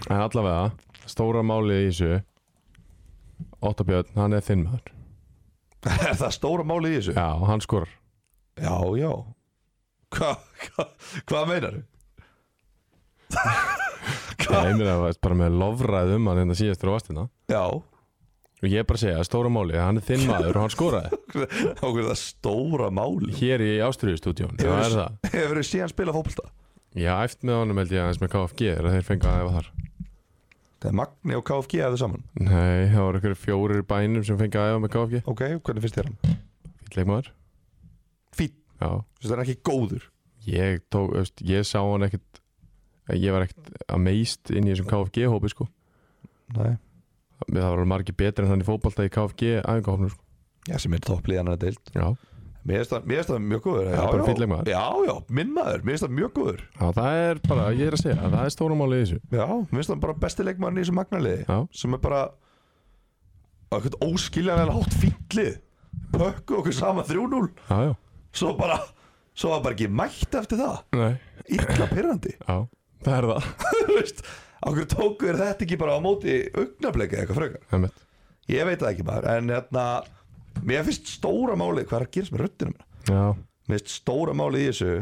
A: en allavega, stóra málið í þessu Otto Björn, hann er þinn maður
B: er það stóra málið í þessu
A: já, og hann skorar
B: Já, já Hva, hva, Hvað meinar
A: ég meina það var bara með lofræð um hann hérna síðastur á vastina
B: Já,
A: og ég er bara að segja, stóra málið, hann er þinn maður og hann skoraði
B: okkur er það stóra máli
A: hér í Ástriðustúdjón, það er það
B: Hefur þið síðan spilað fótbolta?
A: ég æft með honum held ég aðeins með KFG þegar þeir fengu að æfa þar
B: Það er Magni og KFG hefðu saman
A: nei, það voru ykkur fjórir í bænum sem fengu að æfa með KFG
B: Ok, hvernig finnst þér hann?
A: fýll leikmaður
B: Fínn.
A: já,
B: Finnst þér hann ekki góður?
A: ég tók, veist, ég sá hann ekkert ég var ekkert amazed inn í þessum KFG hópi sko
B: Nei
A: það var alveg margir betri en hann í fótbalta í KFG æfingahópnum sko
B: Já, sem er toppliðan að deild
A: já.
B: Mér finnst það- mér finnst það mjög góður
A: Já, bara fínn
B: já,
A: leikmaður.
B: já, já, minn maður, mér finnst það mjög góður
A: já, það er bara, ég er að segja, það er stóra málið í þessu
B: Já, mér finnst það bara besti leikmaðurinn í þessu magnaliði
A: já,
B: sem er bara á eitthvað óskiljanlega hátt fýllið Pökku okkur saman 3-0
A: já, já,
B: svo bara svo var bara ekki mætt eftir það
A: nei,
B: illa pyrrandi
A: já það er það,
B: okkur tóku er þetta ekki bara á móti augnableika eitthvað frekar
A: það er mitt
B: ég veit það ekki maður en hérna mér finnst stóra málið hvað er að gerast með röddina minna
A: já,
B: mér finnst stóra málið í þessu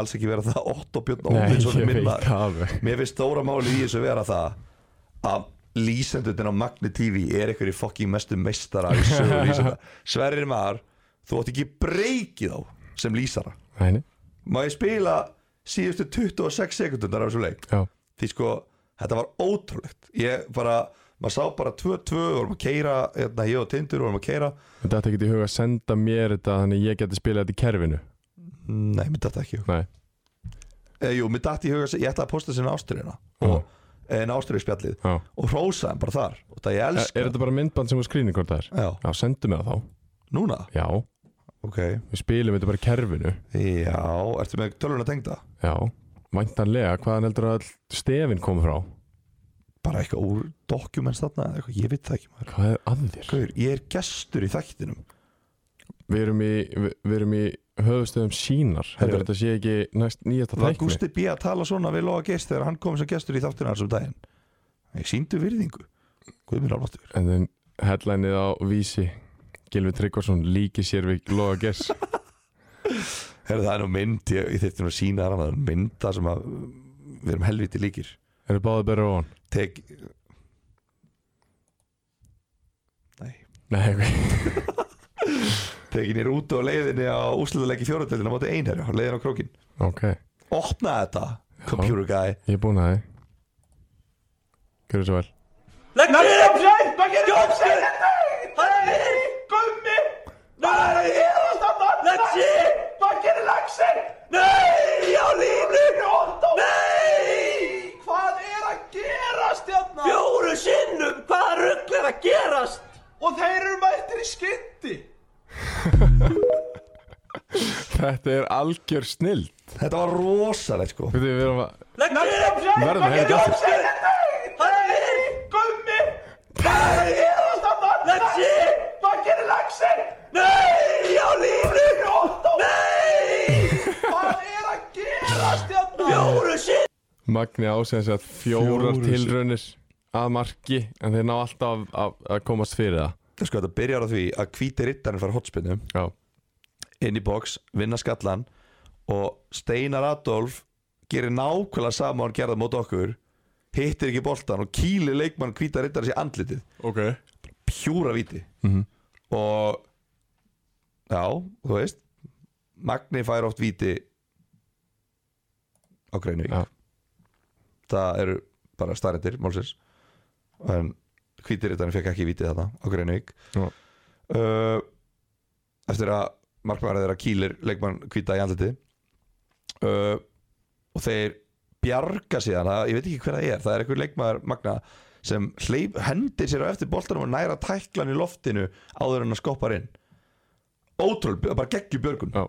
B: alls ekki vera það 8 og Björn
A: nei,
B: Óvinsson
A: ég
B: minn
A: veit
B: maður
A: það alveg
B: mér finnst stóra málið í þessu vera það að lýsendutin á Magni TV er einhverjir fokking mestu meistara í sögur lýsenda Sverrir Mar þú átt ekki breykið á sem lýsara
A: Æni,
B: má ég spila síðustu 26 sekundundar af þessu leik
A: já,
B: því sko, þetta var ótrúlegt ég bara, maður sá bara 2-2 vorum að keira, hérna, ég og Tindur vorum að keira
A: þetta ætti ekki í huga að senda mér þetta þannig að ég geti spilað þetta í kerfinu
B: nei, mér datt það ekki í hug.
A: Nei,
B: eh, jú, mér datt í huga, ég ætlaði að posta sinna ástriðina
A: Já.
B: en ástriði spjallið
A: já
B: og hrósaði hann bara þar og það ég
A: Er,
B: elska
A: er þetta bara myndband sem var skrýningkortar?
B: Já,
A: Já, sendu mér það þá
B: núna,
A: Já,
B: ok
A: við spilum þetta bara í kerfinu
B: Já, ertu með tölvuna tengda?
A: Já, væntanlega, hvaðan heldur að all stefin kom frá?
B: Bara eitthvað úr documents þarna eða eitthvað, ég veit það ekki maður
A: Hvað er að þér?
B: Hver, ég er gestur í þættinum
A: Við erum í, við, við erum í höfustöðum sínar Heldur
B: Herru.
A: þetta sé ekki næst nýjasta
B: Var
A: tækni?
B: Gústi B. að tala svona við Lóa Geist þegar hann kom sem gestur í þáttina þessum daginn Ég sýndu virðingu Guð mér alvartur
A: En þann headlineið á vísi Gilvi Tryggvarsson líki sér við Loga Gers
B: Herðu það er nú mynd, ég, ég þyrfti nú að sína þar annað mynda sem að uh, við erum helviti líkir
A: Eru báðið berra á hann?
B: Tek Nei
A: Nei, ok
B: Tekin ég er úti á leiðinni á úslutaleggi fjóratöldin á móti einherja, á leiðin á krókin
A: Ok,
B: Opnaði þetta, computer guy
A: ég er búinn að þið Gjörðu svo vel
C: Legg þér upp sveit, maður getur upp sveit Hann er hér, gummi Hann er hér að standa Let's see Maður getur laxin Nei, á línu Nei Hvað er að gerast hérna? Fjóru sinnum, hvaða rugl er að gerast? Og þeir eru mættir í skyndi
A: Þetta er algjör snill
B: Þetta var rosalegt sko
A: Við erum að
C: Legg þér upp sveit,
A: Verðum að
C: maður
A: heyra
C: getur
A: þetta
C: upp sveit Hann er hér, gummi Hann er hér að standa Let's see Maður getur laxin Nei, á línu Nei Hvað er að gerast hérna? Fjóru sinn
A: Magni ásæðan sér að fjórar
B: Fjórar
A: tilraunir að marki en þeir ná alltaf að, að komast fyrir það
B: sko, Þetta byrjar á því að hvíti rittarinn fara hotspinnu
A: Já,
B: inn í box, vinna skallan og Steinar Adolf gerir nákvæmlega sama og hann gerði mót okkur hittir ekki boltan og kýlir leikmann hvíta rittarins í andlitið
A: ok
B: pjúra víti
A: Mhm.
B: og já, þú veist Magni fær oft víti á Greinvík
A: Já.
B: það eru bara starrendir málsins en hvítirittarinn fekk ekki víti þarna á Greinvík
A: Já.
B: uh, eftir að markmaður þeirra kýlir leikmann hvita í andliti uh, og þeir bjarga síðan, það, ég veit ekki hver það er það er einhver leikmaður Magna sem hleyp, hendir sér á eftir boltanum og næra tæklan í loftinu áður en að skoppar inn ótrúl, bara geggjum björgun
A: Já.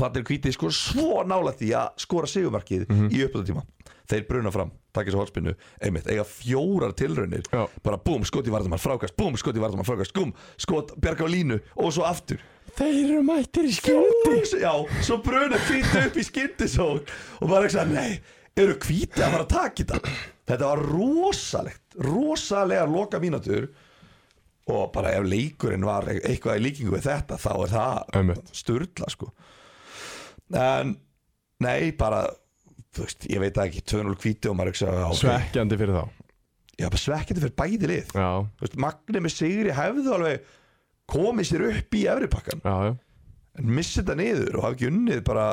B: það er hvítið sko svo nála því að skora sigumarkið
A: Mhm.
B: í uppöldatíma þeir bruna fram, takkis á hólspinnu einmitt, eiga fjórar tilraunir
A: Já.
B: bara búm, skot í vardamann, frákast, búm, skot í vardamann, frákast búm, skot, bjarga á línu og svo aftur
A: Þeir eru mættir í skjóti
B: já, svo bruna hvíti upp í skyndisók og bara ekki að nei, eru hvíti að fara að taka þetta þetta var rosalegt rosalega loka mínatur og bara ef leikurinn var eitthvað í líkingu við þetta þá er það
A: Einmitt.
B: sturla sko en nei, bara þú veist, ég veit það ekki, 2-0 hvíti og maður ekki að okay.
A: Svekkjandi fyrir þá
B: já, bara svekkjandi fyrir bæði lið
A: Já,
B: Þú veist, Magni með Sigri hefðu alveg komið sér upp í efripakkan
A: já, já,
B: en missi þetta niður og hafi ekki unnið bara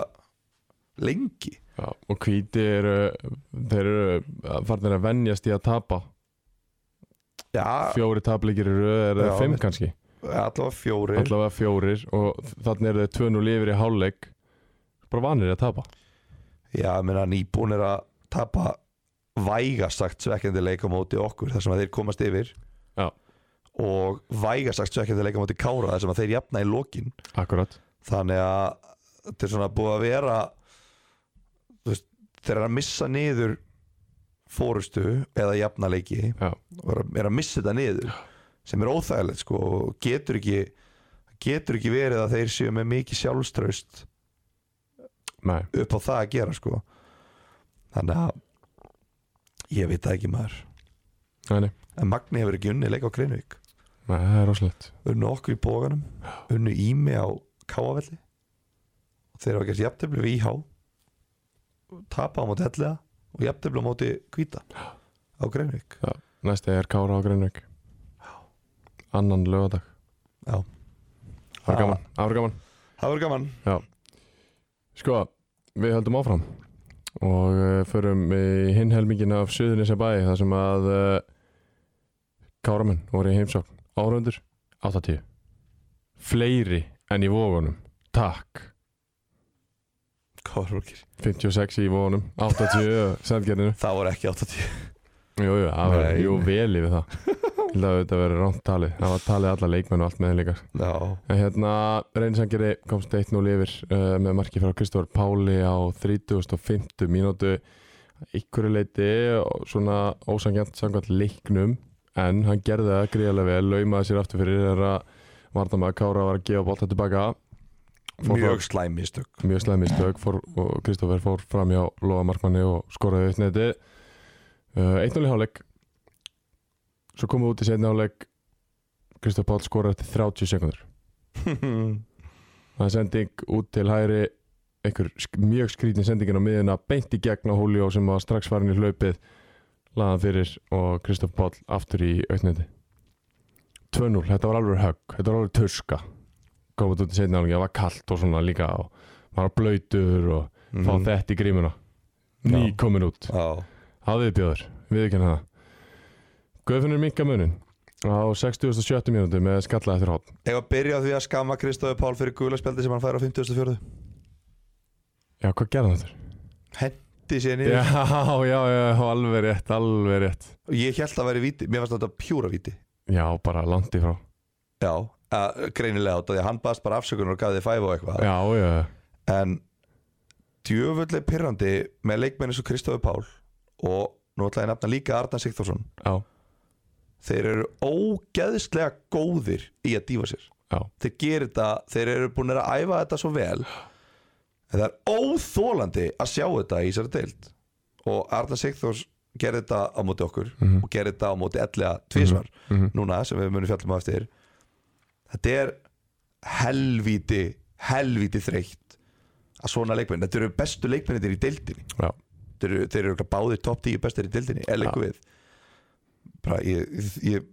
B: lengi
A: já. Og hvíti eru þeir eru farnir að venjast í að tapa
B: já,
A: Fjóri tapleikir eru eða
B: Já,
A: fimm
B: mitt.
A: kannski
B: allavega fjórir
A: Allavega fjórir og þannig eru þeir tvönu lifir í hálfleik bara vanir að tapa
B: já, ég meina nýbúin er að tapa vægast sagt svekkjandi leik á móti okkur þar sem að þeir komast yfir
A: Já.
B: og vægast sagt svekkjandi leik á móti kára þar sem að þeir jafna í lokin
A: Akkurat
B: þannig að þetta er svona búið að vera þú veist, þeir eru að missa niður fórustu eða jafna leiki
A: Já,
B: og er að- er að missa þetta niður sem er óþægilegt sko og getur ekki getur ekki verið að þeir séu með mikið sjálfstraust
A: nei,
B: upp á það að gera sko þannig að ég veit það ekki maður
A: nei, nei,
B: en Magni hefur ekki unni leik á Greinvík
A: nei það er rosalegt
B: unnu okkur í bóganum unnu Ími á Káavelli og þeir hafa gert jafntefli við Íhá tapa á móti Hellega og jafntefli á móti Kvíta á Greinvík
A: Já, næsti er Kára á Greinvík Annan lögadag
B: Já.
A: Það var gaman, það var gaman
B: Það verður gaman
A: Sko, við höldum áfram og uh, förum í hinn helmingin af Suðunisja bæ þar sem að uh, Káramenn voru í heimsókn Árundur, 80 Fleiri en í vógunum Takk
B: Kárvókir
A: 56 í vógunum, 80 sendgerðinu
B: Það voru ekki 80
A: Jú, jú, það var
B: Nei.
A: jú vel yfir það Ég held að þetta verið rámt talið Það var talið alla leikmenn og allt með þeim líka
B: Já
A: En hérna, reynsangeri komst 1-0 yfir uh, með marki frá Kristofur Páli á 3050 mínútu ykkur leiti og eh, svona ósangjant samkvæmt leiknum en hann gerði það gríðarlega vel laumaði sér aftur fyrir þegar að Vardamaður Kára var að gefa bolta tilbaka Fór
B: Mjög slæmi stök
A: fram- mjög slæmi stög fór, og Kristofur fór fram hjá Lóa Markmanni og skoraði upp neti uh, 1-0 í hálfleik svo komum við út í setni hálfleik Kristofur Pál skoraði eftir 30 sekundur
B: Mhm.
A: Það er sending út til hægri einhver sk mjög skrítin sendingin á miðina beint í gegn á Julio sem var strax farin í hlaupið laðan fyrir og Kristoff Páll aftur í auknandi 2-0, þetta var alveg högg þetta var alveg tuska komið út í setna álingi, það var kalt og svona líka og maður var blöytur og fá
B: Mhm.
A: þetta í grímuna ný
B: Já.
A: komin út
B: Já
A: Hafið bjóður, við ekki hana Guðfinnur minka munin á 60.70 mínútu með skalla eftir hot
B: Ef að byrja á því að skama Kristofi Pál fyrir gulaspjaldi sem hann fær á 54
A: Já, hvað gerði hann þetta?
B: Hendi sér niður
A: Já, já, já, alveg rétt, alveg rétt
B: Og Ég held að væri víti Mér fannst þetta pjúra víti
A: Já, bara landi frá
B: Já að, Greinilega át af Því að hann baðst bara afsökunar og gaf því fæf og eitthvað
A: Já, já,
B: En djöfulleg pirrandi með leikmenni svo Kristofi Pál og nú ætla ég að nefna líka Arna Sigþórsson
A: já,
B: þeir eru ógeðslega góðir í að dífa sér
A: já,
B: þeir gerir þetta, þeir eru búin að æfa þetta svo vel en það er óþólandi að sjá þetta í þessari deild og Arna Sigþórs gerir þetta á móti okkur og gerir þetta á móti ellega tvísvar núna sem við munum fjallum á eftir þetta er helvíti helvíti þreytt að svona leikmenn, þetta eru bestu leikmennir í deildinni
A: já
B: þeir eru, þeir eru báðir topp 10 bestir í dildinni eða leikum við bara ég, ég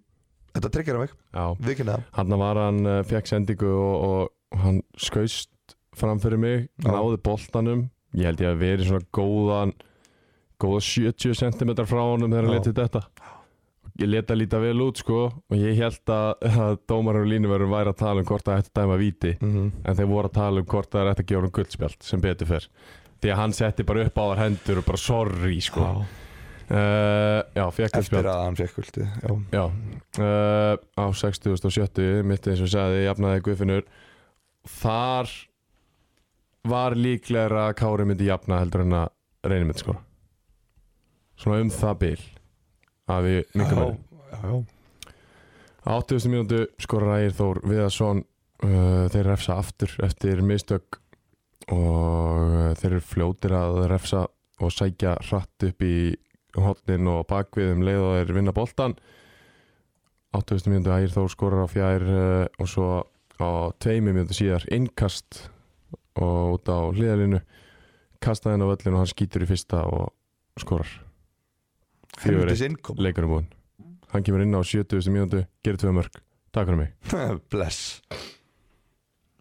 B: þetta tryggir að mig,
A: Já,
B: við kynna
A: hann var hann uh, fekk sendingu og, og hann skaust fram fyrir mig,
B: Já.
A: náði boltanum Ég held ég að verið svona góðan góða 70 cm frá honum þegar hann
B: Já.
A: letið þetta Ég leta líta vel út sko og ég held að, að dómarum línuverðum væri að tala um hvort það ætti að dæma víti
B: það
A: en þeir voru að tala um hvort það er eftir að gefa hann guldspjald sem betur fer því að hann setti bara upp á þar hendur og bara sorry sko uh, já, fekk
B: eftir
A: guldspjald
B: að hann fekk kuldi já,
A: já, uh, á 60.70 mitt eins og ég sagði, jafnaði Guðfinnur þar var líklegra að Kári myndi jafna heldur en að reyni myndi sko svona um það bil að við
B: já,
A: minkum
B: já, já.
A: Á 80. mínútu skorar Ægir Þór Viðarsson uh, þeir refsa aftur eftir mistök og uh, þeir eru fljótir að refsa og sækja hratt upp í hotnin og bakvið um leið og þeir vinna boltan 80. mínútu Ægir Þór skorar á fjær uh, og svo á tveimur mínútu síðar innkast og út á hliðalínu kastaði hann á völlin og hann skýtur í fyrsta og skorar Fjögur
B: helvitis innkom
A: leikurinn búinn hann kemur inn á 70. mínútu, gerir tvö mörg takk fyrir mig
B: bless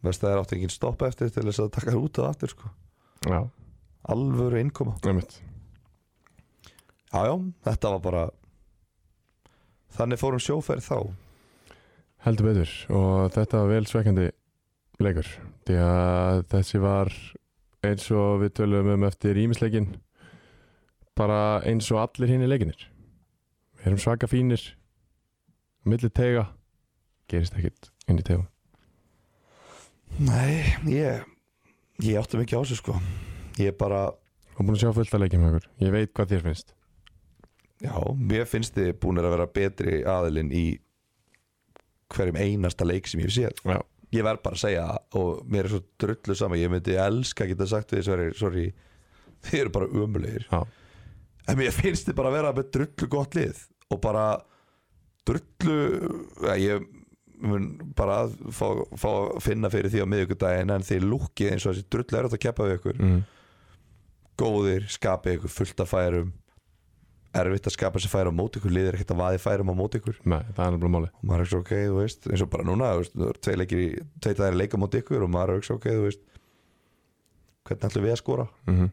B: veist það er átti engin stopp eftir til þess að taka þér út og aftur sko.
A: já,
B: alvöru innkoma
A: einmitt
B: já, já, þetta var bara þannig fórum sjóferð þá
A: heldur betur og þetta var vel svekkandi leikur því að þessi var eins og við tölum um eftir ímisleikin bara eins og allir hinn í leikinir við erum svaka fínir á milli tega gerist ekkit inn í tega
B: nei, ég ég átti mikið á þessu sko ég bara
A: og búin að sjá fullt að leikja með okkur ég veit hvað þér finnst
B: Já, mér finnst þið búinir að vera betri aðilinn í hverjum einasta leik sem ég hef séð
A: já,
B: Ég verð bara að segja það og mér er svo drullu sama Ég myndi elska að geta sagt við þessari Sorry, þið eru bara ömulegir
A: já,
B: En mér finnst þið bara að vera með drullu gott lið Og bara drullu ja, Ég mun bara að fá, fá að finna fyrir því á miðvikudaginn En þið lúkið eins og þessi drullu
A: Mhm.
B: er að keppa við ykkur
A: mm.
B: góðir, skapið ykkur fullt af færum erfitt að skapa sér færum á móti ykkur liðir ekkert að vaði færum á móti ykkur
A: Nei, það er nefnilega máli
B: og maður er ekki ok, þú veist, eins og bara núna þú veist, það eru tvei leikir, í- tvei dagir að leika á móti ykkur og maður er ekki ok, þú veist hvernig ætlum við að skora
A: mm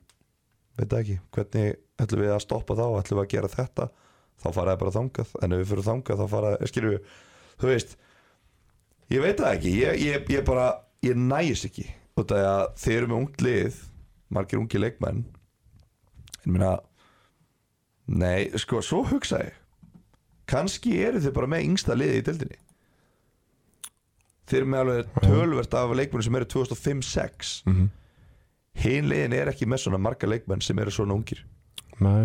B: veit það ekki, hvernig ætlum við að stoppa þá ætlum við að gera þetta þá fara það bara þangað, en ef við fyrir þangað þá fara það, skilur við, þú veist ég veit það ekki, ég, ég, ég bara ég næs ekki, út af því að þið eru með ungt lið, margir ungi leikmenn en minna nei, sko, svo hugsa ég kannski eru þið bara með yngsta liði í dildinni þið eru með alveg tölvert af leikmenn sem eru 2005-06
A: -hmm.
B: hinn liðin er ekki með svona marga leikmenn sem eru svona ungir
A: Nei,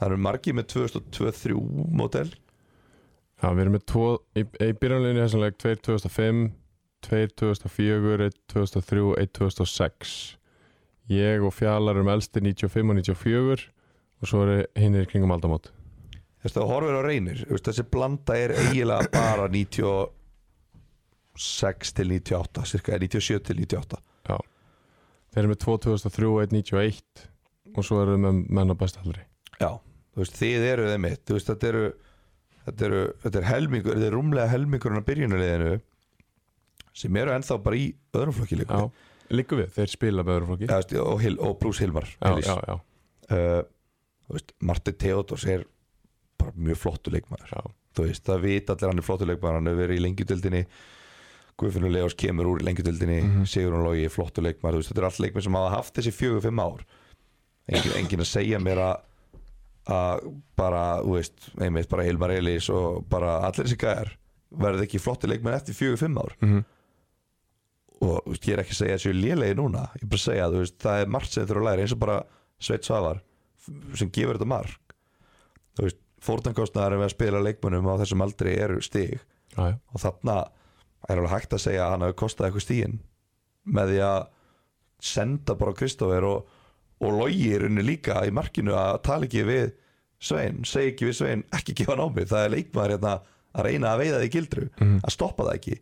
B: það eru margi með 2023 mótel
A: já, við erum með tvo í, í byrjanleginu þessan leik 2 2005 2 2004, 1 2003 1 2006 Ég og Fjallar erum elsti 95 og 94 og svo eru hinn er kringum aldamót
B: Þessi, og horfir á reynir, Þú veist, þessi blanda er eiginlega bara 96 til 98 cirka, eða 97 til 98
A: Þeir eru með 2 2003, 1 91 og svo eru með menn á bestaldri
B: já, þú veist, þið eru þeim mitt þú veist, þetta eru þetta eru, þetta er helmingur, þetta er rúmlega helmingurinn á byrjunarliðinu sem eru ennþá bara í öðrum flokki líka
A: Já, líku við, þeir spila með öðru flokki
B: Já, þú veist, og, Hil- og Bruce Hilmar
A: já,
B: Hillis.
A: já, já,
B: uh, þú veist, Martin Theodors er bara mjög flottu leikmaður
A: já.
B: þú veist, það vita allir hann er flottu leikmaður hann hefur verið í lengjudildinni Guðfinnur Leós kemur úr í lengjudildinni mm
A: Mhm.
B: -hmm. Sigurinn Lógi er flottu leikmaður þú veist, þetta er allt leikmaður sem hafa haft þessi fjögur fimm ár engin, engin að segja mér að að bara, þú veist, einmitt bara Hilmar Elís og bara allir þessi gæjar verði ekki flottu leikmaður eftir fjögur fimm ár
A: Mm -hmm.
B: og þú veist, ég er ekki að segja þessu lélegi núna ég er bara að segja að þú veist, það er margt sem þurfa að læra eins og bara Sveit Svavar f- sem gefur þetta mark þú veist, fórtankostnaðar við að spila leikmönnum á þessum aldri eru stig
A: já, já.
B: og þarna er alveg hægt að segja að hann hafi kostað eitthvað stíin með því að senda bara Kristoffer og, og logi í rauninni líka í markinu að tala ekki við Svein, segi ekki við Svein ekki gefa hann á mig, það er leikmaður hérna að reyna að veiða því gildru, að stoppa það ekki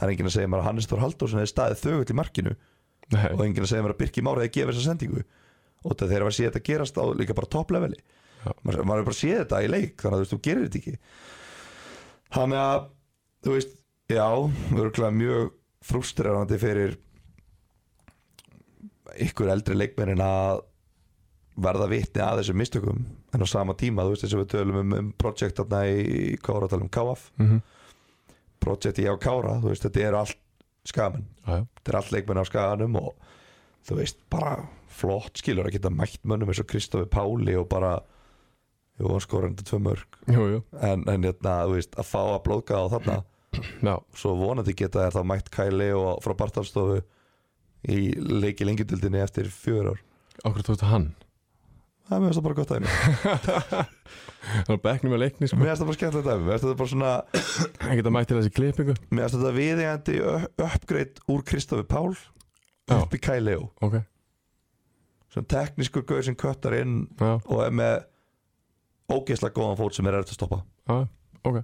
B: það er enginn að segja mér að Hannes Þór Halldórsson hefði staðið þögull í markinu
A: Nei,
B: og enginn að segja mér að Birki Mári hefði gefið þessa sendingu og það þegar að sé þetta gerast á líka bara toppleveli
A: Já.
B: maður maður hefur bara séð þetta í leik þannig að þú veist, þú gerir þetta ekki þannig að, þú veist, já örgulega mjög frústrerandi fyrir ykkur eldri leikmennin að verða vitni að þessum mistökum en á sama tíma, þú veist, eins og við tölum um, um projekt þarna í, hvað voru að tala um KF
A: mm
B: projekti á Kára, þú veist, þetta eru allt skamenn
A: já, já.
B: þetta er all leikmenn á skaganum og þú veist, bara flott skilur að geta mætt mönnum eins og Kristofi Páli og bara, jú, hann skora enda tvö mörg,
A: Jú, jú,
B: en, en hérna, þú veist, að fá að blóka á þarna
A: já, svo
B: svo vonandi geta þær þá mætt Kæli og frá Bartalstofu í leiki lengjudildinni eftir fjör ár
A: okkur tóktu hann
B: það er mér finnst það bara gott dæmi,
A: Það er bekknum að leikni, sko
B: mér finnst það bara skemmtilegt dæmi mér finnst þetta bara svona,
A: Ég geta mætt til þessi klippingu
B: mér finnst þetta viðeigandi uppgreitt úr Kristofi Pál
A: Já.
B: upp í Kæli og
A: Ok,
B: sem teknískur gauð sem köttar inn
A: já,
B: og er með ógeðslega góðan fót sem er erfitt að stoppa
A: já, ok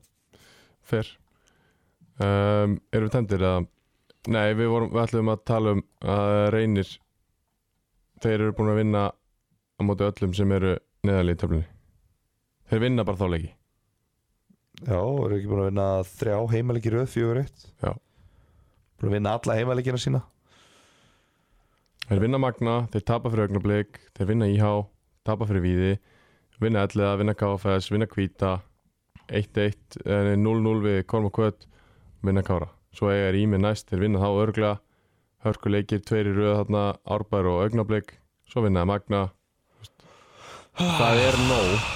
A: Fer um, Erum við tendir að Nei, við, vorum, við ætlum að tala um að reynir Þeir eru búin að vinna á móti öllum sem eru neðarlega í töflunni Þeir vinna bara þá leiki
B: Já, eru ekki búin að vinna þrjá heimaleiki í röð, fjögur eitt
A: Já.
B: Búin að vinna alla heimaleikina sína
A: Þeir vinna Magna, þeir tapa fyrir augnablík Þeir vinna IH, tapa fyrir Víði Vinna Elliða, vinna KFS, vinna Kvíta 1-1 eh, 0-0 við Korma Kvöt Vinna Kára, svo eiga er Ími næst Þeir vinna þá örgla Hörkuleikir, tveir í röð þarna, Árbær og augnablík Svo vinna þeir Magna Það er nóg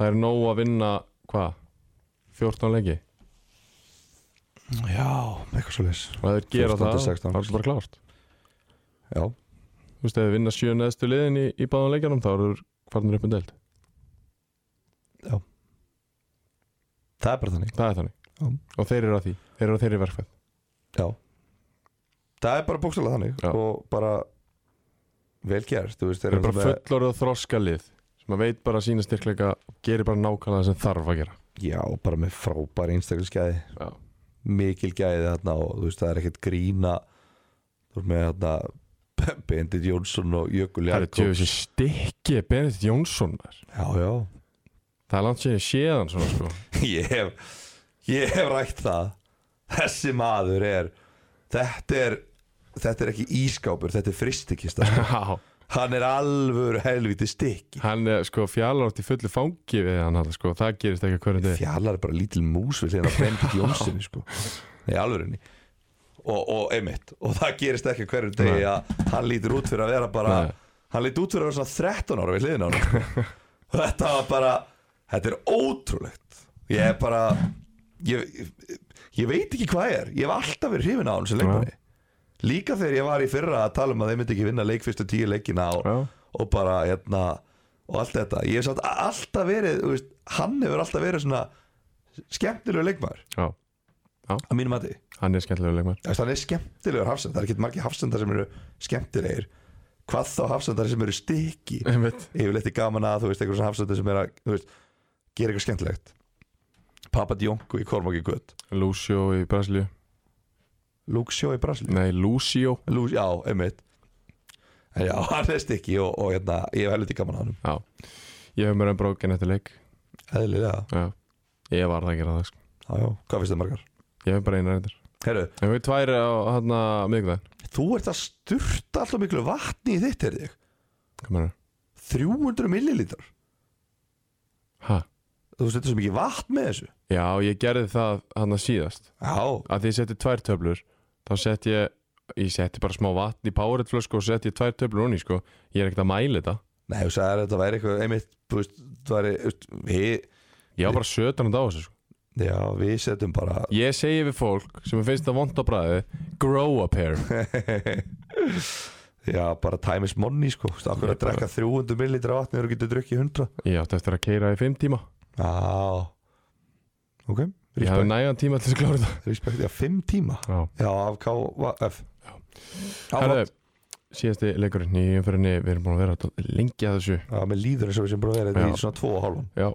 A: Það er nóg að vinna Hvað? 14 leiki
B: Já, eitthvað svo leis
A: Og ef þeir gera
B: 14 til
A: það,
B: 16.
A: þá er það bara klárt
B: Já,
A: Þú veist, ef þið vinna sjö neðstu liðin í, í báðan leikjanum þá eru þeir farnir upp um deild
B: það er bara þannig
A: Það er þannig
B: Já.
A: Og þeir eru að því, þeir eru að þeirri verkfæð
B: Já Það er bara bókstælega þannig
A: Já.
B: og bara vel gert, þú veist
A: Þeir eru bara
B: náttúrulega-
A: fullorðið og þroska lið sem að veit bara sína styrkleika og gerir bara nákvæmlega það sem þarf að gera
B: Já, bara með frábæri einstaklisgæði
A: Já.
B: mikil gæði þarna og þú veist það er ekkert grína þú veist með þarna Bendit Jónsson og Jökul
A: Það er
B: Jakobs
A: þessi stikki Benedikt Jónsson maður.
B: Já, já
A: Það er langt sér séðan svona sko
B: Ég hef, ég hef rækt það Þessi maður er Þetta er Þetta er ekki ískápur, þetta er fristikista sko.
A: Já,
B: Hann er alvöru helviti stikki
A: Hann er sko fjalar átt í fullu fangi við hann hann, sko. Það gerist ekki að hverju degi
B: Fjallar er bara lítil mús við hérna Bendit Jónsson sko. Nei, alvörunni og, og einmitt, og það gerist ekki á hverjum degi að hann lítur út fyrir að vera bara
A: Nei.
B: hann lítur út fyrir að vera svona 13 ára við hliðin á hann sko. Og þetta var bara þetta er ótrúlegt ég er bara ég, ég, ég veit ekki hvað er, ég hef alltaf verið hrifin á hann sem leikmanni líka þegar ég var í fyrra að tala um að þeir myndi ekki vinna leik fyrstu tíu leikina
A: Já.
B: og, og bara hérna og allt þetta, ég hef satt alltaf verið þú veist, hann hefur alltaf verið svona skemmtilegu leikmaður
A: Já,
B: að mínum að
A: hann er skemmtilega leikmar
B: Þess, hann er skemmtilegur hafsend, það er ekki margir hafsendar sem eru skemmtilegir hvað þá hafsendar sem eru stiki
A: Einmitt
B: yfirleitt er gaman að þú veist einhverjum hafsendar sem er að þú veist, gera eitthvað skemmtilegt Papa Djonku í Kormáki Gutt
A: Lucio í Brasilíu
B: Luke Sjó í Brasil
A: Nei, Lucio
B: Lú, já, einmitt en já, hann er stiki og, og hérna, ég hef helviti gaman að hann
A: Já, ég hef mér enn brókin eftir leik
B: eðlilega,
A: Já, ég var það að gera það sko
B: já, já, hvað finnst þið margar?
A: Ég hef bara eina reyndir
B: Herru,
A: Ég hef tvær á hérna, hann að miðgudaginn
B: þú ert að sturta alltaf miklu vatni í þitt, heyrði ég
A: Hvað meður?
B: 300 millilítrar,
A: Hæ?
B: þú setur svo mikið vatn með þessu
A: Já, ég gerði það hann að síðast
B: já,
A: að því ég setti tvær töflur þá setti ég ég setti bara smá vatn í powerheadflösku og setti ég tvær töflur honni sko ég er ekkert að mæla þetta
B: Nei, þú sagði að þetta væri eitthvað einmitt, þú veist, það væri þú veist, við,
A: ég var bara 17 á þessu sko
B: já, við setjum bara
A: ég segi við fólk sem finnst það vond á bræði grow up here
B: já, bara time is money, sko okkur
A: Ég
B: að drekka 300 millilitra vatni þegar þú getur drukkið 100
A: ég átti eftir að keira í 5 tíma
B: Já, ok
A: ég hafði
B: Respekt,
A: nægan tíma til þess að klára þetta
B: respekt, já, 5 tíma
A: Já.
B: Já, af KF
A: Herðu,
B: Já,
A: síðasti leikurinn í umfyrinni við erum búin að vera dálítið lengi að þessu
B: já, með líður eins og við sem bara verið
A: Já.
B: í svona 2 og hálfum
A: já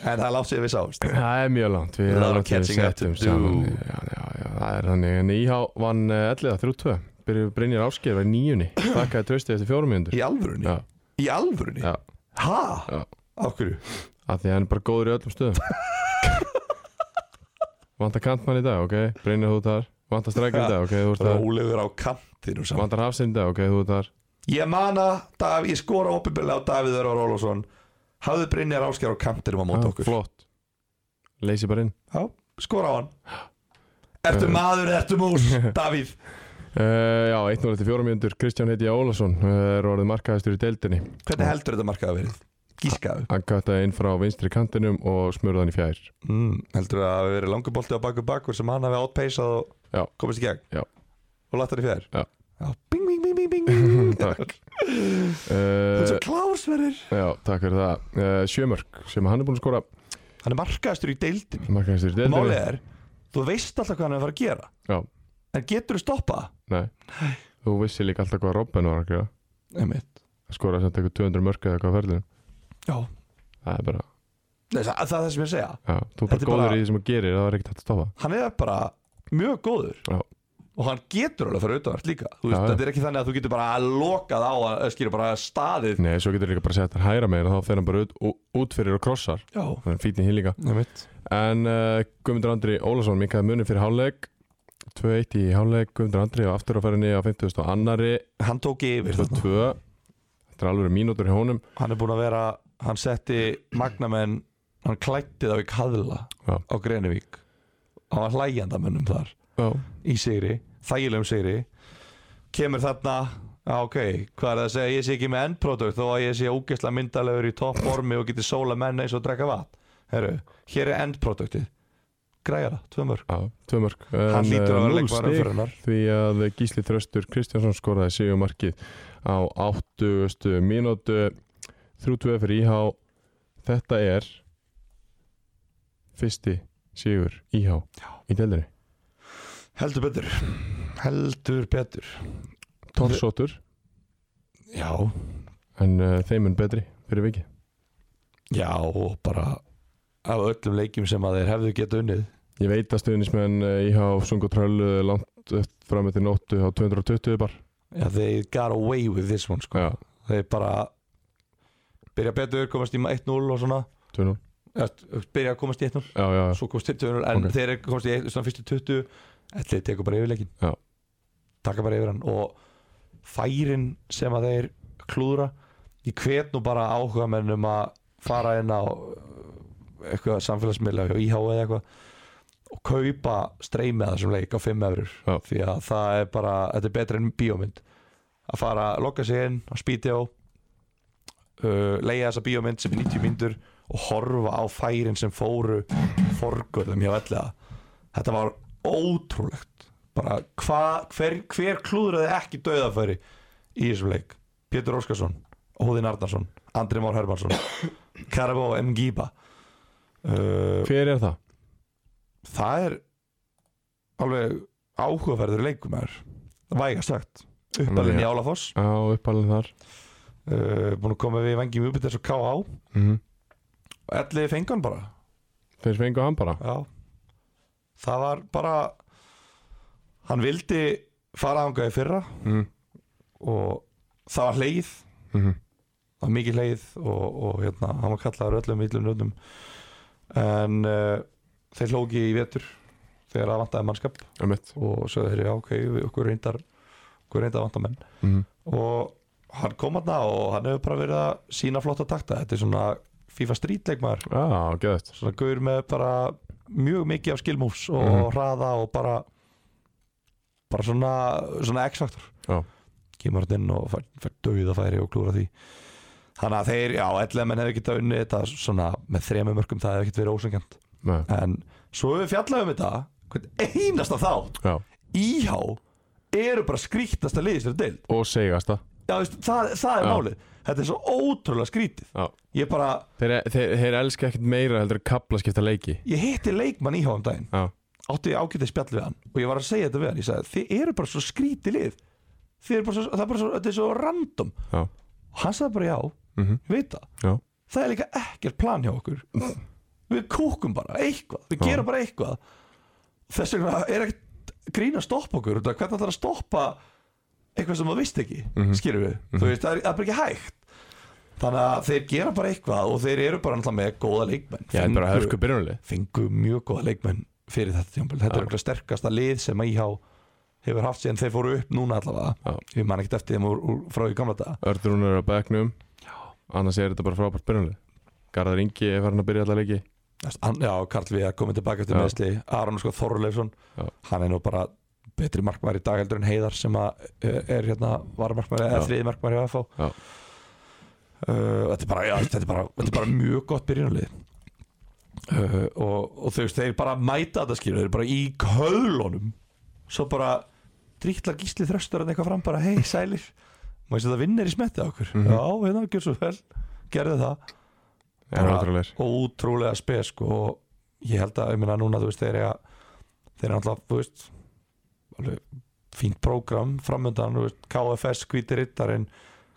B: En það er látt sér við sást
A: það er mjög langt við
B: A lot
A: erum
B: of
A: langt við
B: catching up
A: settum
B: to do.
A: saman. já, já, já, það er þannig en IH vann eh, 11 3-2 byrjuð Brynjar Ásker var í nýjunni þakkaði trösti eftir fjórum mínútur
B: Í alvörunni,
A: Já.
B: í alvörunni
A: Já.
B: Ha?
A: Já.
B: Af hverju?
A: Af því að hann er bara góður í öllum stöðum Vantar kantmann í dag, ok? Brynir þú þar Vantar strækir í dag, ok? Þú ert þar
B: Rólegur á kantinu samt
A: Vantar hafsinn í dag, ok? Þú ert þar
B: Ég mana, Dav, ég skora opinbjörlega á Davíð Örvar Ólafsson Hafðu Brynjar Áskjær á kantinum á móti
A: Já,
B: okkur
A: Flott Leysi bara inn
B: Já, skora á hann Ertu maður, ertu mús, Davíð
A: uh, Já, 1-0 eftir fjórum mínútur Kristján heiti Ólafsson uh, er orðið markaðistur í deildinni
B: Hvernig heldur þetta markaði verið? Gískaðu
A: Hann kattaði inn frá vinstri kantinum og smurði hann í fjær
B: mm, Heldur það að hafi verið langur bolti á baku bakur sem hann hafi átpeisað og
A: Já.
B: komist í gegn
A: Já.
B: Og lagt hann í fjær
A: Já.
B: bing, bing, bing, bing, bing
A: Takk
B: Þú er
A: uh,
B: svo klásverðir
A: Já, takk fyrir það uh, Sjömörk sem hann er búinn að skora
B: Hann er markaðistur í deildin
A: Markaðistur í deildinni
B: Málið er, þú veist alltaf hvað hann er að fara að gera
A: Já,
B: En getur þú stoppað?
A: nei Þú vissi líka alltaf hvað Robben var að gera
B: Einmitt
A: skora samt eitthvað 200 mörg eða eitthvað á ferðinu
B: Já,
A: það er bara,
B: Nei, það, það er það sem ég er að segja
A: já, þú er
B: Þetta
A: bara
B: er
A: góður
B: bara-
A: í því sem þú gerir það er ekkert hægt að stoppa
B: hann er bara mjög góður
A: Já.
B: og hann getur alveg að fara auðvart líka Þú veist,
A: Já, já.
B: þetta er ekki þannig að þú getur bara að lokað á að skilja bara staðið
A: nei, svo getur líka bara sett hann hægra megin og þá fer hann bara út, ú- út fyrir og krossar
B: já,
A: þannig að fítið hinn líka
B: það mitt
A: en uh, Guðmundur Andri Ólason minkaði munni fyrir hálfleik 2-1 í hálfleik, Guðmundur Andri á afturafærinni á 50 og annari
B: hann tók yfir þarna.
A: 2-2 þetta er alveg mínútur hjá honum
B: hann er búin að vera, hann setti magnamenn, hann klætti þá í kaðla
A: Já.
B: á Grenivík hann var hlægjandamönnum þar
A: já,
B: í sigri, þægilegum sigri kemur þarna já, ok, hvað er það að segja, ég sé ekki með endprodukt þó að ég sé ógeðslega myndalegur í toppformi og geti sóla menn eins og drekka vatn herru, hér er endproduktið græja það, tvö mörg
A: já, tvö mörg
B: hann
A: En,
B: lítur
A: eh,
B: að vera
A: núll
B: leikvarðan
A: stig
B: fyrir hennar
A: því að Gísli Tröstur Kristjánsson skoraði sigumarkið á 80. mínútu 3-2 fyrir IH þetta er fyrsti sigur IH í deldinni
B: heldur betur, heldur betur
A: Torsóttur,
B: já,
A: en uh, þeim er betri fyrir viki
B: já, og bara af öllum leikjum sem að þeir hefðu geta unnið
A: ég eh, veit að stuðnismenn uh, IH sungu tröll langt upp fram eftir nóttu á 220 bar
B: Já, they got away with this one sko.
A: Já,
B: Þeir bara byrja betur, komast í 1-0 og svona
A: 2-0
B: Eða, byrja að komast í 1-0
A: Já, já, já.
B: svo komst til 2-0
A: Ok.
B: en þeir komst í eitt- svona fyrstu 20 ætli tekur bara yfirleikin
A: Já.
B: taka bara yfir hann og færin sem að þeir klúðra ég hvet nú bara áhuga mennum að fara inn á uh, eitthvað samfélagsmiðla hjá IH eða eitthvað og kaupa streymið að þessum leik á 5 eurur
A: Já.
B: því að það er bara, þetta er betra en bíómynd að fara að lokka sig inn á spíti á uh, leiða þessa bíómynd sem er 90 myndur og horfa á færin sem fóru forgörðum hjá ellega þetta var ótrúlegt bara hva, hver, hver klúðraði ekki dauðafæri í þessum leik Pétur Óskarsson, Óðinn Arnarsson Andri Már Hermansson Karabó M. Gíba uh,
A: Hver er það?
B: það er alveg áhugaverður leikumæður vægast sagt uppalinn í Álafoss
A: Já, uppalinn þar
B: uh, búin að koma við vengjum upp í þessu K.A.
A: mm
B: Elliði fengan bara
A: Þeir fengu hann bara
B: Já Það var bara Hann vildi fara þangað í fyrra
A: mm.
B: og það var hleið
A: Mm
B: það var mikið hleið og, og hérna, hann var kallaður öllum illum nöfnum en uh, þeir hlóki í vetur þegar það vantaði mannskap
A: Ömmett
B: og svo þeir, já ok, við okkur reyndar okkur reyndar vantar menn
A: mm.
B: og hann kom hann og hann hefur bara verið að sína flotta takta, þetta er svona FIFA Street leikmaður
A: Já, geðvægt
B: svona gaur með bara mjög mikið af skilmús og
A: Mhm.
B: hraða og bara bara svona, svona X-faktor
A: Já.
B: kemur hann inn og fær, fær dauða færi og klúra því þannig að þeir, já, allir menn hefur getað unnið þetta svona með þremur mörgum það hefur ekkert verið ósengjant
A: Nei,
B: en svo hefur við fjallað um þetta hvern einasta þá,
A: Já,
B: íhá eru bara skrýttasta liðis fyrir deild
A: og segast það
B: já, veist, það, það er
A: Já.
B: málið, þetta er svo ótrúlega skrýtið
A: Já.
B: ég bara,
A: Þeir, þeir, þeir elska ekkert meira heldur kaplaskipta leiki
B: ég hitti leikmann íhá um daginn
A: Já,
B: átti ágætið spjall við hann og ég var að segja þetta við hann, ég sagði þið eru bara svo skríti lið þið eru bara svo, það er bara svo, þetta er svo random
A: já,
B: og hann sagði bara já,
A: mhm,
B: ég veit það
A: já
B: það er líka ekkert plan hjá okkur við kúkum bara, eitthvað, við gerum bara eitthvað þess vegna er ekkert grín að stoppa okkur, út af hvernig það er að stoppa eitthvað sem maður vist ekki
A: Mhm.
B: mm skýrum við, þú veist, það er, það er bara ekki hægt þannig að þeir gera bara eitthvað og þeir eru bara náttúrulega með góða leikmenn
A: Já, þetta er bara
B: Fengu-
A: hörku byrjunlið
B: fengu mjög góða leikmenn fyrir þetta tjámbil. Þetta er okkur sterkasta lið sem IH hefur haft síðan þeir fóru upp núna allavega. Ég man ekkert eftir þeim úr, úr, frá í gamla daga.
A: Ördrún er á bekknum Annars er þetta bara frábært byrjunlið Garðar Ingi er farin að byrja alla leiki
B: Næst- An, já, Karl Viðar komið tilbaka eftir
A: Já.
B: meðsli. Aron sko Þorleifsson,
A: Já.
B: hann er nú bara betri markmæður í dag heldur en Heiðar sem að er, er hérna varamarkmæður eða
A: Já.
B: þriði markmæður hjá FH.
A: Já.
B: Uh, þetta, er bara, já, þetta, er bara, þetta er bara mjög gott byrjunalið. Uh, og, og þau veist, þeir bara mæta þetta skilur, þeir eru bara í köðlunum svo bara drýtlar gísli þröstur en eitthvað fram bara hei sælir má ég setja vinnir í smetti á okkur
A: Mhm.
B: já, hérna, gjör svo vel, gerðu það
A: Það er
B: Bara-
A: ótrúleir
B: og útrúlega spes sko, og ég held að, ég minna núna þú veist, þeir eru þeir eru alltaf, þú veist alveg fínt prógram framöndan, þú veist, KFS, Hvíti Rittarinn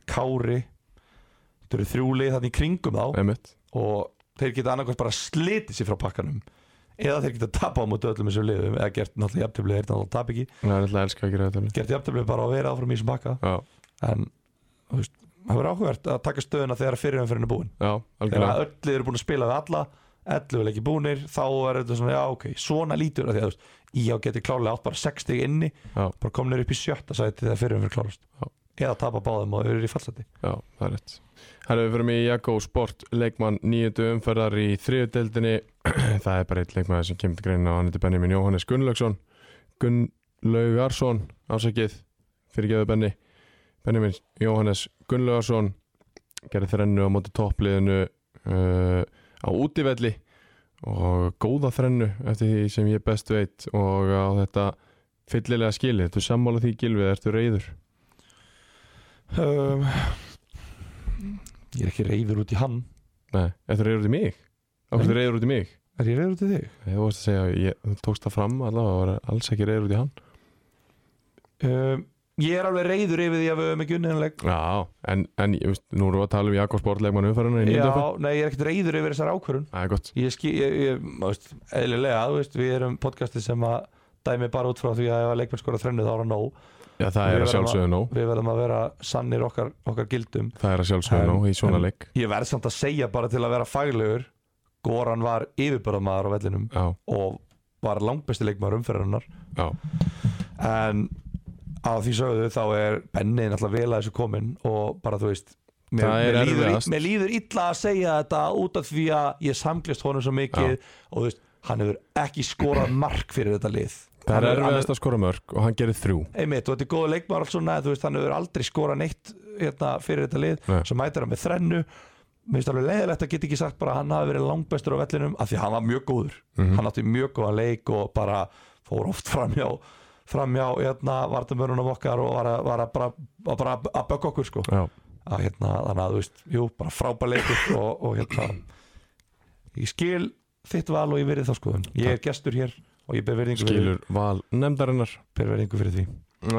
B: Kári þetta eru þrjúlið þannig í kringum þá
A: Ömmett
B: og þeir geta annarkvæmt bara slitið sér frá pakkanum eða þeir geta tapað á mútu öllum þessum liðum eða gert náttúrulega jafntöflið, þeir náttúrulega tap ekki
A: Það er alltaf að elska að gera þetta
B: gert jafntöflið bara að vera áfram í þessum pakka
A: Já,
B: en þú veist, það verður áhugavert að taka stöðuna þegar fyrirumferðin er búin
A: já,
B: þegar
A: algjörlega
B: öll lið eru búin að spila við alla 11 leikir búnir, þá er þetta svona já ok, svona lítur að því að þú veist, íhá getur klárlega átt bara 60 inni
A: Já.
B: bara komin upp í sjötta sæti þegar fyrirumferðin
A: Já.
B: klárast eða tapa báðum og eru í fallseti
A: Já, það er rétt Herra, við fyrir mig í Jakko Sport Leikmann nýjöndu umferðar í þriðudeldinni Það er bara eitt leikmann sem kemur til greina og hann heitir Benjamin Jóhannes Gunnlaugsson Gunnlaugarsson ásakið fyrir geðu Benni Benjamin Jóhannes Gunnlaugarsson gerði þrennu á móti toppliðinu uh, á útivelli og góða þrennu eftir því sem ég best veit og á þetta fyllilega skili Ertu sammála því gilvið, ertu reyður?
B: um, ég er ekki reyður út í hann
A: Nei, ertu reyður út í mig? Af
B: Nei.
A: hverju reyður út í mig?
B: er ég reyður út í þig?
A: Ég vorst að segja, ég, þú tókst það fram allavega og var alls ekki reyður út í hann
B: um, Ég er alveg reyður yfir því að við höfum ekki unnið hann leik
A: Já, en, en ég veist, nú erum við að tala um Jakob Sportleikmann umfærinu í
B: Já,
A: nýndöfum
B: nei, ég er ekkert reyður yfir þessar ákvörun
A: Það er gott,
B: Ég skil, ég, ég, þú veist, eðlilega, þú veist, við erum podcasti sem að dæmi bara út frá því að ef að leikmenn skora þrennu þá er hann nóg
A: Já, það er
B: Við
A: að
B: verðum
A: sjálfsögðu nóg
B: Við verðum að vera sannir okkar, okkar gildum
A: Það er að sjálfsögðu
B: En-
A: nóg í svona
B: en-
A: leik
B: Ég verð samt að segja bara til að vera faglegur Goran var yfirbörðamaður á vellinum
A: Já,
B: og var langbesti leikmaður umferðarinnar
A: já,
B: en á því sögðu þá er Benni náttúrulega vel að þessu komin og bara þú veist mér,
A: Það er
B: mér, líður,
A: erfiðast.
B: mér líður illa að segja þetta út af því að ég samklist honum svo mikið
A: Já.
B: og þú veist hann hefur ekki skorað mark fyrir þetta lið
A: það
B: Hann
A: er
B: hefur- hann
A: erfiðast að skora mörg og hann gerir þrjú
B: einmitt, og þetta er góða leikmaður alls svona, en þú veist, hann hefur aldrei skorað neitt hérna, fyrir þetta lið,
A: Nei.
B: svo mætir hann með þrennu mér finnst alveg leiðilegt að geta ekki sagt bara að hann hafi verið langbestur á vellinum, af því að hann var mjög góður
A: Mhm.
B: hann átti mjög góða leik og bara fór oft framjá framjá, hérna, vartamörunum okkar og var að, var að bara, að bara að bögga okkur, sko,
A: Já,
B: að hérna, þannig að þú veist, jú, bara frábær leikur og, og hérna ég skil þitt val og ég verið þá skoðun ég er gestur hér og ég ber verðingu fyrir,
A: skilur val nefndarinnar
B: ber verðingu fyrir því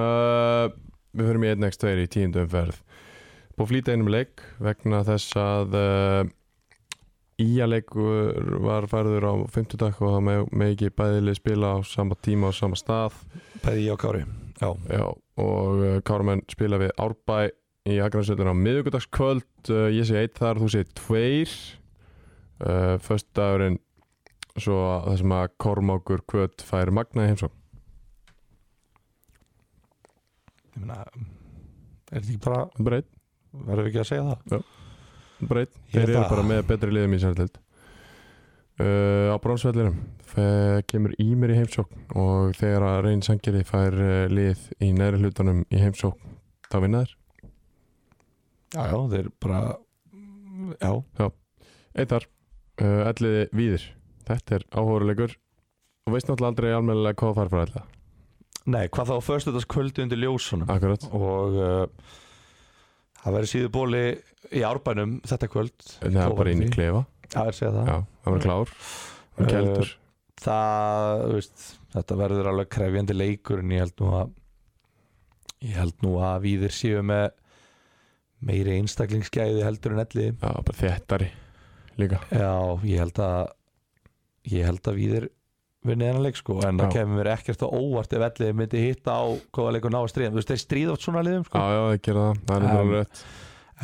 A: uh, Við höfum í 1x2 í tíundu umferð Búið að flýta einum leik vegna þess að uh, Íaleikur var færður á 50 dag og það með, með ekki bæðileg spila á sama tíma og sama stað
B: bæði ég og Kári, já
A: Já, og uh, Kárumenn spila við Árbæ í Akransveitin á miðugudagskvöld uh, ég sé eitt þar, þú sé tveir uh, Föstudagurinn svo að- það sem að Kormákur Kvöt fær Magna í heimsókn
B: ég meina, er þetta ekki bara
A: breyt,
B: verðum við ekki að segja það
A: breyt,
B: Ég
A: þeir
B: held
A: eru
B: að-
A: bara með betri liðum í sérhæld uh, á brónsvellinum kemur Ímir í heimsókn og þegar að reyn sangeri fær uh, lið í næri hlutunum í heimsókn þá vinna þær,
B: já, já, þeir bara já,
A: eitt þar uh, elliði víðir, þetta er áhóruleikur og veist náttúrulega aldrei almennilega hvað það fær frá ætla
B: nei, hvað þá föstudags kvöldi undir ljósunum
A: Akkurat,
B: og uh, það verður síður bóli í árbænum þetta kvöld
A: það er bara inn í klefa
B: það er segja það
A: Já, Uh, það var klár
B: Eh,
A: Og keldur
B: það, þú veist, þetta verður alveg krefjandi leikur en ég held nú að ég held nú að víðir séu með meiri einstaklingsgæði heldur en elliði
A: Já, bara þéttari líka
B: Já, ég held að ég held að við er vinnið hennar leik sko, en það
A: Já.
B: kemur mér ekkert á óvart ef elliði myndi hitta á hvaða leikur ná að stríða, þú veist, þeir stríða oft svona liðum
A: Já,
B: sko,
A: já, það gera það, það er um,
B: Um,
A: alveg rétt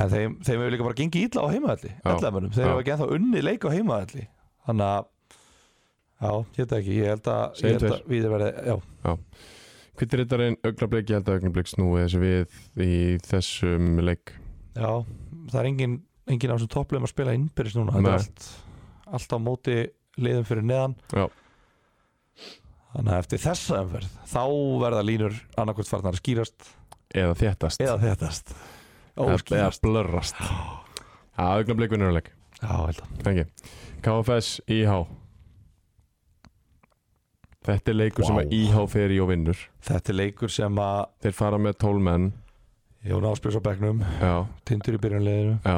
B: en þeim, þeim hefur líka bara gengið illa á heimaðalli,
A: Já.
B: ellamönnum þeir
A: Já.
B: hefur ekki ennþá unnið leik á heimaðalli þannig að, já, ég veit það ekki ég held að,
A: Segjum
B: ég held
A: tveir.
B: að við er verið, já,
A: Kvittritarinn, augnablik, ég held að augnablik snúi þessu við í þessum leik
B: já það er engin, engin á þessum topplegum að spila innbyrðis núna,
A: Nei.
B: þetta er allt allt á móti liðum fyrir neðan
A: Já.
B: þannig að eftir þessa umferð þá verða línur annarkvæmt farnar að skýrast
A: Eða þéttast
B: eða þettast
A: Eða- eða blörrast Já, augnablik vinnuruleik
B: já, held að
A: Þengi KFS IH Þetta er leikur sem
B: Vá.
A: að IH fer í og vinnur
B: þetta er leikur sem að
A: Þeir fara með 12 menn
B: Jón Áspjörs á bekknum,
A: Já,
B: tindur í byrjunleginu
A: já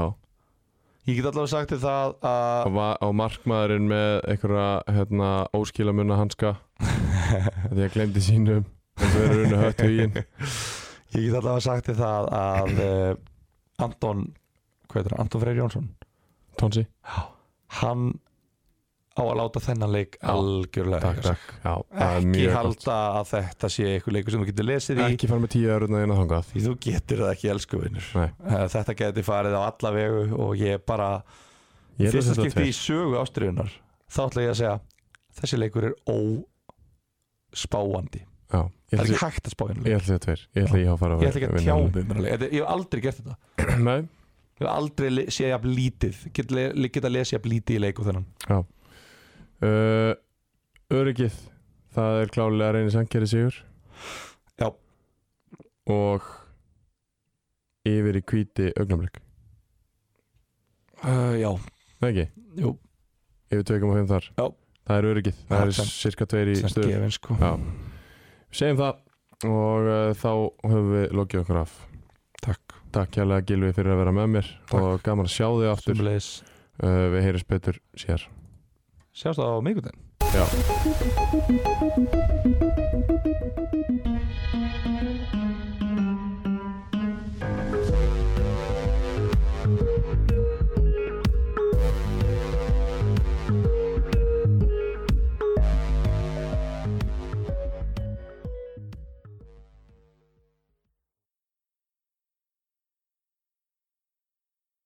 B: ég get allavega sagt þér það að
A: og, va- og markmaðurinn með einhverja hérna, óskilamunna hanska því að glemdi sínum en þau eru unni hött hugin
B: ég get allavega sagt þér það að eh, Anton hvað heitir hann, Anton Freyr Jónsson
A: Tonsi,
B: hann á að láta þennan leik
A: Já.
B: algjörlega
A: takk, takk Já, það er
B: ekki
A: mjög gott.
B: halda að þetta sé einhver leikur sem þú getur lesið í
A: ekki fara með tíu öðruna inn að þangað
B: því þú getur það ekki elsku vinnur
A: Nei.
B: þetta geti farið á alla vegu og ég bara
A: Ég er að
B: fyrsta
A: setja
B: skipti í
A: tveir.
B: sögu ástriðunar þá ætla ég að segja þessi leikur er óspáandi
A: Já, ég
B: það er
A: ætla
B: ekki hægt að spá hérna
A: ég ætla
B: leik.
A: að segja tveir Ég ætla að ég hafa fara
B: ég ætla ekki að tjá mig um hérna leik. Þetta- ég hef aldrei gert þetta
A: tjá Nei,
B: ég hef aldrei le- séð jafn lítið Get le- le- geta lesið jafn lítið í leiku þennan
A: uh, öryggið Það er klálega reynir sangeri sigur
B: Já.
A: Og yfir í hvíti augnablik
B: uh, já,
A: Nei ekki,
B: jú,
A: yfir 2,5 þar
B: Já.
A: Það er öryggið, það
B: Það
A: er
B: er
A: cirka tveir í
B: sem
A: stöðu
B: gefin sko
A: Já. segjum það og uh, þá höfum við lokið okkur af
B: takk,
A: Takk hérlega Gilvi fyrir að vera með mér
B: Takk.
A: og gaman að sjá þig aftur uh,
B: sumulegis
A: Við heyrjum betur síðar
B: sjást það á mikulinn
A: Já.
C: Thank you.